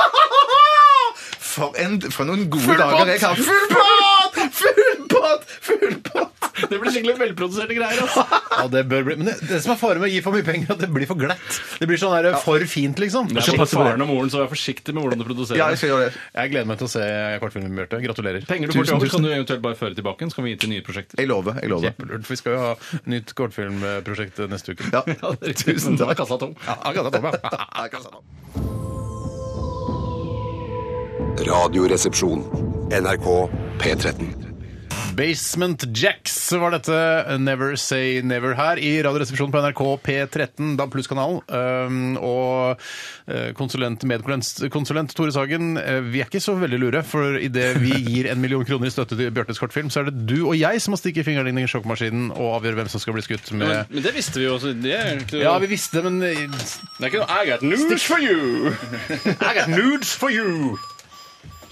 [SPEAKER 2] For, en, for noen gode dager jeg har Full pott! Full pott! Full pott!
[SPEAKER 3] Det blir skikkelig velproduserte greier. altså.
[SPEAKER 1] Ja, det bør bli. Men det, det som er faren med å gi for mye penger, er at det blir for glatt. Det blir sånn der, for fint, liksom.
[SPEAKER 3] Det er både faren og moren, så vær forsiktig med hvordan du produserer.
[SPEAKER 2] Ja, jeg skal gjøre det.
[SPEAKER 1] Jeg gleder meg til å se kortfilmen, Bjarte. Gratulerer.
[SPEAKER 3] Penger du får til overs, kan du eventuelt bare føre tilbake, igjen, så kan vi gi til nye prosjekter.
[SPEAKER 2] Jeg lover. jeg lover.
[SPEAKER 1] Kjempelurt, for vi skal jo ha nytt kortfilmprosjekt neste uke.
[SPEAKER 2] Ja.
[SPEAKER 3] Tusen takk. Kassa tom.
[SPEAKER 6] Radioresepsjon. NRK P13.
[SPEAKER 1] Basement Jacks var dette uh, Never Say Never her i Radioresepsjonen på NRK P13, da plusskanalen. Um, og eh, konsulent, medkonsulent konsulent Tore Sagen, eh, vi er ikke så veldig lure, for idet vi gir en million kroner i støtte til Bjørtes kortfilm, så er det du og jeg som må stikke fingeren inn i sjokkmaskinen og avgjøre hvem som skal bli skutt
[SPEAKER 3] Men,
[SPEAKER 1] med
[SPEAKER 3] men det visste vi jo også. Det er ikke,
[SPEAKER 1] Ja, vi visste det, men eh, I
[SPEAKER 3] det er ikke noe I got news for you!
[SPEAKER 1] got nudes for you! Ah,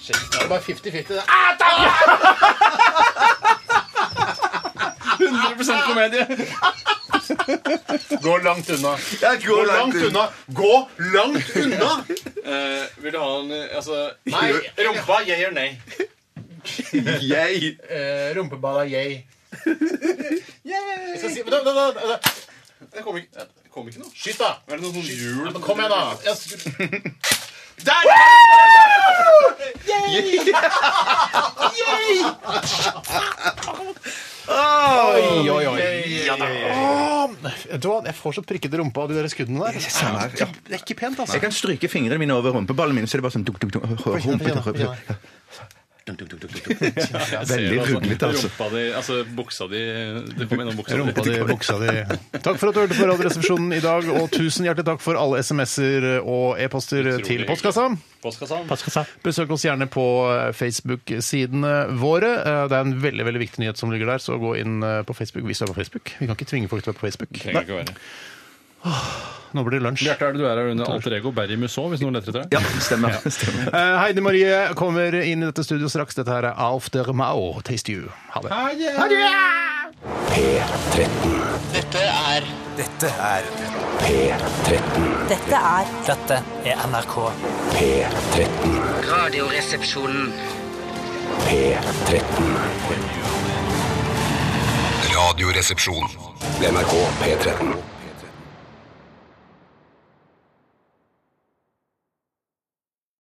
[SPEAKER 1] Shit, det er bare 50-50. det.
[SPEAKER 3] 100 komedie.
[SPEAKER 1] Gå langt unna.
[SPEAKER 2] Jeg går langt unna.
[SPEAKER 1] Gå langt unna!
[SPEAKER 3] Eh, vil du ha en eh, altså,
[SPEAKER 1] Nei, rumpa, jeg gjør nei.
[SPEAKER 2] Jeg
[SPEAKER 1] Eh, rumpeballa, jeg. Jeg skal si, da, da, da, da. Det kom ikke, det kom ikke noe. Skyt, da! Er det noe sånn hjul? Ja, men kom igjen, da! Jeg skulle... Der! Oi, oi, oi. Åh, Vet du hva, jeg får så prikkete rumpe av de der skuddene der. Det er- Det er ikke pent, altså.
[SPEAKER 2] Jeg kan stryke fingrene mine over rumpeballen min, så det er bare sånn dunk, dunk, dunk, rumpe,
[SPEAKER 1] kjenne,
[SPEAKER 2] rumpe.
[SPEAKER 1] kjenne.
[SPEAKER 2] Dunk, dunk, dunk, dunk, dunk.
[SPEAKER 3] Ser du,
[SPEAKER 2] Veldig ruglete, altså.
[SPEAKER 3] Rumpa di, altså buksa di Det kom gjennom buksa
[SPEAKER 1] Rumpa di,
[SPEAKER 3] di.
[SPEAKER 1] buksa di. Takk for at du hørte på Radioresepsjonen i dag, og tusen hjertelig takk for alle SMS-er og e-poster til postkassa.
[SPEAKER 3] Postkassa.
[SPEAKER 1] Besøk oss gjerne på eh, Facebook-sidene våre. Eh, Det er en veldig veldig viktig nyhet som ligger der, så gå inn eh, på Facebook hvis du er på Facebook. Vi kan ikke tvinge folk til å være på Facebook.
[SPEAKER 3] Trenger ikke å være.
[SPEAKER 1] Nå blir det lunsj.
[SPEAKER 3] Bjarte, er det du er her under alter ego Berry Musaa, hvis noen leter etter deg?
[SPEAKER 2] Ja, stemmer. stemmer.
[SPEAKER 1] Eh, Heidi Marie kommer inn i dette studio straks. Dette her er Alf der Mao. Taste you. Ha det.
[SPEAKER 4] P13.
[SPEAKER 8] Dette er
[SPEAKER 4] P13.
[SPEAKER 9] Dette er
[SPEAKER 10] Dette er NRK.
[SPEAKER 4] P13.
[SPEAKER 8] Radioresepsjonen.
[SPEAKER 4] P13.
[SPEAKER 6] Radioresepsjon. NRK P13.